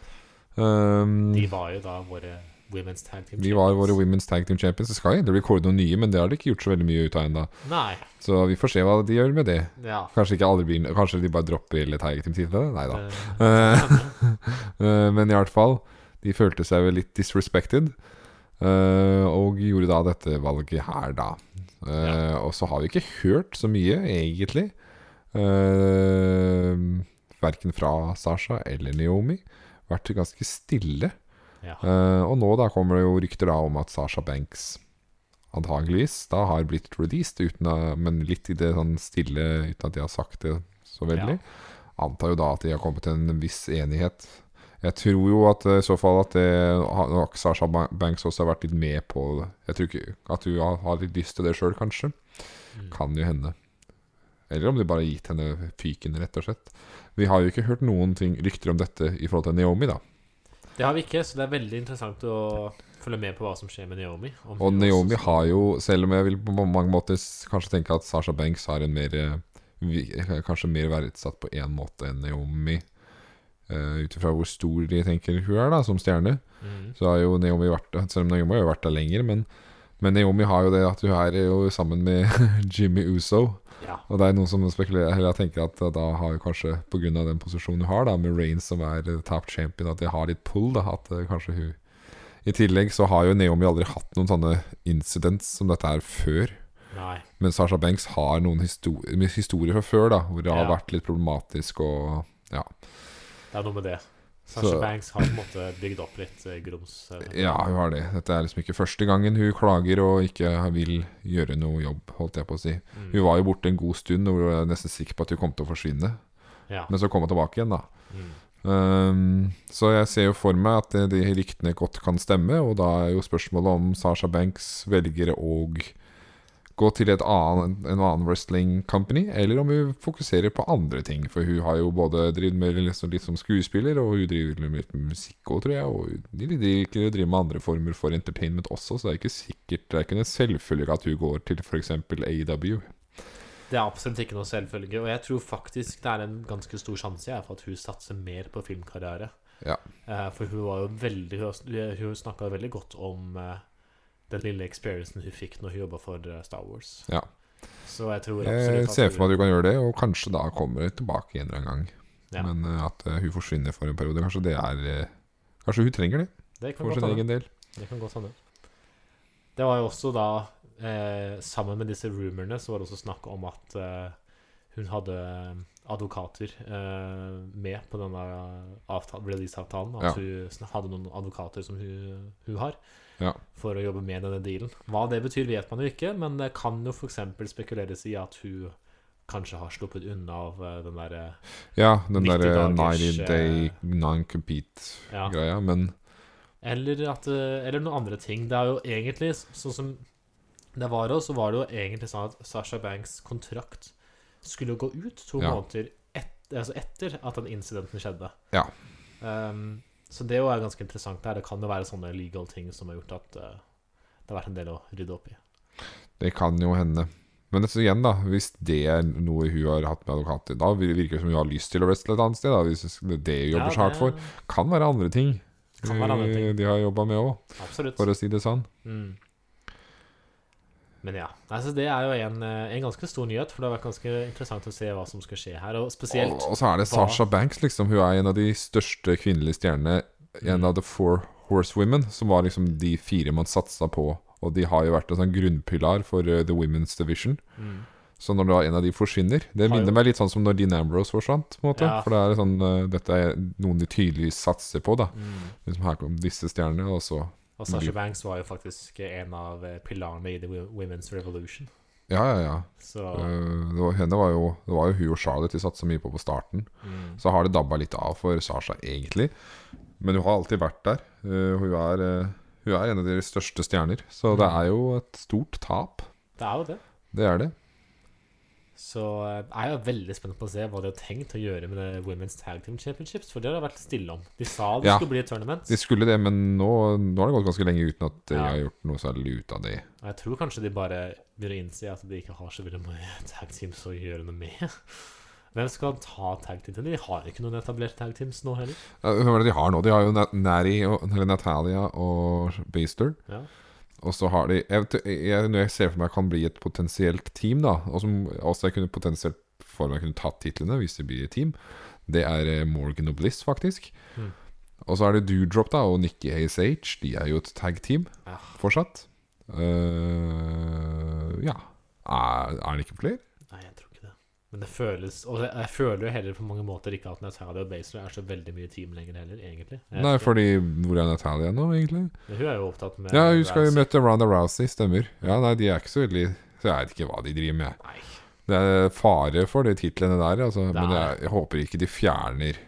Um,
De var jo da våre Women's Tag Team
vi var våre
Champions.
Women's Tag Team Champions. Det skal jo endelig bli kåret noen nye, men det har de ikke gjort så veldig mye ut av ennå.
Nei.
Så vi får se hva de gjør med det.
Ja.
Kanskje, ikke aldri blir, kanskje de bare dropper hele Tag Team-titlene? Nei da.
Eh,
Eh, eh, Men i hvert fall, de følte seg vel litt disrespected. eh, og gjorde da dette valget her, da. Eh, Og så har vi ikke hørt så mye, egentlig. Uh, verken fra Sasha eller Naomi. Vært ganske stille.
ja.
Eh, og nå da kommer det jo rykter da om at Sasha Banks antageligvis da har blitt released, uten å, men litt i det sånn stille uten at de har sagt det så veldig. Antar jo da at de har kommet til en viss enighet. Jeg tror jo at eh, i så fall at det, har nok Sasha Ba- Banks også har vært litt med på det. Jeg tror ikke at hun har- har litt lyst til det sjøl, kanskje.
Mm.
Kan jo hende. Eller om de bare har gitt henne fyken, rett og slett. Vi har jo ikke hørt noen ting, rykter om dette i forhold til Naomi, da.
Det har vi ikke, så det er veldig interessant å følge med på hva som skjer med Naomi. Om
Og
hun
Naomi
også-
har jo, selv om jeg vil på mange måter s- kanskje tenke at Sasha Banks har en mer eh, vi- Kanskje mer verdsatt på én måte enn Naomi. Uh, Ut ifra hvor stor de tenker hun er da, som stjerne.
Mhm.
Så har jo Naomi vært Selv om Naomi har jo vært der lenger, men, men Naomi har jo det at hun er jo sammen med Jimmy Uso.
Ja.
Og det er noen som spekulerer Eller jeg tenker at da har jo kanskje pga. den posisjonen hun har, da med Reigns som er eh, top champion, at de har litt pull. da At eh, kanskje hun I tillegg så har jo Naomi aldri hatt noen sånne incidents som dette her før.
Nei.
Men Sasha Banks har noen histori med historier fra før da hvor det har
Ja.
vært litt problematisk og
Det er noe med det. Sasha
så,
Banks har på en måte bygd opp litt eh, grums. eh,
Ja, hun har det. Dette er liksom ikke første gangen hun klager og ikke vil gjøre noe jobb, holdt jeg på å si.
Mm.
Hun var jo borte en god stund og var nesten sikker på at hun kom til å forsvinne.
Ja.
Men så kom hun tilbake igjen, da.
Mm.
Ehm, så jeg ser jo for meg at eh, de ryktene godt kan stemme, og da er jo spørsmålet om Sasha Banks velger å gå til et annen, en annen wrestling company, eller om hun fokuserer på andre ting. For hun har jo både drevet med liksom, litt som skuespiller, og hun driver med litt med musikk òg, tror jeg. Og hun- de liker å drive med andre former for entertainment også, så det er ikke sikkert Det er ikke en selvfølge at hun går til f.eks. AW.
Det er absolutt ikke noe selvfølge, og jeg tror faktisk det er en ganske stor sjanse jeg, for at hun satser mer på filmkarriere.
Ja.
Eh, For hun var jo veldig Hun hun snakka veldig godt om eh, den lille experiencen hun fikk når hun jobba for eh, Star Wars.
Ja.
Så jeg tror absolutt
Jeg ser for meg at du kan gjøre det, og kanskje da kommer det tilbake en eller annen gang.
Ja.
Men eh, at eh, hun forsvinner for en periode. Kanskje det er eh, Kanskje hun trenger det
det kan
for
godt
sin
hende.
egen del.
Det kan godt hende. Det var jo også da, eh, sammen med disse rumorene, så var det også snakk om at eh, hun hadde advokater eh, med på denne avtalen, releaseavtalen. At
Ja.
hun sn- hadde noen advokater som hun, hun har,
Ja.
for å jobbe med denne dealen. Hva det betyr, vet man jo ikke, men det kan jo f.eks. spekuleres i at hun kanskje har sluppet unna av eh, den derre
Ja, den
90
derre
dagers,
90 day
eh,
non-compete-greia.
ja,
Men
Eller, at, eh, eller noen andre ting. Det er jo egentlig s- sånn som det var også, så var det jo egentlig sånn at Sasha Banks kontrakt skulle gå ut to
Ja.
måneder et, altså etter at den incidenten skjedde.
Ja.
Ehm, så det er jo ganske interessant der. Det kan jo være sånne legal ting som har gjort at eh, det har vært en del å rydde opp i.
det kan jo hende. Men så igjen, da, hvis det er noe hun har hatt med advokater, da virker det som hun har lyst til å wrestle et annet sted. Da, hvis det er det hun jobber så hardt for. Kan være andre ting,
Kan være andre ting.
eh, de har jobba med òg,
Absolutt.
for å si det sånn.
Mm. Men ja. Nei, så det er jo en, eh, en ganske stor nyhet, for det har vært ganske interessant å se hva som skal skje her. Og spesielt
Og, og så er det
hva-
Sasha Banks, liksom. Hun er en av de største kvinnelige stjernene. En
Mm.
av The Four Horsewomen, som var liksom de fire man satsa på. Og de har jo vært en sånn grunnpilar for eh, The Women's Division.
mm.
Så når da en av de forsvinner
Har
Det
jo-
minner meg litt sånn som når Dean Ambrose forsvant. på en måte
Ja.
For det er sånn, eh, dette er noen de tydeligvis satser på. da
Mm.
Liksom Her kom disse stjernene, og så
Og Sasha
Blir-
Banks var jo faktisk en av eh, pilarene i The Wo- Women's Revolution.
Ja, ja, ja.
Så
Eh, det, var, henne var jo, det var jo hun og Charlotte de satsa mye på på starten.
mm,
Så har det dabba litt av for Sasha, egentlig. Men hun har alltid vært der. Eh, hun, er, eh, hun er en av deres største stjerner. Så det er jo et stort tap.
det er jo det.
Det er det.
Så eh, jeg er jo veldig spent på å se hva de har tenkt å gjøre med det Women's Tag Team Championships, for det har det vært stille om. De sa det
Ja.
skulle bli et tournament,
De skulle det, men nå, nå har det gått ganske lenge uten at jeg
Ja.
har gjort noe særlig ut av det.
og jeg tror kanskje de bare begynner å innse at de ikke har så veldig mange tag teams å gjøre noe med. Hvem skal ta tag team-tiden? De har ikke noen etablerte tag teams nå heller.
Eh, Hvem er det de har nå? De har jo Nat- Nari og, eller Natalia og Baster.
Ja.
Og så har de jeg, vet- jeg, Når jeg ser for meg kan bli et potensielt team, da og som også jeg kunne potensielt for meg kunne tatt titlene hvis det blir et team, det er eh, Morgan og Bliss, faktisk.
Mhm.
Og så er det Doodrop da og Nikki ASH. De er jo et tag-team
Ja.
fortsatt. Eh, ja er, er det ikke flere?
Nei, jeg tror ikke det. Men det føles Og jeg, jeg føler jo heller på mange måter ikke at Natalia og Basler er så veldig mye team lenger heller, egentlig. Jeg vet
Nei,
ikke.
fordi hvor er Natalia nå, egentlig?
Men hun er jo opptatt med
Ja, hun skal jo
Rousey.
møte Ronda Rousey, stemmer. Ja, nei, de er ikke så veldig Så jeg vet ikke hva de driver med.
Nei.
Det er fare for de titlene der, altså. Men
Det er-
jeg, jeg håper ikke de fjerner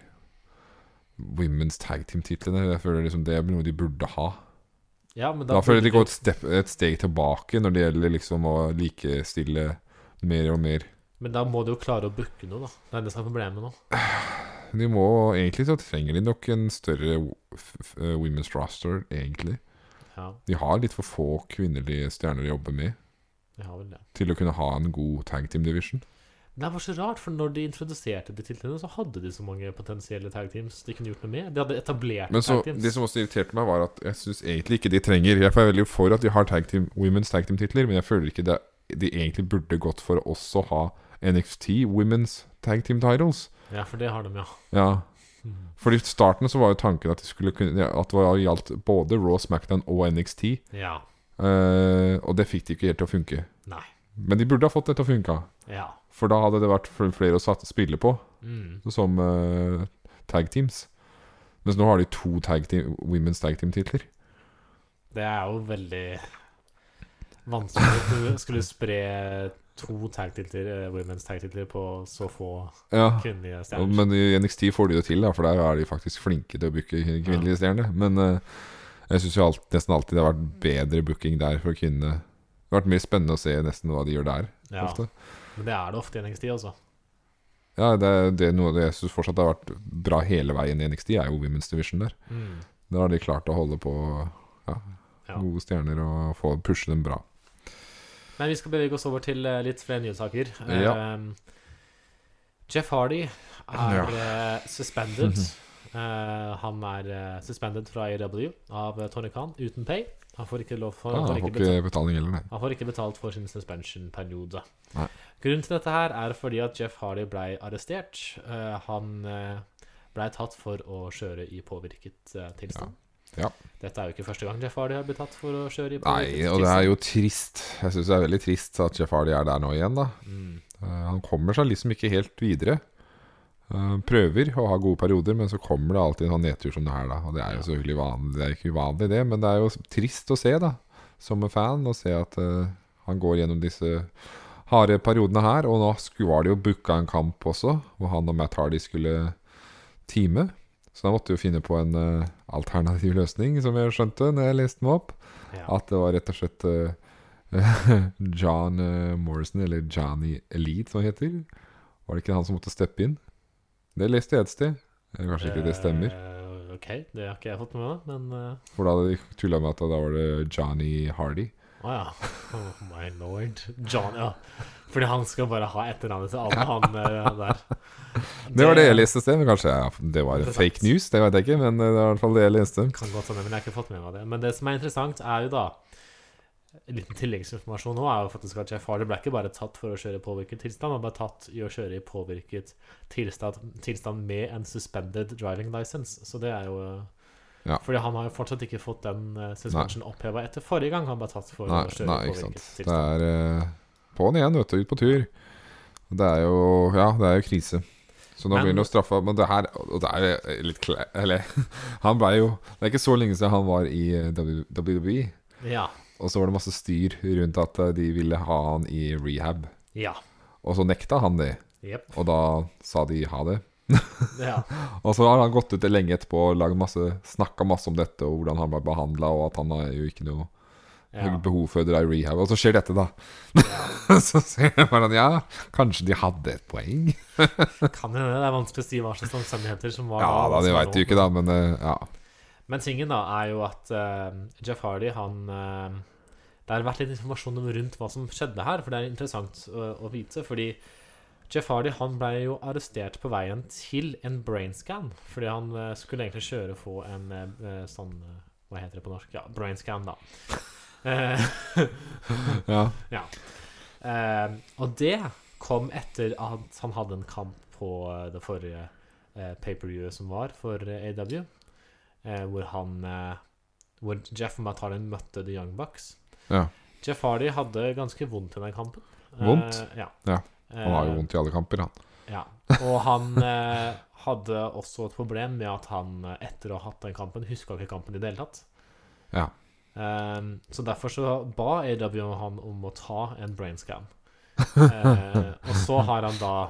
Women's Tag Team-titlene. Jeg føler liksom Det er noe de burde ha.
Ja, men
Da,
da,
føler jeg de
burde
går et, step, et steg tilbake når det gjelder liksom å likestille mer og mer.
Men da må du jo klare å booke noe, da. Det er det som er problemet nå.
De må, egentlig så trenger de nok en større w- f- f- eh, women's roster, egentlig.
Ja,
De har litt for få kvinnelige stjerner å jobbe med
de har vel det.
til å kunne ha en god tag team division.
Men det var så rart, for når de introduserte de til henne, så hadde de så mange potensielle tag teams de kunne gjort noe med. De hadde etablert
Men så,
tag teams.
Det som også irriterte meg, var at jeg syns egentlig ikke de trenger Jeg er veldig for at de har tag team, women's tag team-titler, men jeg føler ikke det, de egentlig burde gått for å også ha NXT women's tag team titles.
Ja, for det har de, ja.
Ja.
Mhm.
Fordi i starten så var jo tanken at det, skulle kunne, at det var- gjaldt både Raw, Smackdown og NXT.
Ja.
eh, og det fikk de ikke helt til å funke.
Nei.
Men de burde ha fått det til å funke.
Ja.
For da hadde det vært fl- flere å satt, spille på
Mm.
som eh, tag teams. Mens nå har de to tag team, women's tag team-titler.
Det er jo veldig vanskelig å skulle- skulle spre to tag-titler, eh, women's tag-titler på så få
Ja.
kvinnelige
Og-
stjerner.
Men i NXT får de det til, da, for der er de faktisk flinke til å booke kvinnelige stjerner. Men eh, jeg syns jo alt, nesten alltid det har vært bedre booking der for kvinnene. Det har vært mer spennende å se nesten hva de gjør der.
Ja,
ofte.
men det er det ofte i NXT, altså.
Ja, det, er- det er noe av det jeg syns fortsatt har vært bra hele veien i NXT, er jo Women's Division der.
Mm.
Der har de klart å holde på ja,
Ja.
gode stjerner og få pushe dem bra.
Men vi skal bevege oss over til eh, litt flere nyhetssaker.
Ja.
Eh, Jeff Hardy er
Ja. Mhm.
eh, suspended. Eh, han er eh, suspended fra AEW av eh, Tony Khan uten pay. Han får ikke lov for,
Ja,
han får
Ah, han får
ikke betalt,
ikke betaling heller, nei.
han får ikke betalt for sin suspension-periode.
Nei.
Grunnen til dette her er fordi at Jeff Hardy blei arrestert. Eh, han eh, blei tatt for å kjøre i påvirket eh, tilstand.
Ja. Ja.
Dette er jo ikke første gang Jeff Hardy har blitt tatt for å kjøre i påvirket
Nei, og det er jo trist. Jeg syns det er veldig trist at Jeff Hardy er der nå igjen, da.
Mm.
Eh, Han kommer seg liksom ikke helt videre. Eh, Prøver å ha gode perioder, men så kommer det alltid en sånn nedtur som det her. da Og Det er jo
Ja.
selvfølgelig vanlig, det er ikke uvanlig, det, men det er jo trist å se, da som en fan, å se at eh, han går gjennom disse harde periodene her. Og nå sku- var det jo booka en kamp også, hvor han og Matt Hardy skulle time. Så da måtte vi jo finne på en eh, alternativ løsning, som jeg skjønte når jeg leste meg opp.
Ja.
At det var rett og slett eh, John eh, Morrison, eller Johnny Elite, som han heter. Var det ikke han som måtte steppe inn? Det leste jeg et sted. Eh, Kanskje ikke det stemmer.
Eh, ok, det har ikke jeg fått med meg, men eh,
For da hadde de tulla med at da var det Johnny Hardy.
Å ja. Oh my lord. John, ja. Fordi han skal bare ha etternavnet til alle, han eh, der.
Det var det jeg leste et sted, men kanskje ja, det var fake news. Det vet jeg ikke, men eh, det var i hvert fall det jeg leste.
Kan godt hende, men jeg har ikke fått med meg det. Men det som er interessant, er jo da en liten tilleggsinformasjon nå er jo faktisk at Jeff Hardy ble ikke bare tatt for å kjøre i påvirket tilstand, han ble tatt i å kjøre i påvirket tilstand, tilstand med en suspended driving license. Så det er jo
Ja.
Fordi han har jo fortsatt ikke fått den uh, suspension oppheva etter forrige gang han ble tatt for
Nei,
å kjøre
nei
i
ikke sant.
påvirket
Det
tilstand.
er eh, på'n igjen, vet du. Ut på tur. Det er jo Ja, det er jo krise. Så nå
Men-
begynner det å straffe Men det her Og det er jo eh, litt kle... Eller Han ble jo Det er ikke så lenge siden han var i eh, WWE.
Ja.
Og så var det masse styr rundt at eh, de ville ha han i rehab.
Ja.
Og så nekta han det.
Jepp.
Og da sa de ha det.
Ja.
Og så har han gått ut lenge etterpå og laget masse, snakka masse om dette og hvordan han ble behandla, og at han har jo ikke noe
ja.
behov for å dra i rehab. Og så skjer dette, da. så ser jeg bare at ja, kanskje de hadde et poeng.
Kan hende det er vanskelig å si hva slags omstendigheter som var
Ja da, det
som var
veit
nå.
du ikke, da, men eh, ja.
Men tingen da er jo at eh, Jeff Hardy, han eh, Det har vært litt informasjon om rundt hva som skjedde her, for det er interessant å, å vite. Fordi Jeff Hardy han ble jo arrestert på veien til en brainscan. Fordi han eh, skulle egentlig kjøre på en eh, sånn eh, Hva heter det på norsk? Ja, brainscan, da. Eh,
ja.
Eh, og det kom etter at han hadde en kamp på eh, det forrige uh, pay-per-viewet som var for eh, AW, eh, hvor han eh, Hvor Jeff Matalin møtte The Young Bucks.
Ja.
Jeff Hardy hadde ganske vondt i den kampen. Eh,
Vondt?
ja.
Ja, Han har
Eh,
jo vondt i alle kamper, han.
ja. Og han eh, hadde også et problem med at han eh, etter å ha hatt den kampen, huska ikke kampen i det hele tatt.
Ja.
Eh, så derfor så ba AW han om å ta en brainscan. Eh, og så har han da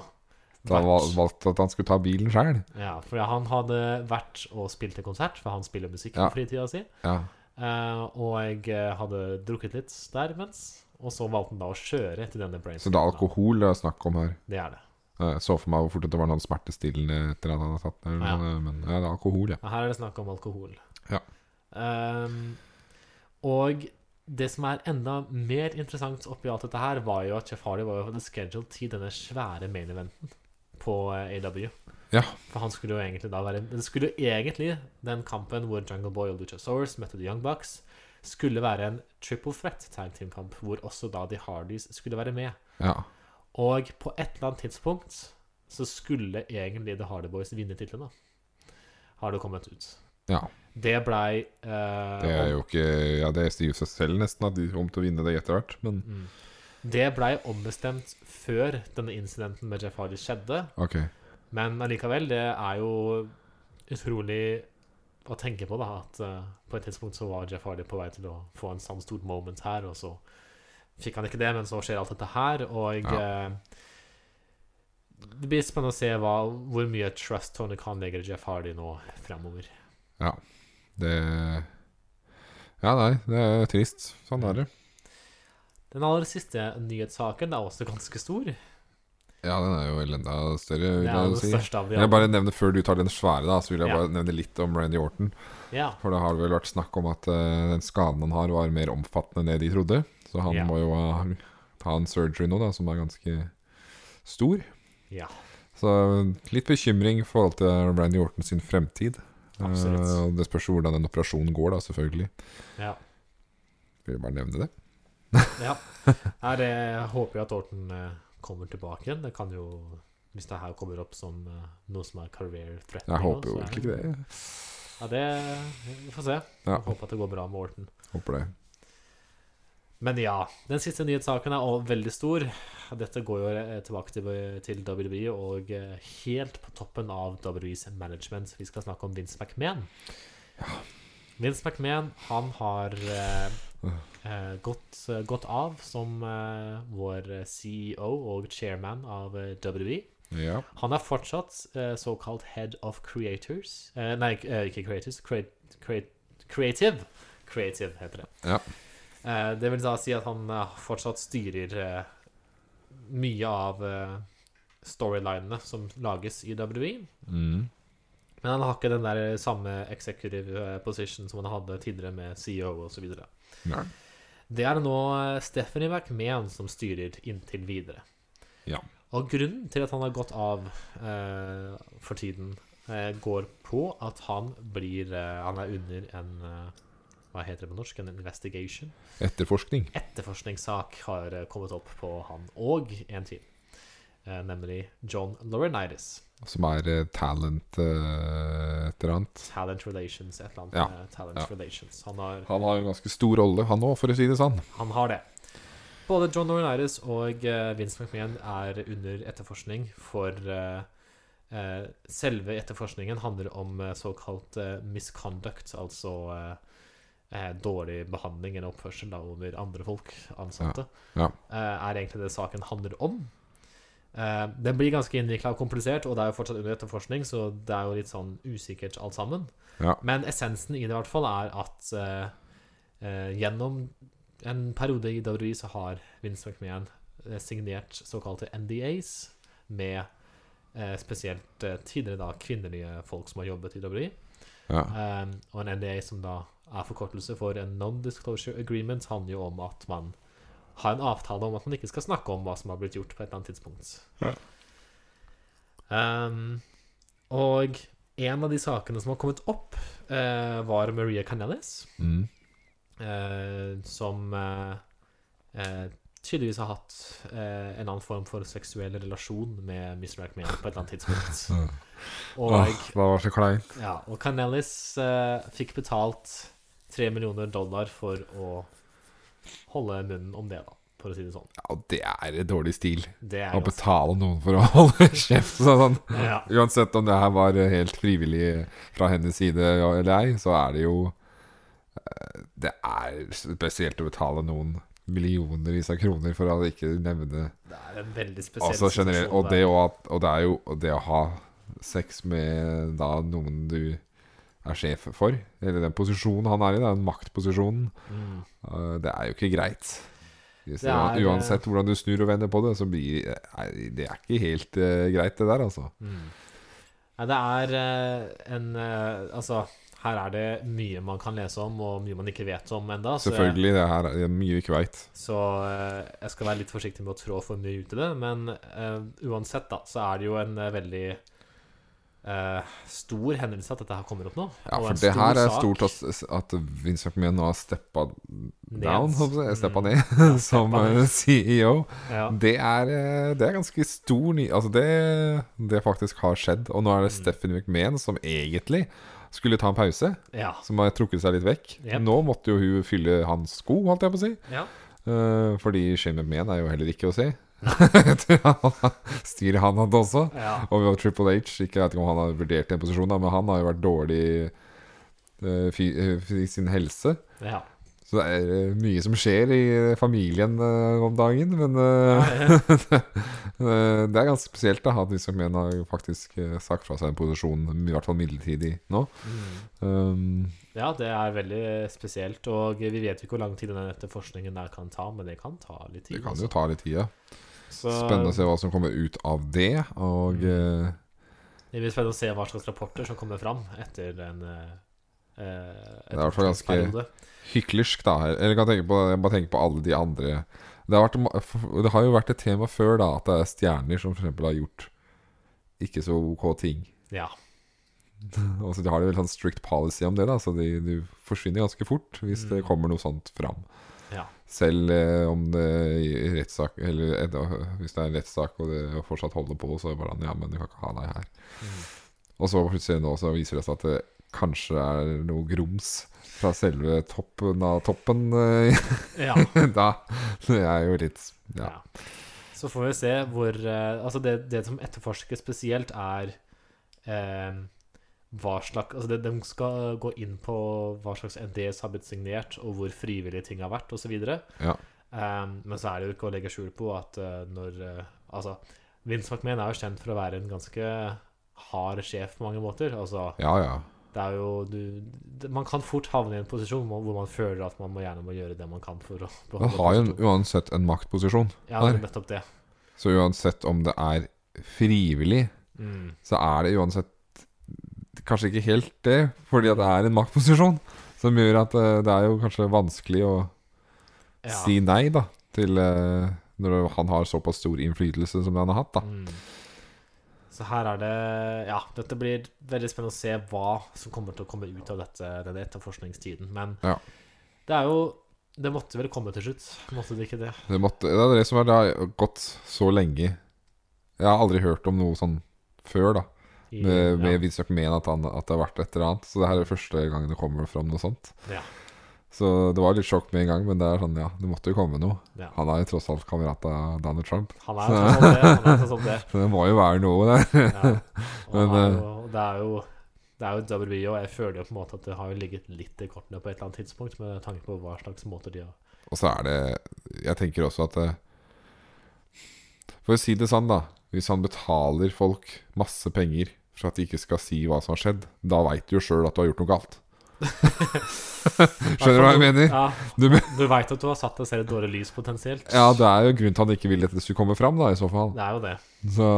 Da han val- valgte at han skulle ta bilen sjøl.
ja, For han hadde vært og spilt en konsert, for han spiller musikk på
Ja.
fritida si.
Ja.
Eh, og jeg eh, hadde drukket litt der mens, og så valgte han da å kjøre etter denne
Så det er
brainscanen.
alkohol det er snakk om her.
Det er det.
Jeg så for meg hvor fort at det var noen smertestillende et eller annet han hadde tatt. Eller,
Ja.
noe, Men ja, det er alkohol, ja.
Ja, her er det snakk om alkohol.
Ja.
Ehm, og det som er enda mer interessant oppi alt dette her, var jo at Chef Hardy var jo hadde scheduled til denne svære main eventen på eh, AW.
Ja.
For han skulle jo egentlig da være Det skulle jo egentlig den kampen hvor Jungle Boy og Luchasaurus møtte The Young Bucks, skulle være en triple threat tag team-kamp, hvor også da The Hardys skulle være med.
ja.
Og på et eller annet tidspunkt så skulle egentlig The Hardy Boys vinne titlene. Har det kommet ut.
Ja.
Det blei eh,
Det er jo ikke Ja, det sier jo seg selv nesten at de kom til å vinne det etter hvert, men
mm, Det blei ombestemt før denne incidenten med Jeff Hardy skjedde,
OK.
men allikevel, det er jo utrolig å tenke på, da, at eh, på et tidspunkt så var Jeff Hardy på vei til å få en sånn stort moment her, og så fikk han ikke det, men så skjer alt dette her, og eh, det blir spennende å se hva, hvor mye trust Tony Khan legger i Jeff Hardy nå fremover.
Det Ja, nei, det er trist. Sånn er det.
Den aller siste nyhetssaken er også ganske stor.
Ja, den er jo enda større,
Det
vil
er
jeg
den
si.
største av de
Jeg vil
alle.
bare nevne Før du tar den svære, da så vil jeg
Ja.
bare nevne litt om Randy Orton.
Ja.
For det har vel vært snakk om at eh, den skaden han har, var mer omfattende enn det de trodde. Så han
Ja.
må jo ha, ta en surgery nå, da, som er ganske stor.
Ja.
Så eh, litt bekymring i forhold til Randy Orton sin fremtid. Eh,
Absolutt.
og det spørs jo hvordan den operasjonen går, da, selvfølgelig.
ja.
Vil jeg bare nevne det.
Ja. Nei, det håper jeg at Orton eh, kommer tilbake igjen. Det kan jo Hvis det her kommer opp som eh, noe som er career threatening.
Jeg håper jo
så er
egentlig ikke det.
Ja, det Vi får se.
Ja,
Jeg Håper at det går bra med Orton.
håper det.
Men ja. Den siste nyhetssaken er også veldig stor. Dette går jo eh, tilbake til, til WWE og eh, helt på toppen av WWEs management. Vi skal snakke om Vince McMahon. Vince McMahon, han har eh, eh, gått, gått av som eh, vår CEO og chairman av eh, WWE.
Ja.
Han er fortsatt eh, såkalt head of creators eh, Nei, eh, ikke creators. Create, create, creative. Creative heter det.
Ja.
Eh, det vil da si at han eh, fortsatt styrer eh, mye av eh, storylinene som lages i WWE.
Mm.
Men han har ikke den der samme executive eh, position som han hadde tidligere med E CEO osv.
Nei.
Det er nå eh, Stephanie McMahon som styrer inntil videre.
Ja.
Og grunnen til at han har gått av eh, for tiden, eh, går på at han blir eh, Han er under en eh, Hva heter det på norsk? En investigation?
Etterforskning.
Etterforskningssak har eh, kommet opp på han og en til, eh, nemlig John Laurinaitis.
Som er eh, talent eh, et eller annet.
Talent Relations, et eller annet.
Ja,
eh, Talent
ja.
Relations. Han har,
Han har en ganske stor rolle, han òg, for å si det sånn.
han har det. Både John Laurinaitis og eh, Vince McMahon er under etterforskning for eh, eh, Selve etterforskningen handler om eh, såkalt eh, misconduct, altså eh, eh, dårlig behandling eller oppførsel da, over andre folk, ansatte,
Ja,
eh, er egentlig det saken handler om. Eh, den blir ganske innvikla og komplisert, og det er jo fortsatt under etterforskning, så det er jo litt sånn usikkert alt sammen.
Ja.
Men essensen i det i hvert fall er at eh, eh, gjennom en periode i WWE så har Vince McMahon eh, signert såkalte NDAs med eh, spesielt eh, tidligere da kvinnelige folk som har jobbet i WWE.
ja,
Um, og en NDA som da er forkortelse for en non-disclosure agreement, handler jo om at man har en avtale om at man ikke skal snakke om hva som har blitt gjort på et eller annet tidspunkt.
Ja.
Um, og en av de sakene som har kommet opp, eh, var Maria Canellis,
mm,
eh, som eh, eh, tydeligvis har hatt eh, en annen form for seksuell relasjon med Mr. McMahon på et eller annet tidspunkt. Og
Mm. Åh, det var så kleint.
ja, og Canellis eh, fikk betalt 3 millioner dollar for å holde munnen om det, da, for å si det sånn.
Ja, det er dårlig stil.
Det er
Å
ganske
betale noen for å holde kjeft. Sånn.
ja,
Uansett om det her var eh, helt frivillig fra hennes side eller ei, så er det jo eh, Det er spesielt å betale noen millionervis av kroner for å ikke nevne
Det er en veldig spesiell
Altså generelt, og
situasjon
det,
der.
å at, og det er jo og det å ha sex med da noen du er sjef for, eller den posisjonen han er i, den maktposisjonen,
Mm.
eh, det er jo ikke greit Yes,
Det er, eh,
uansett hvordan du snur og vender på det, så blir nei, Det er ikke helt eh, greit, det der, altså.
mm. Nei, det er eh, en eh, Altså, her er det mye man kan lese om, og mye man ikke vet om ennå. Så, Altså, jeg-
Selvfølgelig, det her er det er mye vi ikke veit.
så eh, jeg skal være litt forsiktig med å trå for mye ut i det. Men eh, uansett, da, så er det jo en eh, veldig eh, stor hendelse at dette her kommer opp nå.
Ja,
og
for
en
det
stor
her er
sak
stort at, at Vincent Mien nå har steppa
ned.
down, håper jeg. Steppa ned som
steppa ned.
eh, CEO.
Ja.
Det er, eh, det er ganske stor ny... Altså, det, det faktisk har skjedd. Og nå
Mm.
er det Steffen McMahon som egentlig skulle ta en pause,
Ja.
som har trukket seg litt vekk.
Jep.
Nå måtte jo hun fylle hans sko, holdt jeg på å si.
ja.
Eh, fordi Shane McMahon er jo heller ikke å si. Styrer han hatt også.
ja.
Og vi har Triple H. Ikke jeg vet ikke om han har vurdert den posisjonen, da, men han har jo vært dårlig eh, fy- eh, i sin helse.
ja.
Så det er eh, mye som skjer i eh, familien eh, om dagen, men eh, eh, det er ganske spesielt da, at liksom en har faktisk eh, sagt fra seg en posisjon, i hvert fall midlertidig, nå.
Mm.
Um,
Ja, det er veldig spesielt. Og vi vet jo ikke hvor lang tid denne etterforskningen der kan ta, men det kan ta litt tid.
det kan
altså.
jo ta litt tid. Ja.
Så
Spennende å se hva som kommer ut av det. Og eh,
det blir spennende å se hva slags rapporter som kommer fram etter en eh, eh,
er i hvert fall ganske-
etterforskningsperiode.
hyklersk, da. Eller jeg kan tenke på, jeg bare tenker på alle de andre det har, vært, ma- det har jo vært et tema før, da, at det er stjerner som for eksempel har gjort ikke så ok ting.
Ja.
Og så de har de vel sånn strict policy om det, da, så de, de forsvinner ganske fort hvis det
Mm.
kommer noe sånt fram.
Ja.
Selv eh, om det i rettssak Eller et, hvis det er en rettssak og det fortsatt holder på, så er det bare sånn Ja, men du kan ikke ha deg her.
Mm.
Og så plutselig nå så viser det seg at det kanskje er noe grums fra selve toppen av toppen. eh,
Ja,
da Det er jo litt
ja.
Ja.
Så får vi se hvor eh, Altså, det, det som etterforskes spesielt, er eh, hva slags Altså, det, de skal gå inn på hva slags NDS har blitt signert, og hvor frivillige ting har vært, osv.
Ja.
Um, men så er det jo ikke å legge skjul på at eh, når eh, Altså, Vince McMahon er jo kjent for å være en ganske hard sjef på mange måter. Altså,
ja, ja.
det er jo du, det, Man kan fort havne i en posisjon hvor hvor man føler at man må gjerne må gjøre det man kan for å
Han har jo en- uansett en maktposisjon.
Ja, det
her.
er nettopp det.
Så uansett om det er frivillig
Mm.
så er det uansett kanskje ikke helt det, fordi at det er en maktposisjon som gjør at eh, det er jo kanskje vanskelig å
Ja.
si nei da, til eh, når han har såpass stor innflytelse som han har hatt. da.
Mm. Så her er det Ja, dette blir veldig spennende å se hva som kommer til å komme ut av dette, denne etterforskningstiden. Men
Ja.
det er jo Det måtte vel komme til slutt, måtte det ikke det?
Det, måtte, det er det som er, det har gått så lenge. Jeg har aldri hørt om noe sånn før, da.
I-
Med, med
Mm, ja.
Vince McMahon, at, han, at det har vært et eller annet. Så det her er første gang det kommer fram noe sånt.
Ja.
Så det var litt sjokk med en gang, men det er sånn, ja, det måtte jo komme noe.
Ja.
Han er jo tross alt kamerat av Donald Trump.
Han er jo sånn som det. Han er sånn som det.
Så det må jo være noe der.
Ja. Og
Men, eh,
han er jo, det er jo det er jo WWE, og jeg føler jo på en måte at det har jo ligget litt i kortene på et eller annet tidspunkt, med tanke på hva slags måter de har
Og så er det Jeg tenker også at eh, For å si det sånn, da. Hvis han betaler folk masse penger for at de ikke skal si hva som har skjedd, da veit du jo sjøl at du har gjort noe galt. Skjønner du hva jeg mener?
Ja,
Du, men-
du veit at du har satt deg selv i et dårlig lys, potensielt.
ja, det er jo grunnen til at han ikke ville at det skulle komme fram, da, i så fall.
Det er jo det.
Så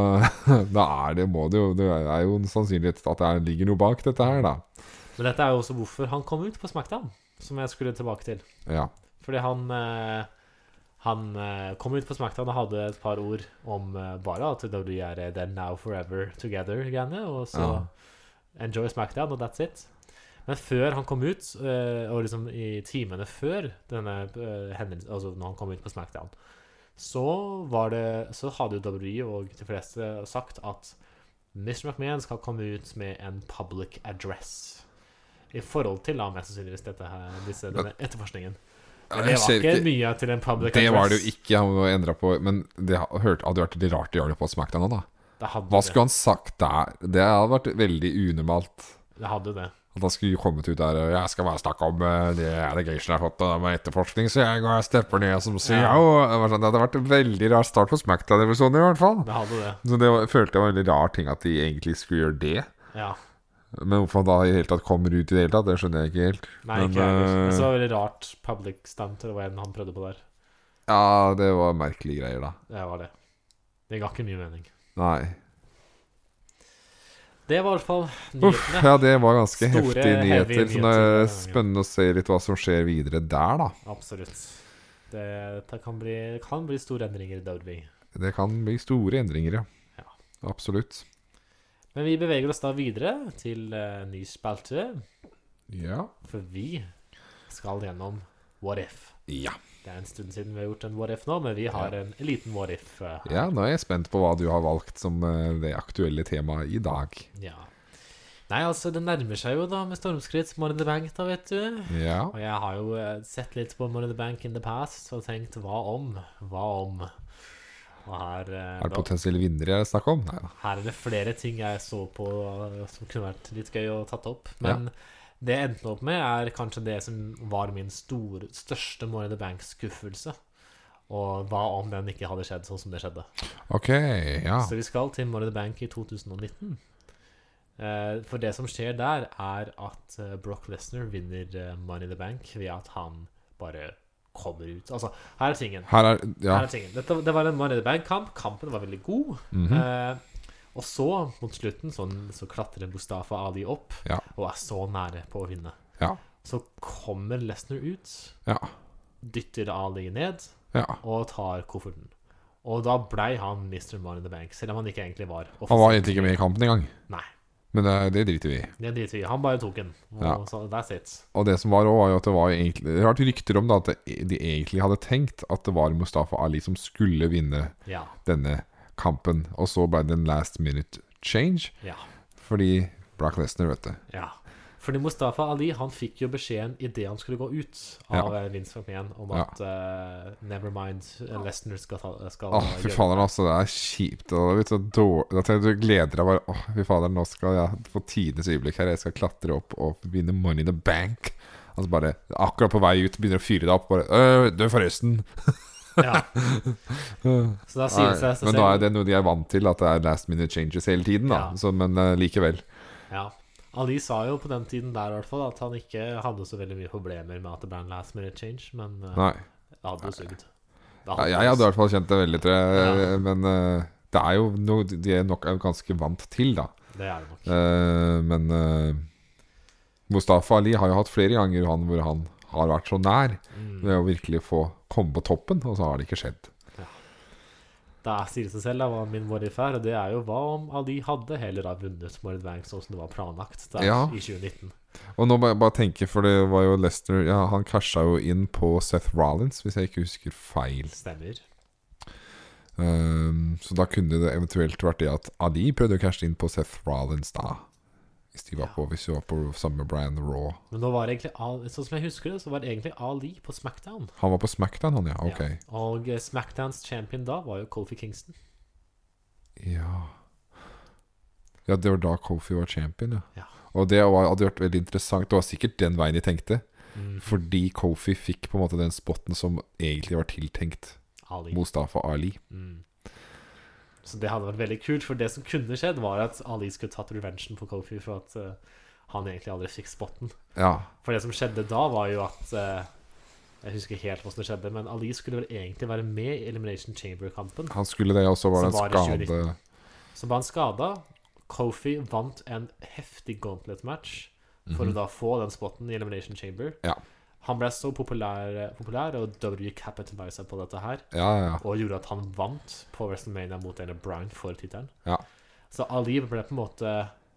da er det, må det jo Det er jo en sannsynlighet at det ligger noe bak dette her, da.
Men dette er jo også hvorfor han kom ut på Smackdown, som jeg skulle tilbake til.
Ja.
Fordi han eh, Han eh, kom ut på Smackdown og hadde et par ord om eh, bare at WWE er eh, then now forever together-greiene, og så
Ja.
enjoy Smackdown, og that's it. Men før han kom ut, eh, og liksom i timene før denne eh, hendelsen Altså når han kom ut på Smackdown, så var det Så hadde jo WWE og de fleste sagt at Mr. McMahon skal komme ut med en public address. I forhold til da mest sannsynligvis dette her, disse, denne etterforskningen. Men det
Jeg
var
ser
ikke mye til en public
Det
address.
var det jo ikke han må endre på, men det ha- hørte- hadde vært litt rart å gjøre det på Smackdown nå, da.
Det hadde
Hva skulle han sagt der? Det hadde vært veldig unormalt.
det. det hadde det.
At han skulle kommet ut der og 'Jeg skal bare snakke om eh, de allegation jeg har fått eh, med etterforskning', så jeg går og stepper ned som CEO.
Ja.
Det var sånn, det hadde vært en veldig rar start på Smackdown-episoden, i hvert fall.
Det hadde det.
Så det var, følte jeg var en veldig rar ting at de egentlig skulle gjøre det.
Ja.
Men hvorfor han da i det hele tatt kommer ut i det hele tatt, det skjønner jeg ikke helt.
Nei,
Men,
ikke jeg heller. Men
eh,
Så var det veldig rart public stunt, eller hva enn han prøvde på der.
Ja, det var merkelige greier, da.
Det var det. Det ga ikke mye mening.
Nei.
Det var i hvert fall
Uff,
nyhetene.
ja, det var ganske
Store,
heftige
heavy
nyheter. Så det
nyheter denne
er
gangen.
spennende å se litt hva som skjer videre der, da.
Absolutt. Det, det kan bli, kan bli store endringer i Derby.
Det kan bli store endringer, ja.
Ja.
Absolutt.
Men vi beveger oss da videre til eh, ny spalte,
Ja.
for vi skal gjennom What If.
ja.
Det er en stund siden vi har gjort en What If nå, men vi har en liten What If. eh, her.
nå er jeg spent på hva du har valgt som eh, det aktuelle temaet i dag.
ja. Nei, altså, det nærmer seg jo da med stormskritt Money in the Bank, da, vet du.
Ja.
Og jeg har jo eh, sett litt på Money in the Bank in the past og tenkt hva om, hva om? Og her, eh,
Er det
da-
potensielle vinnere jeg snakker om? Nei da.
her er det flere ting jeg så på eh, som kunne vært litt gøy å tatt opp. Men det jeg endte opp med, er kanskje det som var min store, største Money in the Bank-skuffelse. Og hva om den ikke hadde skjedd sånn som det skjedde?
Ok, ja.
Så vi skal til Money in the Bank i 2019. Eh, For det som skjer der, er at eh, Brock Lesnar vinner eh, Money in the Bank ved at han bare kommer ut. Altså, her er tingen.
Her er Ja.
Her er tingen. Dette, det var en Money in the Bank-kamp. Kampen var veldig god.
mhm.
Eh, og så, mot slutten, sånn, så klatrer Mustafa Ali opp
Ja.
og er så nære på å vinne.
Ja.
Så kommer Lesnar ut,
Ja.
dytter Ali ned
ja.
og tar kofferten. Og da blei han Mr. Money in the Bank, selv om han ikke egentlig var
Han var egentlig ikke med i kampen engang,
Nei,
men det, det driter vi i.
det driter vi i. Han bare tok den. Og
Ja.
så that's it.
Og det som var også, var jo at det var egentlig Det har vært rykter om da at det- de egentlig hadde tenkt at det var Mustafa Ali som skulle vinne
Ja.
denne kampen, og så ble det en last minute change
Ja.
fordi Brock Lesnar, vet du.
ja. Fordi Mustafa Ali han fikk jo beskjeden idet han skulle gå ut av eh, Vince McMahon om
Ja.
at eh, never mind, eh, Lesnar skal, ta, skal
Åh, fy fader, altså. Det er kjipt. Og det er så dårlig At jeg- Du gleder deg bare Åh, fy fader, nå skal jeg få tidenes øyeblikk her. Jeg skal klatre opp og vinne Money in the Bank. Altså bare Akkurat på vei ut begynner å fyre deg opp. Bare Øh, du, forresten.
Ja. Så da sier det seg
Nei, men da er det noe de er vant til, at det er last minute changes hele tiden. da
Ja.
så, Men eh, likevel.
Ja. Ali sa jo på den tiden der i hvert fall at han ikke hadde så veldig mye problemer med at det ble en last minute change, men eh,
Nei.
det hadde jo sugd. Det
Ja,
hadde
jeg hadde i
sugd.
hvert fall kjent det veldig, tror jeg.
Ja.
Men eh, det er jo noe de er nok er ganske vant til, da.
Det er det nok.
Eh, men eh, Mustafa Ali har jo hatt flere ganger han hvor han har vært så nær
Mm.
ved å virkelig få komme på toppen, og så har det ikke skjedd.
Da sier det seg selv da, hva min what if er, og det er jo hva om Ali hadde heller da vunnet Morid Bank sånn som det var planlagt der
Ja.
i 2019.
Og nå må jeg bare tenke, for det var jo Lester ja, Han casha jo inn på Seth Rollins, hvis jeg ikke husker feil.
Stemmer.
Ehm, så da kunne det eventuelt vært det at Ali prøvde å cashe inn på Seth Rollins da. Hvis de var på, hvis de var på Summer Brand Raw.
Men nå var det egentlig Al- sånn som jeg husker det, så var det egentlig Ali på Smackdown.
Han var på Smackdown, han, ja. Ok.
Ja. Og eh, Smackdowns champion da var jo Kofi Kingston.
Ja Ja, det var da Kofi var champion, ja.
Ja.
Og det var, hadde vært veldig interessant. Det var sikkert den veien de tenkte. Fordi Kofi fikk på en måte den spotten som egentlig var tiltenkt
Ali.
Mustafa Ali.
Mm. Så det hadde vært veldig kult, for det som kunne skjedd, var at Ali skulle tatt revengen på Kofi for at eh, han egentlig aldri fikk spotten.
Ja.
For det som skjedde da, var jo at eh, Jeg husker ikke helt hva som skjedde, men Ali skulle vel egentlig være med i Elimination Chamber-kampen.
Han skulle det, og så var det
Som
en
var i
skade
2019. Så ble han skada. Kofi vant en heftig gauntlet-match for å da få den spotten i Elimination Chamber.
Mhm. Ja.
Han ble så populær, populær og W capitaliza på dette her.
Ja, ja,
og gjorde at han vant på WrestleMania mot Daniel Bryan for tittelen.
Ja.
Så Ali ble på en måte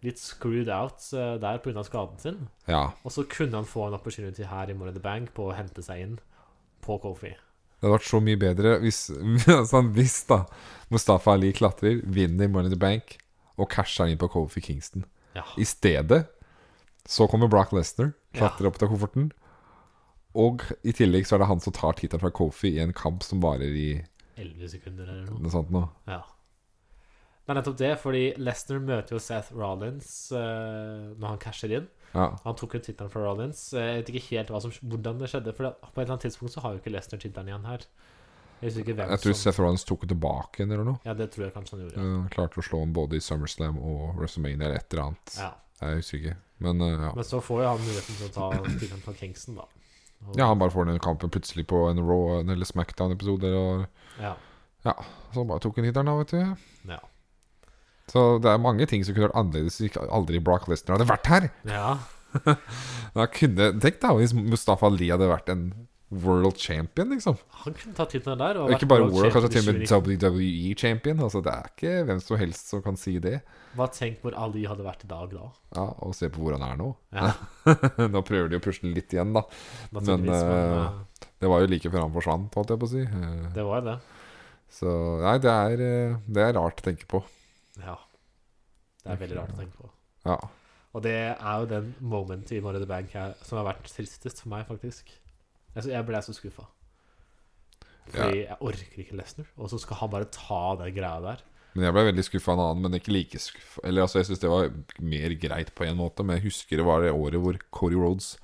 litt screwed out eh, der pga. skaden sin.
ja. ja.
Og så kunne han få en opportunity her i Money in the Bank på å hente seg inn på Kofi.
Det hadde vært så mye bedre hvis, altså hvis da Mustafa Ali klatrer, vinner Money in the Bank og casher inn på Kofi Kingston.
Ja.
I stedet så kommer Brock Lesnar,
Ja.
klatrer opp til kofferten. Og i tillegg så er det han som tar tittelen fra Kofi i en kamp som varer i
11 sekunder eller noe.
noe sånt nå.
Ja. Det er nettopp det, fordi Lesnar møter jo Seth Rollins eh, når han casher inn.
Ja.
Han tok jo tittelen fra Rollins. Eh, Jeg vet ikke helt hva som, hvordan det skjedde, for det- på et eller annet tidspunkt så har jo ikke Lesnar tittelen igjen her. Jeg husker ikke hvem
Jeg tror
som
Seth Rollins tok det tilbake igjen eller noe.
Ja, det tror jeg kanskje han gjorde.
Han Eh, klarte å slå ham både i SummerSlam og WrestleMania eller et eller annet.
Ja.
Jeg husker ikke. Men eh, ja.
Men så får jo han muligheten til å ta tittelen fra Kingston, da. Og-
Ja, han bare får den kampen plutselig på en Raw eller Smackdown-episode. og
ja.
Så bare tok han hitteren, da, vet du.
Ja.
Så det er mange ting som kunne vært annerledes hvis ikke- aldri Brock Lesnar hadde vært her.
ja.
Da kunne, tenk da hvis Mustafa Ali hadde vært en world champion, liksom.
Han kunne tatt tittelen der. Og
Og
vært
ikke bare
world
world, kanskje til og
champion i
med WWE-champion. Altså Det er ikke hvem som helst som kan si det.
2019. Hva tenk hvor Ali hadde vært i dag, da?
Ja, Og se på hvor han er nå.
Ja,
nå prøver de å pushe den litt igjen, da.
naturligvis. Men,
eh,
eh,
Det var jo like før han forsvant, holdt jeg på å si. Eh,
det var jo det.
Så nei, det er, eh, det er rart å tenke på.
Ja. Det er veldig rart å tenke på.
Ja.
Og det er jo den momentet i Money in the Bank her som har vært tristest for meg, faktisk. Altså, jeg ble så skuffa. Fordi jeg orker ikke Lesnar, og så skal han bare ta den greia der.
Men jeg ble veldig skuffa en annen, men ikke like skuffa. Eller altså, jeg syns det var mer greit på en måte, men jeg husker det var det året hvor Cody Rhodes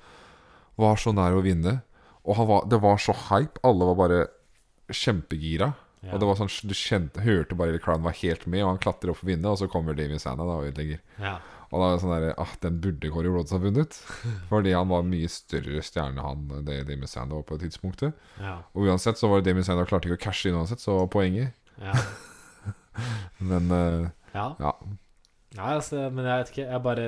var så nær å vinne. Og han var, det var så hype. Alle var bare kjempegira.
Ja.
Og det var sånn, Du kjente, hørte bare hele crowden var helt med, og han klatrer opp for å vinne, og så kommer Damien Sanna da, og ødelegger.
Ja.
Og da er det sånn der, ah, Den burde Cody Rhodes ha vunnet. Fordi han var mye større stjerne han det Damien Sanna var på det tidspunktet.
Ja.
Og uansett så var det Damien Sanna klarte ikke å cashe inn uansett, så poenget.
Ja.
Men eh,
ja.
ja,
Nei, altså, men jeg vet ikke. Jeg bare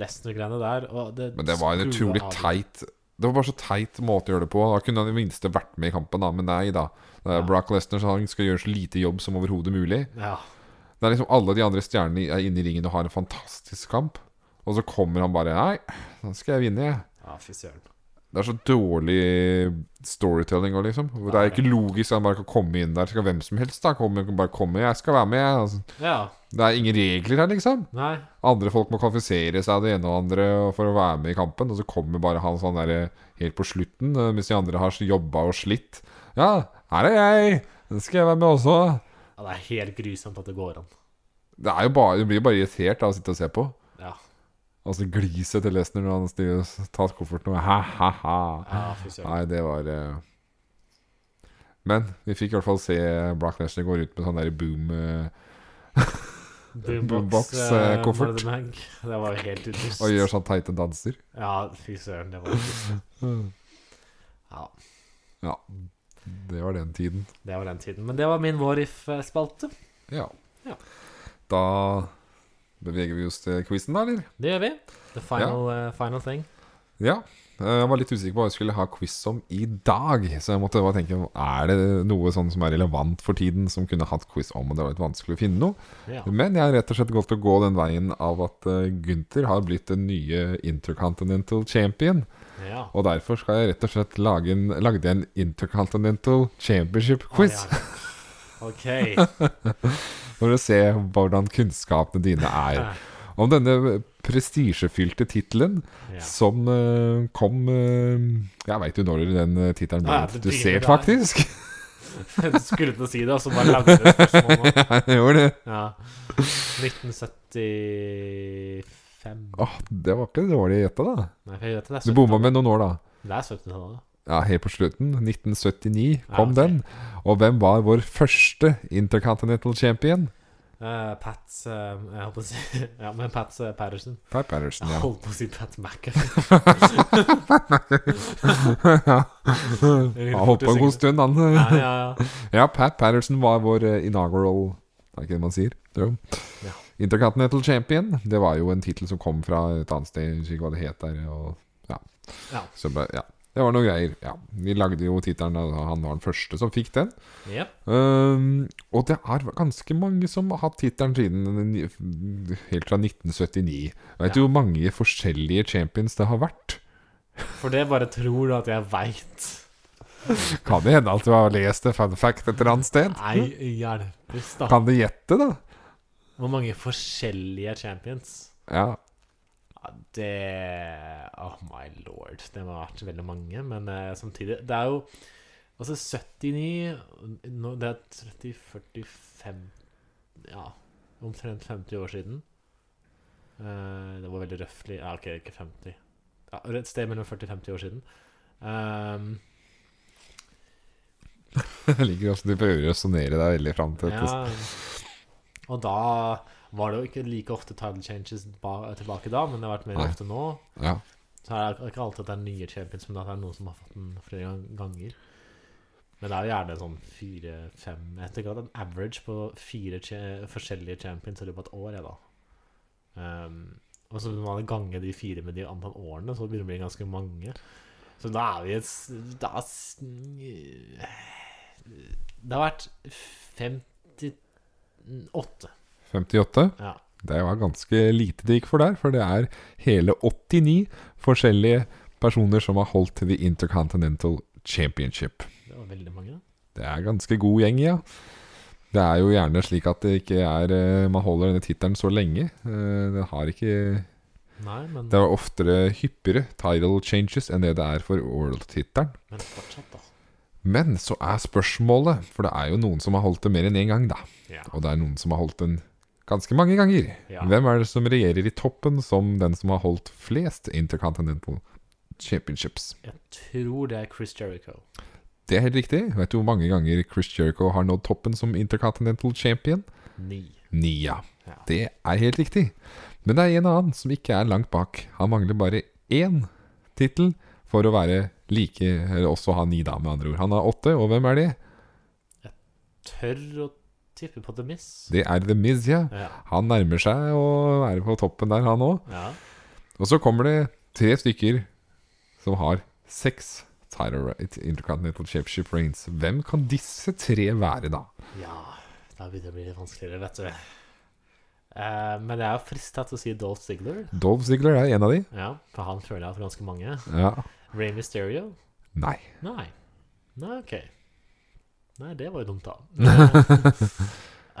Lesnar-greiene der, og det
Men det var en
skrur
utrolig
av.
teit Det var bare så teit måte å gjøre det på. Da kunne han i det minste vært med i kampen, da, men nei da. Det
Ja.
er Brock Lesnar så han skal gjøre så lite jobb som overhodet mulig.
Ja.
Det er liksom Alle de andre stjernene er inne i ringen og har en fantastisk kamp, og så kommer han bare Nei, nå skal jeg vinne, jeg.
ja, fy søren.
Det er så dårlig storytelling òg, liksom. Hvor Det er ikke logisk at han bare kan komme inn der. Skal hvem som helst da komme, kan bare komme. Jeg skal være med, jeg. Altså,
Ja.
det er ingen regler her, liksom.
Nei.
Andre folk må kvalifisere seg det ene og andre for å være med i kampen, og så kommer bare han sånn der helt på slutten, eh, mens de andre har jobba og slitt. Ja, her er jeg! Den skal jeg være med også.
Ja, det er helt grusomt at det går an.
Det er jo bare, Du blir jo bare irritert av å sitte og se på.
Ja.
Altså gliset til Lesnar når han stiller og tar kofferten og ha-ha-ha.
ja fy søren.
Nei, det var eh. Men vi fikk i hvert fall se Brock Lesnar gå rundt med sånn der boom eh, Boombox, eh,
eh,
koffert.
Money in the Bank. Det var jo helt utrust.
og gjør sånn teite danser.
Ja, fy søren, det var utrust. Mm. Ja,
Ja. Det var den tiden.
det var den tiden. Men det var min Warif-spalte.
Ja.
Ja.
Da beveger vi oss til quizen, da, eller?
Det gjør vi. The final, eh, final thing.
Ja. Eh, Jeg var litt usikker på hva jeg skulle ha quiz om i dag, så jeg måtte bare tenke Er det noe sånn som er relevant for tiden, som kunne hatt quiz om, og det var litt vanskelig å finne noe?
Ja.
Men jeg har rett og slett gått til å gå den veien av at eh, Gunther har blitt den nye Intercontinental Champion,
ja.
og derfor skal jeg rett og slett lage en, lagde jeg en Intercontinental Championship-quiz.
Ah, Ja, ja. OK.
For å se hvordan kunnskapene dine er. Om denne prestisjefylte tittelen
Ja.
som eh, kom eh, Jeg veit jo når den eh, tittelen ble
Ja, det
introdusert,
begynner der.
faktisk.
Du skulle til å si det, og så bare lagde du et spørsmål nå.
Jeg gjorde det.
Ja. 1975
Åh, det var ikke dårlig gjetta, da.
Nei, for jeg vet det.
Du bomma med noen år, da.
Det er 1700-tallet.
Ja, Helt på slutten. 1979 kom
ok.
den. Og hvem var vår første Intercontinental Champion?
Uh, Pat eh, Jeg holdt på å si Ja, men Pat eh, Patterson.
Pat Patterson,
Jeg
ja.
holdt på å si Pat McAfee.
Han holdt på en god stund,
Ja,
han.
ja, ja.
Ja, Pat Patterson var vår eh, inaugural Er det ikke det man sier? Jo.
Ja.
Intercontinental Champion. Det var jo en tittel som kom fra et annet sted. Jeg husker ikke hva det het der. Og, ja.
Ja.
Så ble, ja. Det var noen greier. Ja. Vi lagde jo tittelen, og han var den første som fikk den.
Jep.
Ehm, og det er ganske mange som har hatt tittelen siden den- helt fra 1979. Veit du
Ja.
hvor mange forskjellige champions det har vært?
For det bare tror du at jeg veit.
Kan det hende at du har lest det fun fact et eller annet sted?
Nei, hjelpes, da.
Kan du gjette, da?
Hvor mange forskjellige champions?
Ja,
Ja, det Oh my lord. Det må ha vært veldig mange, men eh, samtidig Det er jo Altså, 79 nå, Det er 30-45 Ja, omtrent 50 år siden. Eh, det var veldig røftlig Ja, OK, ikke 50. Ja, et sted mellom 40 og 50 år siden. Um,
Jeg liker hvordan du prøver å resonnere deg veldig fram til dette.
Ja. Og da var det jo ikke like ofte title changes ba tilbake da, men det har vært mer
Nei.
ofte nå.
Ja.
Så er det ikke alltid at det er nye champions, men at det er noen som har fått den flere gang- ganger. Men det er jo gjerne sånn fire-fem Jeg tenker at en average på fire cha- forskjellige champions i løpet av et år, jeg, da. Ehm, og så når man ganger de fire med de antall årene, så begynner det å bli ganske mange. Så da er vi et s- Da s- Det har vært 58.
58.
Ja.
Det var ganske lite det gikk for der, for det er hele 89 forskjellige personer som har holdt til The Intercontinental Championship.
Det var veldig mange.
Det er ganske god gjeng, ja. Det er jo gjerne slik at det ikke er eh, Man holder denne tittelen så lenge. Eh, Den har ikke
Nei, men,
Det er oftere hyppigere title changes enn det det er for world-tittelen.
men fortsatt, da.
Men så er spørsmålet, for det er jo noen som har holdt det mer enn én gang, da.
Ja.
Og det er noen som har holdt den ganske mange ganger.
Ja.
Hvem er det som regjerer i toppen som den som har holdt flest Intercontinental Championships?
Jeg tror det er Chris Jericho.
Det er helt riktig. Vet du hvor mange ganger Chris Jericho har nådd toppen som Intercontinental Champion?
Ni.
Nia.
Ja.
Det er helt riktig. Men det er en annen som ikke er langt bak. Han mangler bare én tittel for å være like Eller også ha ni, da, med andre ord. Han har åtte, og hvem er det?
Tør å tippe på The Miss.
Det er The Miz, ja.
Ja.
Han nærmer seg å være på toppen der, han òg.
ja.
Og så kommer det tre stykker som har seks title right Intercontinental Championship reigns. Hvem kan disse tre være, da?
Ja, da begynner det å bli litt vanskeligere, vet du. Eh, men jeg er jo frista til å si Dolph Ziggler.
Dolph Ziggler er en av de.
Ja, for han føler jeg har hatt ganske mange.
Ja.
Ray Mysterio?
Nei.
Nei. Nei, OK. Nei, det var jo dumt, da.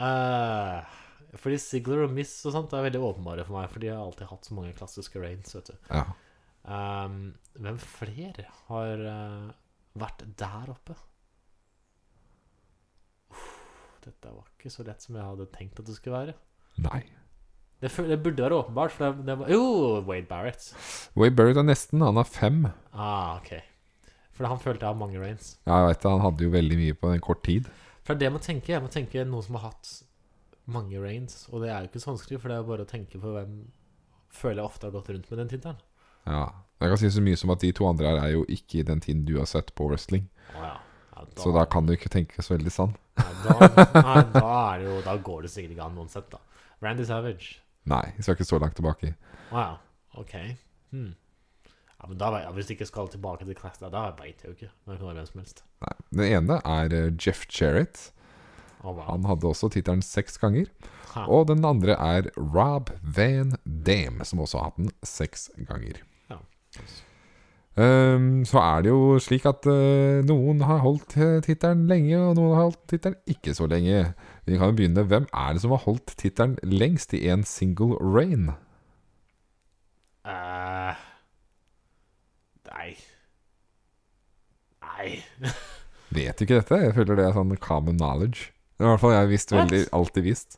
Eh, fordi Ziggler og Miss og sånt er veldig åpenbare for meg, fordi jeg har alltid hatt så mange klassiske rains, vet du.
Ja.
Ehm, hvem flere har eh, vært der oppe? Uff, dette var ikke så lett som jeg hadde tenkt at det skulle være.
Nei.
Det, fø- det burde være åpenbart, for det, det var Jo, Wade Barrett.
Way Barrett er nesten. Han har fem.
Ah, ok. For han følte jeg har mange reigns.
Jeg vet, det, Han hadde jo veldig mye på en kort tid.
For det jeg må tenke, jeg må tenke noen som har hatt mange reigns. Og det er jo ikke så vanskelig, for det er bare å tenke på hvem føler jeg ofte har gått rundt med den tittelen.
Ja. Jeg kan si så mye som at de to andre her er jo ikke i den tiden du har sett på wrestling.
Å ja. Ja, da,
Så da kan du ikke tenke så veldig sann.
ja, da, nei, da er det jo Da går det sikkert ikke an uansett, da. Randy Savage.
Nei, vi skal ikke så langt tilbake.
Wow, ok hmm. ja, men da, vet- ja, Hvis jeg ikke skal tilbake til Class, da, da vet jeg jo ikke Det kan være hvem som helst
Nei. Den ene er eh, Jeff Jarrett.
Å, wow.
Han hadde også tittelen seks ganger.
ha.
Og den andre er Rob Van Dam, som også har hatt den seks ganger.
Ja.
Ehm, så er det jo slik at eh, noen har holdt eh, tittelen lenge, og noen har holdt tittelen ikke så lenge. Vi kan jo begynne. Hvem er det som har holdt tittelen lengst i en single rain?
Eh, Nei Nei
Vet du ikke dette? Jeg føler det er sånn common knowledge. I hvert fall jeg visste
What?
veldig, alltid visst.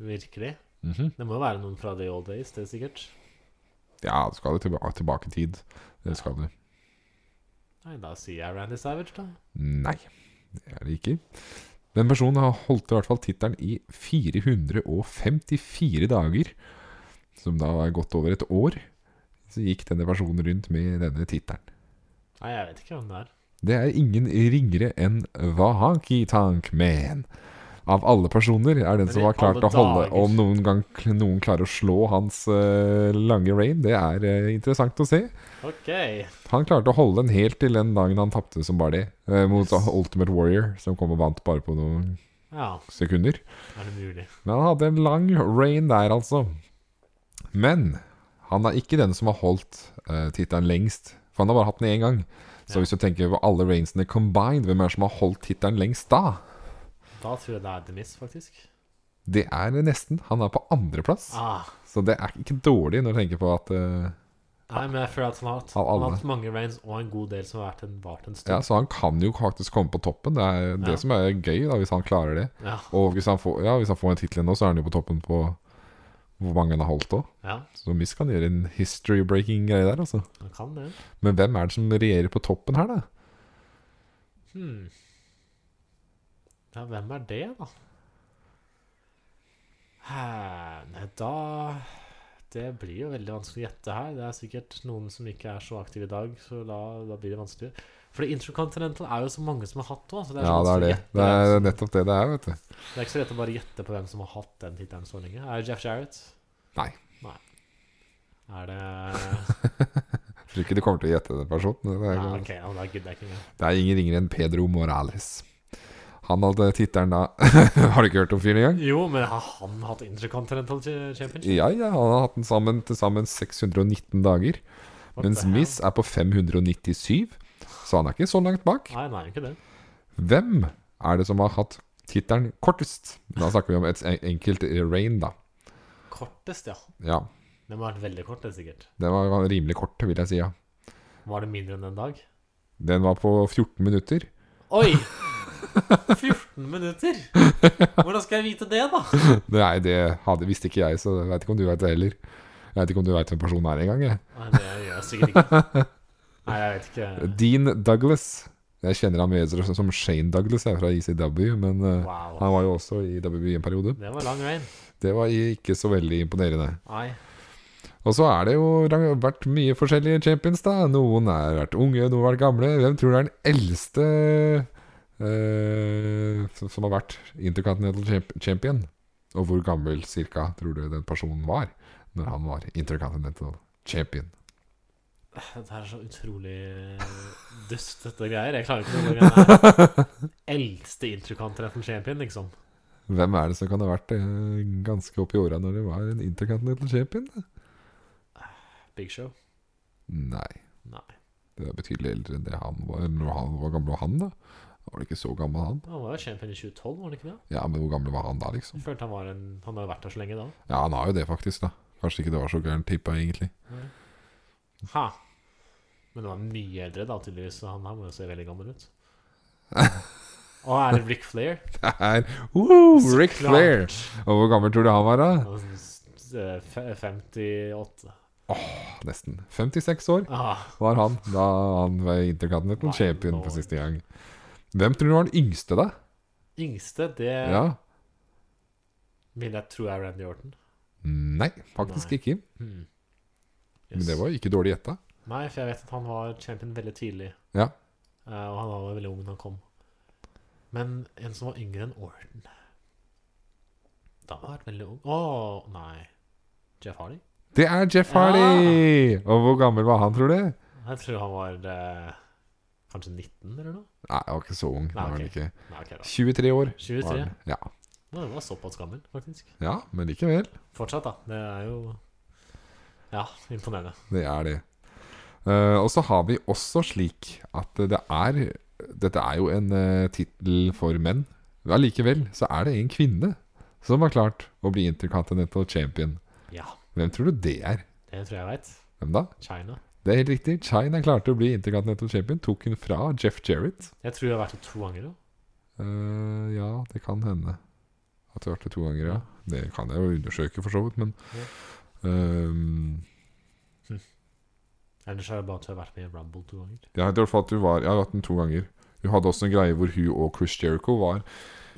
Virkelig
Mhm.
Det må jo være noen fra The Old Days, det er sikkert
Ja, du skal jo tilba tilbake i tid. Det skal du.
Nei, da sier jeg Randy Savage da
Nei, det er det ikke. Den personen har holdt i hvert fall tittelen i 454 dager, som da er godt over et år. Så gikk denne personen rundt med denne tittelen.
Nei, jeg vet ikke hvem det er
Det er ingen ringere enn Wahaki Tankman. Av alle personer er den
Men
som
i
har klart
alle
å holde
dager.
Om noen gang noen klarer å slå hans eh, lange reign, det er eh, interessant å se.
Ok
Han klarte å holde den helt til den dagen han tapte som bare det, eh, mot Ultimate Warrior, som kom og vant bare på noen
Ja,
sekunder.
er det mulig
Men han hadde en lang reign der, altså. Men han er ikke den som har holdt uh, tittelen lengst, for han har bare hatt den én gang. Så
Ja.
hvis du tenker på alle reignsene combined, hvem er det som har holdt tittelen lengst da?
Da tror jeg det er The Miz faktisk
Det er nesten. Han er på andreplass.
Ah
Så det er ikke dårlig når du tenker på at eh,
Nei, men jeg føler at han har hatt,
Av alle.
han har hatt mange reigns Og en god del som har vært en, vært en
Ja,
stund
så han kan jo faktisk komme på toppen. Det er
Ja.
det som er gøy, da, hvis han klarer det.
Ja,
Og hvis han får, ja, hvis han får en tittel nå, så er han jo på toppen på hvor mange han har holdt òg.
ja,
Så Miss kan gjøre en history-breaking greie der, altså.
han kan det
Men hvem er det som regjerer på toppen her, da?
Hmm. Ja, hvem er det, da? Hæ, Nei, da Det blir jo veldig vanskelig å gjette her. Det er sikkert noen som ikke er så aktive i dag, så da, da blir det vanskelig. Fordi Intercontinental er jo så mange som altså. har hatt òg. Det, er
Ja,
så
det er
vanskelig
det.
å gjette
Det
hvem
er
som-
nettopp det det er, vet du.
det er ikke så lett å bare gjette på hvem som har hatt den tittelen så lenge. Er det Jeff Jarrett?
Nei.
Nei. Er det
Jeg tror ikke du kommer til å gjette den personen. Det er,
Nei, OK, ja, da gidder jeg ikke engang.
det er ingen ringere enn Pedro Morales. Han hadde tittelen da Har du ikke hørt om fyren engang?
Jo, men har han hatt Intercontinental Ch- Championship?
Ja, ja, han har hatt den sammen til sammen 619 dager.
What
Mens
the hell?
Miss er på 597, så han er ikke så langt bak.
Nei, han er jo ikke det.
Hvem er det som har hatt tittelen kortest? Da snakker vi om et en- enkelt rain, da.
Kortest, ja.
Ja,
Det må ha vært veldig kort, det sikkert.
den var var rimelig kort, vil jeg si. ja
Var det mindre enn en dag?
Den var på 14 minutter.
Oi! 14 minutter? Hvordan skal jeg vite det, da?
Nei, det hadde, visste ikke jeg, så jeg vet ikke om du vet det heller. Jeg vet ikke om du vet hvem personen er engang. jeg.
Nei, det gjør jeg sikkert ikke. Nei, jeg vet ikke.
Dean Douglas. Jeg kjenner ham mer som Shane Douglas jeg, fra ECW, men eh,
Wow.
han var jo også i WWE en periode.
Det var lang rain.
Det var ikke så veldig imponerende.
Nei.
Og så er det jo det har vært mye forskjellige champions, da. Noen har vært unge, noen har vært gamle. Hvem tror du er den eldste eh, som- som har vært intercontinental champ champion? Og hvor gammel cirka tror du den personen var når han var intercontinental champion?
Dette er så utrolig dustete greier. Jeg klarer ikke noe med det her. Eldste intercontinental champion, liksom.
Hvem er det som kan ha vært eh, ganske opp i åra når det var en intercontinental champion?
Big Show.
Nei,
Nei.
det er betydelig eldre enn det han var. Når han var gammel, og han da? Han var ikke så gammel, han.
Han var jo champion i 2012, var han ikke det?
Ja, men hvor gammel var han da, liksom?
Jeg følte han var en Han hadde vært der så lenge da.
Ja, han har jo det faktisk, da. Kanskje ikke det var så gærent tippa, egentlig.
Ha. Men han var mye eldre, da, tydeligvis. Så han her må jo se veldig gammel ut. Og er det Rick Flair?
Det er Woo, Ric
klart.
Flair! Og hvor gammel tror du han var, da?
Han er s- eh, fe- 58.
Nesten 56 år
Ah,
var han da han var Intercontinental
My
Champion
lord.
for siste gang. Hvem tror du var den yngste, da?
yngste, det
Ja.
vil jeg tro er Randy Orton.
Nei, faktisk
Nei.
ikke.
Hmm.
Men det var jo ikke dårlig gjetta.
Nei, for jeg vet at han var champion veldig tidlig.
Ja.
Eh, og han var jo veldig ung da han kom. Men en som var yngre enn Orton Da har han vært veldig ung Å, nei. Jeff Hardy?
Det er Jeff Hardy! Og hvor gammel var han, tror du?
Jeg tror han var eh, kanskje 19 eller noe.
Nei, han var ikke så ung. det
Nei,
var han
ok.
ikke.
Nei, ok da.
23 år. var
23.
han. Ja.
Nå, det var såpass gammel, faktisk.
ja, men likevel.
Fortsatt, da. Det er jo Ja, imponerende.
Det er det. Eh, og så har vi også slik at det er Dette er jo en uh, tittel for menn. Allikevel så er det en kvinne som har klart å bli Intercontinental Champion.
Ja,
Hvem tror du det er?
det tror jeg jeg veit.
Hvem da?
China.
Det er helt riktig. China klarte å bli Intercontinental Champion. Tok hun fra Jeff Jarrett.
Jeg tror jeg har vært det to ganger. da.
Eh, ja, det kan hende. At du har vært det to ganger, ja. Det kan jeg jo undersøke, for så vidt, men eh,
Ellers er det bare at jeg har vært med i Rumble to ganger.
Jeg vet i hvert fall at du var Jeg har hatt den to ganger. Hun hadde også en greie hvor hun og Chris Jericho var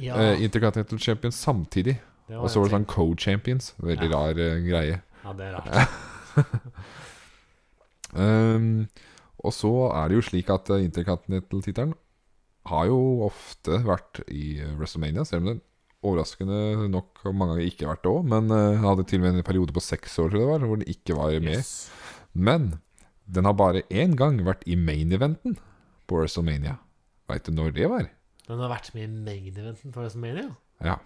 Ja,
eh, Intercontinental Champions samtidig.
det
Og så var det
en
sånn co-champions. Veldig
Ja.
rar eh, greie.
ting. Ja, det er rart.
Ehm, og så er det jo slik at eh, Intercontinental-tittelen har jo ofte vært i eh, WrestleMania, selv om den overraskende nok mange ganger ikke har vært det òg. Men eh, den hadde til og med en periode på seks år tror jeg det var, hvor den ikke var med.
Yes.
Men den har bare én gang vært i main-eventen på WrestleMania. Veit du når det var?
Den har vært med i main eventen for WrestleMania.
Ja.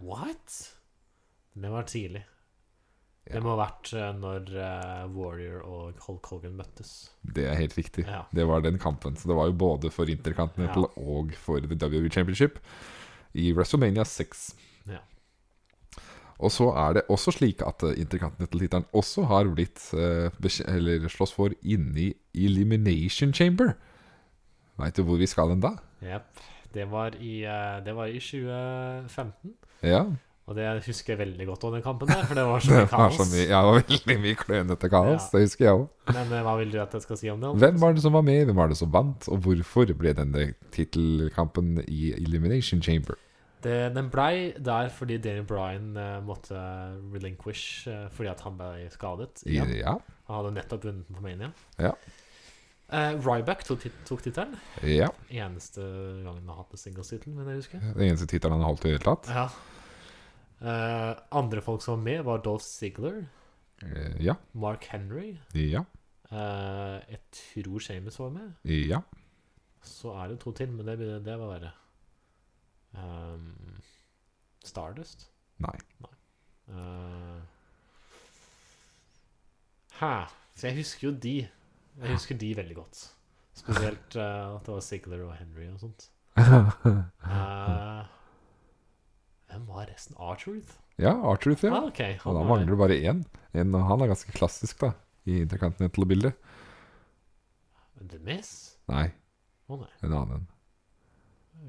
What? Det var tidlig.
Ja.
Det må ha vært eh, når eh, Warrior og Hulk Hogan møttes.
Det er helt riktig.
Ja.
Det var den kampen. Så det var jo både for Intercontinental og for The WWE Championship i WrestleMania 6.
Ja.
Og så er det også slik at eh, Intercontinental-tittelen også har blitt eh, bekj- eller slåss for inni Elimination Chamber. Veit du hvor vi skal hen da?
Jepp. Det var i, eh, det var i 2015.
Ja,
Og det husker jeg veldig godt om den kampen der, for det var så
det
mye
var,
kaos.
så mye, ja, det var veldig mye klønete kaos.
Ja.
Det husker jeg òg.
Men eh, hva vil du at jeg skal si om det?
Hvem var det som var med, hvem var det som vant, og hvorfor ble denne tittelkampen i Elimination Chamber?
Det, den blei der fordi Daniel Bryan eh, måtte relinquish eh, fordi at han ble skadet.
I,
igjen.
ja.
Han hadde nettopp vunnet den på Mania.
Ja.
Eh, Ryback tok, tit- tok tittelen.
ja.
Eneste gangen han har hatt en singles-tittel, men jeg husker.
Den eneste tittelen han har holdt i det hele tatt.
Ja. Eh, andre folk som var med, var Dolph Ziggler,
Eh, Ja.
Mark Henry
Ja.
eh, Jeg tror Shames var med.
Ja.
Så er det to til, men det, blir- det var verre. Ehm, Stardust?
Nei.
Eh, Hæ? Så jeg husker jo de. Jeg husker de veldig godt. Spesielt eh, at det var Ziggler og Henry og sånt. Eh, hvem var resten? R-Truth?
Ja, Artruth, ja.
Ah, ok.
Og da
var
mangler
der.
du bare én. En, og han er ganske klassisk, da. I intercontinental-bildet.
The Miss?
Nei,
Å nei.
en annen.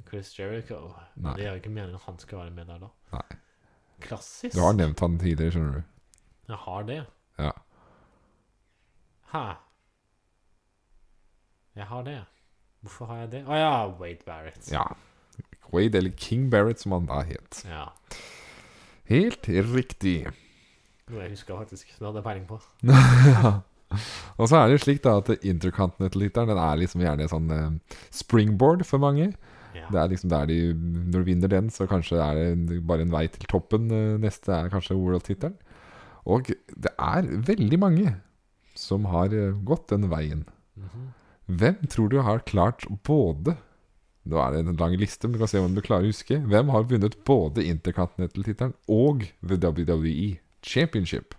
Chris Jericho.
Nei.
Men Det er jo ikke meningen at han skal være med der, da.
Nei.
Klassisk.
Du har nevnt han tidligere, skjønner du.
Jeg har det.
Ja.
Hæ? Jeg har det. Hvorfor har jeg det? Å ja, Wade Barrett.
ja. Wade, eller King Barrett, som han da het.
ja.
Helt riktig.
Noe jeg husker faktisk. Det hadde jeg peiling på.
Og så er det jo slik da at intercontinental-literen Den er liksom gjerne sånn eh, springboard for mange.
Ja.
Det er liksom der de Når du vinner den, så kanskje er det bare en vei til toppen. Eh, Neste er kanskje world-tittelen. Og det er veldig mange som har eh, gått den veien.
Mhm.
Hvem tror du har klart både Nå er det en lang liste, men du kan se om du klarer å huske. Hvem har vunnet både Intercontinental-tittelen og The WWE Championship?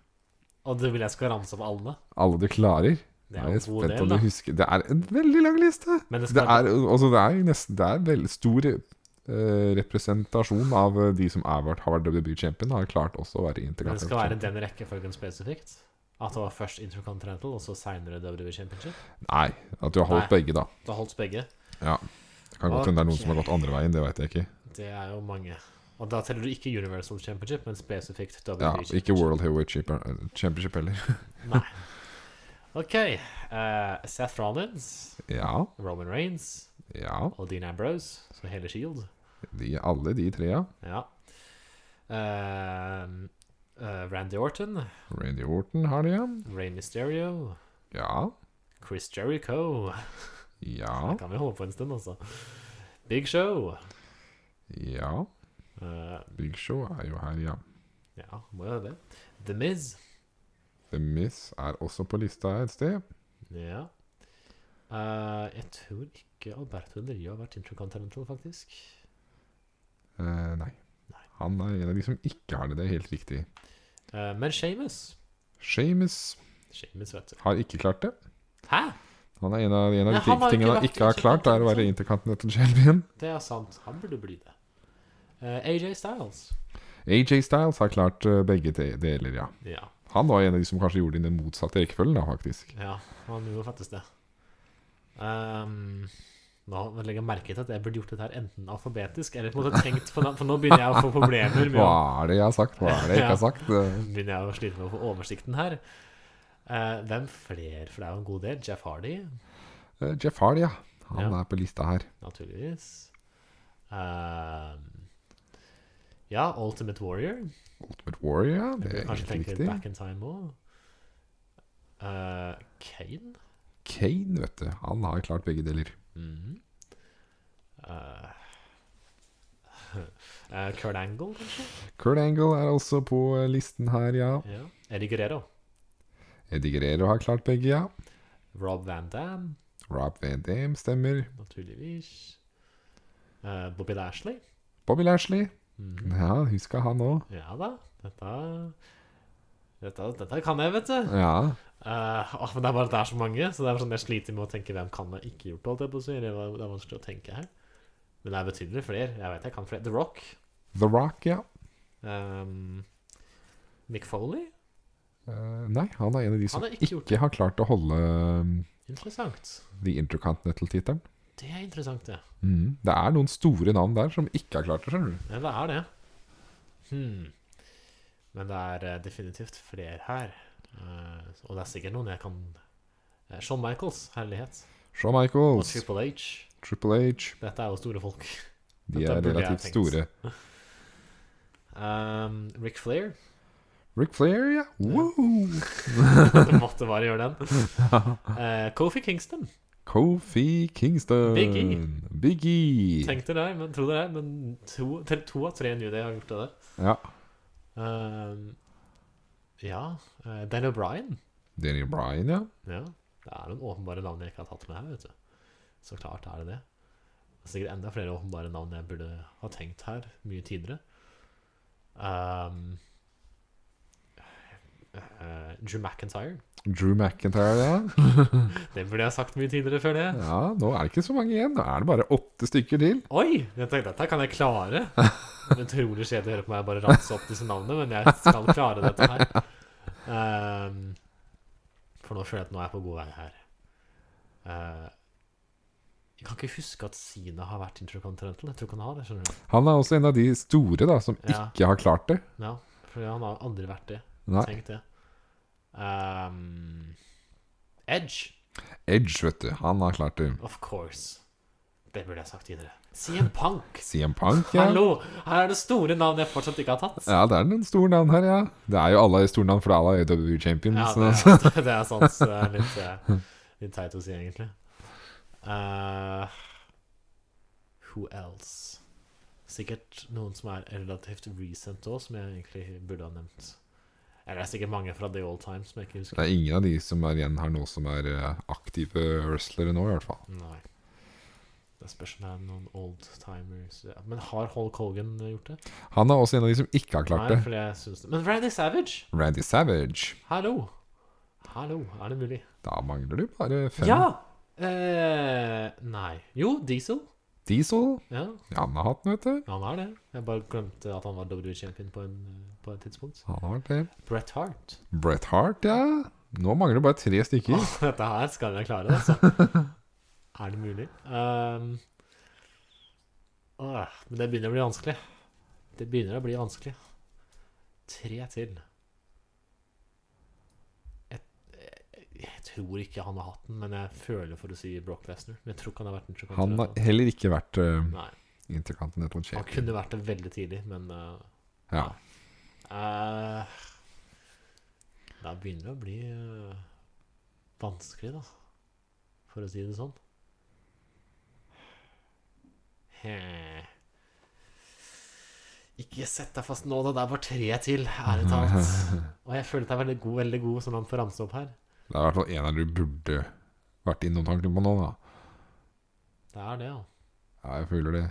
Og du vil jeg skal ramse opp alle?
Alle du klarer.
Det
Nå
er jo
jeg
en god
spent om
del,
du
da.
husker. Det er en veldig lang liste!
Men det
Det
skal
er, altså, det er jo nesten Det er veldig stor eh, representasjon av eh, de som er, vært- har vært WWE-champion, har klart også å være
Men det skal
Intercontinental.
være den rekkefølgen spesifikt? At det var først Intercontinental, og så seinere WWE E Championship?
Nei, at du har holdt
Nei.
begge, da.
Da holdt begge.
Det kan godt hende det er noen som har
Ok.
gått andre veien, det veit jeg ikke.
Det er jo mange. Og da teller du ikke Universal Championship, men spesifikt WWE
Ja,
Championship.
ikke World Heavyweight Champion- Championship heller.
Nei. OK. eh, Seth Rollins,
Ja,
Roman Reigns
ja.
og Dean Ambrose, så hele Shield.
De, alle de tre, ja.
Ja. Eh, eh, Randy Orton,
Randy Orton har de, ja.
Rey Mysterio,
Ja.
Chris Jericho
Ja. Oh.
Det kan vi holde på en stund, altså. Big Show.
ja.
Eh,
Big Show er jo her, ja.
ja, må jo det. The Miz.
The Miss er også på lista her et sted.
Ja. Eh, jeg tror ikke Alberto Del Rio har vært intercontinental, faktisk.
Eh, nei. Han er en av de som ikke har det. Det er helt riktig.
Eh, men Shamus
Shames
Shamus, vet du.
har ikke klart det.
Hæ?
Han er en av, en av
Nei,
de
han har jo ikke vært
tingene han
altså.
ikke har klart, er å være intercontinental champion.
Det er sant. Han burde bli det. Eh, AJ Styles.
AJ Styles har klart eh, begge de- deler, ja.
Ja.
Han var en av de som kanskje gjorde det i den motsatte rekkefølgen, da, faktisk.
ja han gjorde faktisk det. Ehm, nå legger jeg merke til at jeg burde gjort dette her enten alfabetisk eller på en måte tenkt på For nå begynner jeg å få problemer med
Hva
å
er det jeg har sagt? Hva er det jeg ikke har sagt? Eh,
begynner jeg å slite med å få oversikten her. Eh, hvem flere? For det er jo en god del. Jeff Hardy,
eh, Jeff Hardy, ja. Han
Ja.
er på lista her.
naturligvis. Eh, ja, Ultimate Warrior.
Ultimate Warrior, ja.
Jeg
Det
burde
er
kanskje
helt
tenke
riktig.
back in time òg. Kane?
Kane, vet du. Han har klart begge deler.
Mhm. Eh, eh, Kurt Angle, kanskje?
Kurt Angle er også på eh, listen her, ja.
Ja. Eddie Guerrero.
Eddie Guerrero har klart begge, ja.
Rob Van Dam,
Rob Van Dam stemmer.
naturligvis. Eh, Bobby Lashley.
Bobby Lashley.
Mhm.
Ja, huska han òg.
Ja da, dette Dette, dette kan jeg, vet du.
Ja.
Eh, åh, men det er bare at det er så mange, så det er sånn jeg sliter med å tenke hvem kan jeg ikke gjort. Holdt jeg på å si. Det var- det er vanskelig å tenke her. Men det er betydelig flere. Jeg vet jeg kan flere. The Rock.
The Rock, ja.
ehm, Mick Foley.
Eh, nei, han er en av de som
Han har
ikke,
ikke gjort
har klart å holde um,
Interessant.
The Intercontinental-tittelen.
Det er interessant, det.
Mhm. Det er noen store navn der som ikke har klart det, skjønner du.
Ja, det er det. Hmm. Men det er eh, definitivt flere her. Eh, og det er sikkert noen jeg kan uh, Shawn Michaels, herlighet.
Shaw
Og
Michaels,
Triple H.
Triple H,
Dette er jo store folk.
De
Dette
er
burde jeg
relativt
tenkt.
store.
Um, Rick Flair.
Ric Flair, ja. Wow.
Det måtte bare gjøre den. Eh, Kofi Kingston.
Kofi Kingston.
Big E.
Big E.
Tenk dere det, men tro dere det. Men to, tre- to av tre New Day har gjort det.
Ja.
Um, ja. eh, Dan O'Brien.
Danny Bryan, ja.
Ja. Det er noen åpenbare navn jeg ikke har tatt med her, vet du. Så klart er det det. Det er sikkert enda flere åpenbare navn jeg burde ha tenkt her mye tidligere. Um, eh, Drew McIntyre.
Drew McIntyre, ja.
Det burde jeg ha sagt mye tidligere før det.
ja. Nå er det ikke så mange igjen. Nå er det bare åtte stykker til.
Oi! Jeg tenkte dette kan jeg klare. Det er Utrolig kjedelig å høre på meg bare ramse opp disse navnene, men jeg skal klare dette her. Ehm, for nå føler jeg at nå er jeg på god vei her. Eh, jeg kan ikke huske at Sina har vært intercontinental. Jeg tror ikke han har det. skjønner du
Han er også en av de store da, som
Ja.
ikke har klart det.
Ja, for Han har aldri vært det.
Nei.
Tenk det. Ehm, Edge,
Edge, vet du. Han har klart det.
of course. Det burde jeg sagt tidligere. CM Punk!
CM Punk, ja.
Hallo! Her er det store navn jeg fortsatt ikke har tatt.
Ja, det er en stor navn her, ja. Det er jo alle store navn, for alle er AW Champions.
Ja, det
så-
er, det er sant. Så det er litt, eh, litt teit å si, egentlig. Eh, who else? Sikkert noen som er relativt recent òg, som jeg egentlig burde ha nevnt. Eller det er sikkert mange fra The Old Times som jeg ikke
Det
husker.
er ingen av de som er igjen her nå, som er eh, aktive wrestlere nå, i hvert fall.
Nei. Det spørs om det er noen old timers ja. Men har Hulk Hogan gjort det?
Han er også en av de som ikke har klart
Nei,
det.
for jeg synes det. Men Randy Savage!
Randy Savage.
Hallo! Hallo, er det mulig?
Da mangler du bare fem.
Ja! Eh, nei. Jo, Diesel.
Diesel.
Ja.
Han har hatt den, vet du.
Han er det. Jeg bare glemte at han var WWE champion på, en, på et tidspunkt.
Han har vært det.
Bret Hart.
Bret Hart, ja. Nå mangler det bare tre stykker.
Åh, dette her skal jeg klare, altså. er det mulig? Ehm, åh, men det begynner å bli vanskelig. Det begynner å bli vanskelig. Tre til. Jeg, jeg, jeg tror ikke han har hatt den, men jeg føler for å si Brock Lesnar. Men jeg tror ikke han har vært en
Han har heller ikke vært eh,
Nei.
Intercontinental
Han
Champion.
kunne vært det veldig tidlig, men eh,
Ja.
Eh, Det begynner det å bli eh, vanskelig, da. For å si det sånn. He. Ikke sett deg fast nå, da. Det er bare tre til, ærlig talt. Og jeg føler at jeg er veldig god, veldig god som han får ramse opp her.
Det er i hvert fall en av de du burde vært innom tanken på nå, da.
Det er det, ja.
Ja, jeg føler det.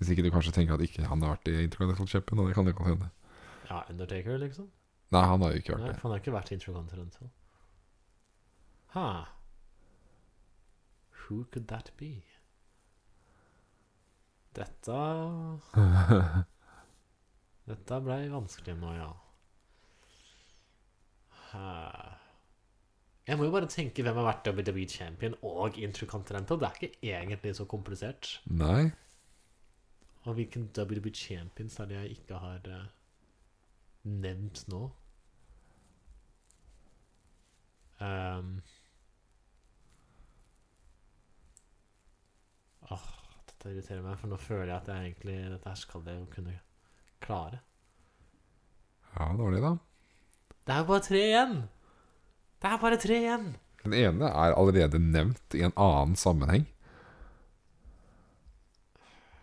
Hvis ikke du kanskje tenker at ikke han har vært i Intercontinental Champion, da. Det kan det godt hende.
Ja, Undertaker, liksom.
Nei, han har jo ikke
Nei,
vært det.
for han har ikke vært i Intercontinental. Ha. Who could that be? Dette Dette blei vanskelig nå, ja. Ha. Jeg må jo bare tenke hvem har vært WWE Champion og Intercontinental. Det er ikke egentlig så komplisert.
Nei.
Og hvilken WWE Champions er det jeg ikke har eh, nevnt nå? Ehm. Åh, dette irriterer meg, for nå føler jeg at jeg egentlig Dette her skal jeg jo kunne klare.
Ja, dårlig, da.
Det er jo bare tre igjen! Det er bare tre igjen!
Den ene er allerede nevnt i en annen sammenheng.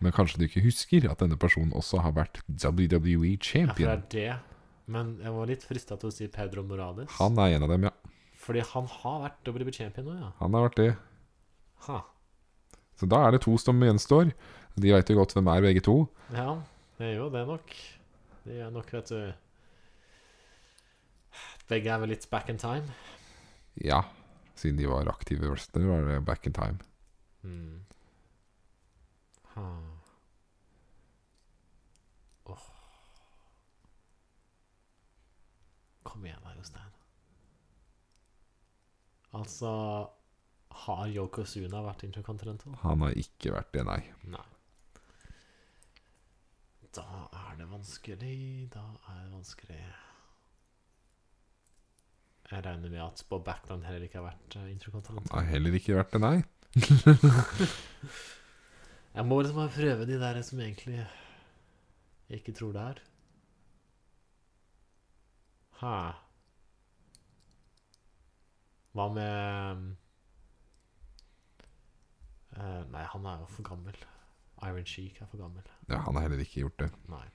Men kanskje du ikke husker at denne personen også har vært WWE
Ja, for det
champion.
er det. Men jeg var litt frista til å si Pedro Morales.
Han er en av dem, ja.
Fordi han har vært WWE Champion nå, ja.
Han har vært det.
Ha.
Så da er det to som gjenstår. De veit jo godt hvem er, begge to.
Ja, det gjør jo det nok. Det gjør nok, vet du. Begge er vel litt back in time.
Ja, siden de var aktive wrestlere, var det back in time.
Hmm. Ha. Åh. Kom igjen da, Jostein. Altså Har Yokosuna vært intercontinental?
Han har ikke vært det, nei.
Nei. Da er det vanskelig, da er det vanskelig. Jeg regner med at Bob Backland heller ikke har vært eh, interkontinental.
Han har heller ikke vært det, nei.
Jeg må liksom bare prøve de der som egentlig jeg ikke tror det er. Hæ Hva med eh, Nei, han er jo for gammel. Iron Sheik er for gammel.
Ja, han har heller ikke gjort det.
Nei.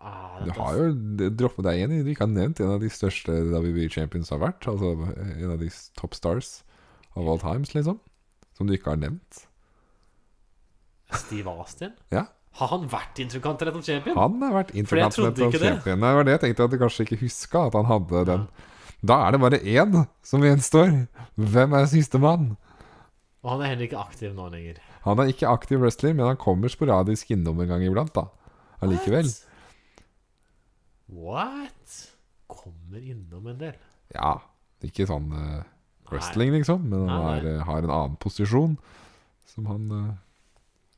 Ah,
Du
dette-
har jo droppet deg igjen i Du ikke har nevnt en av de største WWE Champions har vært. Altså en av de top stars of all times, liksom. Som du ikke har nevnt.
Steve Austin?
Ja.
Har han vært intercontinental champion?
Han har vært
For jeg trodde
intercontinental
ikke det.
champion. Det var det jeg tenkte at du kanskje ikke huska at han hadde den. Da er det bare én som gjenstår. Hvem er sistemann?
Og han er heller ikke aktiv nå lenger.
Han er ikke aktiv wrestler, men han kommer sporadisk innom en gang iblant, da. Allikevel.
What? Kommer innom en del.
Ja, ikke sånn eh, wrestling, liksom, men han
Nei, nei.
er, eh, har en annen posisjon som han eh,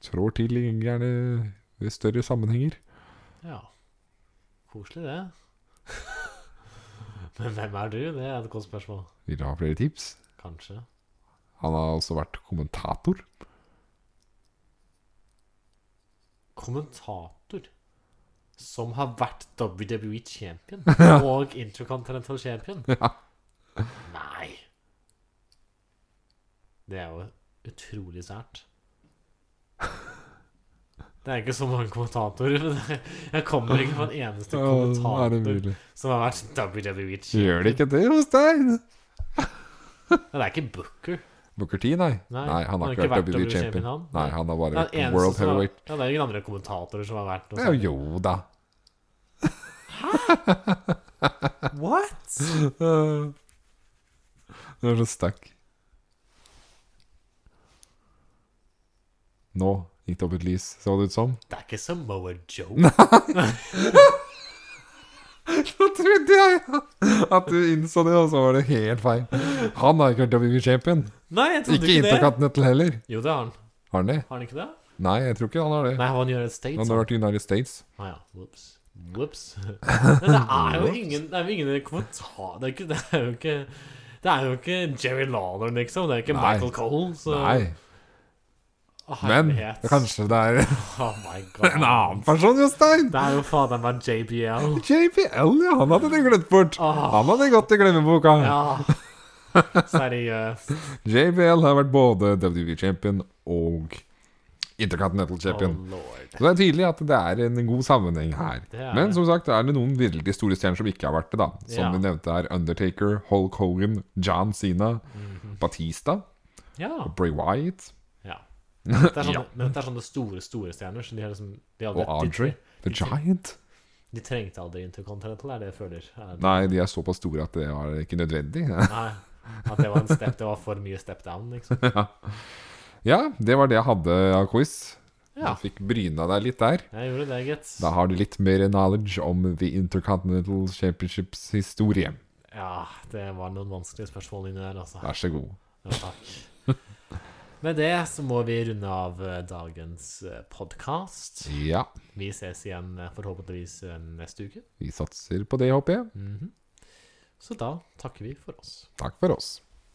trår til i gjerne i større sammenhenger.
Ja. Koselig, det. Men hvem er du? Det er et godt spørsmål.
Vil du ha flere tips?
Kanskje.
Han har også vært kommentator.
Kommentator som har vært WWE champion og intercontinental champion?
Ja.
Nei. Det er jo utrolig sært. Det er ikke så mange kommentatorer. Men jeg kommer ikke på en eneste
Ja, er det
kommentator
mulig?
som har vært WWE champion.
Gjør det ikke det, Jostein?
Men det er ikke Booker.
Booker T, nei.
Nei,
han har ikke vært WWE champion.
E han.
Nei, han har bare
Det er
vært
den eneste
world
som har-
heavyweight.
Ja, det er ingen andre kommentatorer som har vært noe
Ja, jo da.
sånt. sånn, What?
Eh, Du er så stuck. Nå gikk det opp et lys, så det ut som.
Det er ikke Samoa Joe.
Da trodde jeg at du innså det, og så var det helt feil. Han har ikke vært WWE champion.
Nei, jeg trodde
Ikke
ikke, det.
Intercontinental heller.
Jo, det har han.
Har han det?
Har han ikke det?
Nei, jeg tror ikke han har det.
Nei, han gjør et state.
Han har vært i United States.
Ah, ja. Whoops. Whoops. Men det er jo ingen Det er jo ingen kommentar Det er, ikke, det er jo ikke Det er jo ikke Jerry Lawler, liksom. Det er ikke
Nei.
Michael Cole. Så
Nei,
Å,
men
herlighet.
kanskje det er
Oh my god.
en annen person, Jostein.
Det er jo fader meg JBL.
JPL, ja. Han hadde du glemt bort.
Åh.
Han hadde gått i glemmeboka.
Ja. Seriøst.
JBL har vært både WWE champion og Intercontinental
Oh
champion.
lord.
Så det er tydelig at det er en god sammenheng her.
Det er
Men
det.
som sagt, det er det noen veldig store stjerner som ikke har vært det, da. Som
Ja.
vi nevnte her. Undertaker, Hulk Hogan, John Cena,
Mhm.
Batista,
Ja.
Bray Wyatt
ja. Men Dette er sånne,
Ja.
men dette er sånne store, store stjerner. Så de har liksom de har
og Andre. The Giant.
De trengte aldri Intercontinental, er det jeg føler. Er det-
Nei, de er såpass store at det var ikke nødvendig.
Nei. At det var en step Det var for mye step down, liksom.
Ja, det var det jeg hadde av quiz.
Ja.
Du fikk bryna deg litt der.
Jeg gjorde det, gitt.
Da har du litt mer knowledge om The Intercontinental Championships historie.
Ja, det var noen vanskelige spørsmål inni der, altså.
Vær så god.
Ja, takk. Med det så må vi runde av eh, dagens podkast.
Ja.
Vi ses igjen eh, forhåpentligvis eh, neste uke.
Vi satser på det, håper jeg.
Så da takker vi for oss.
Takk for oss.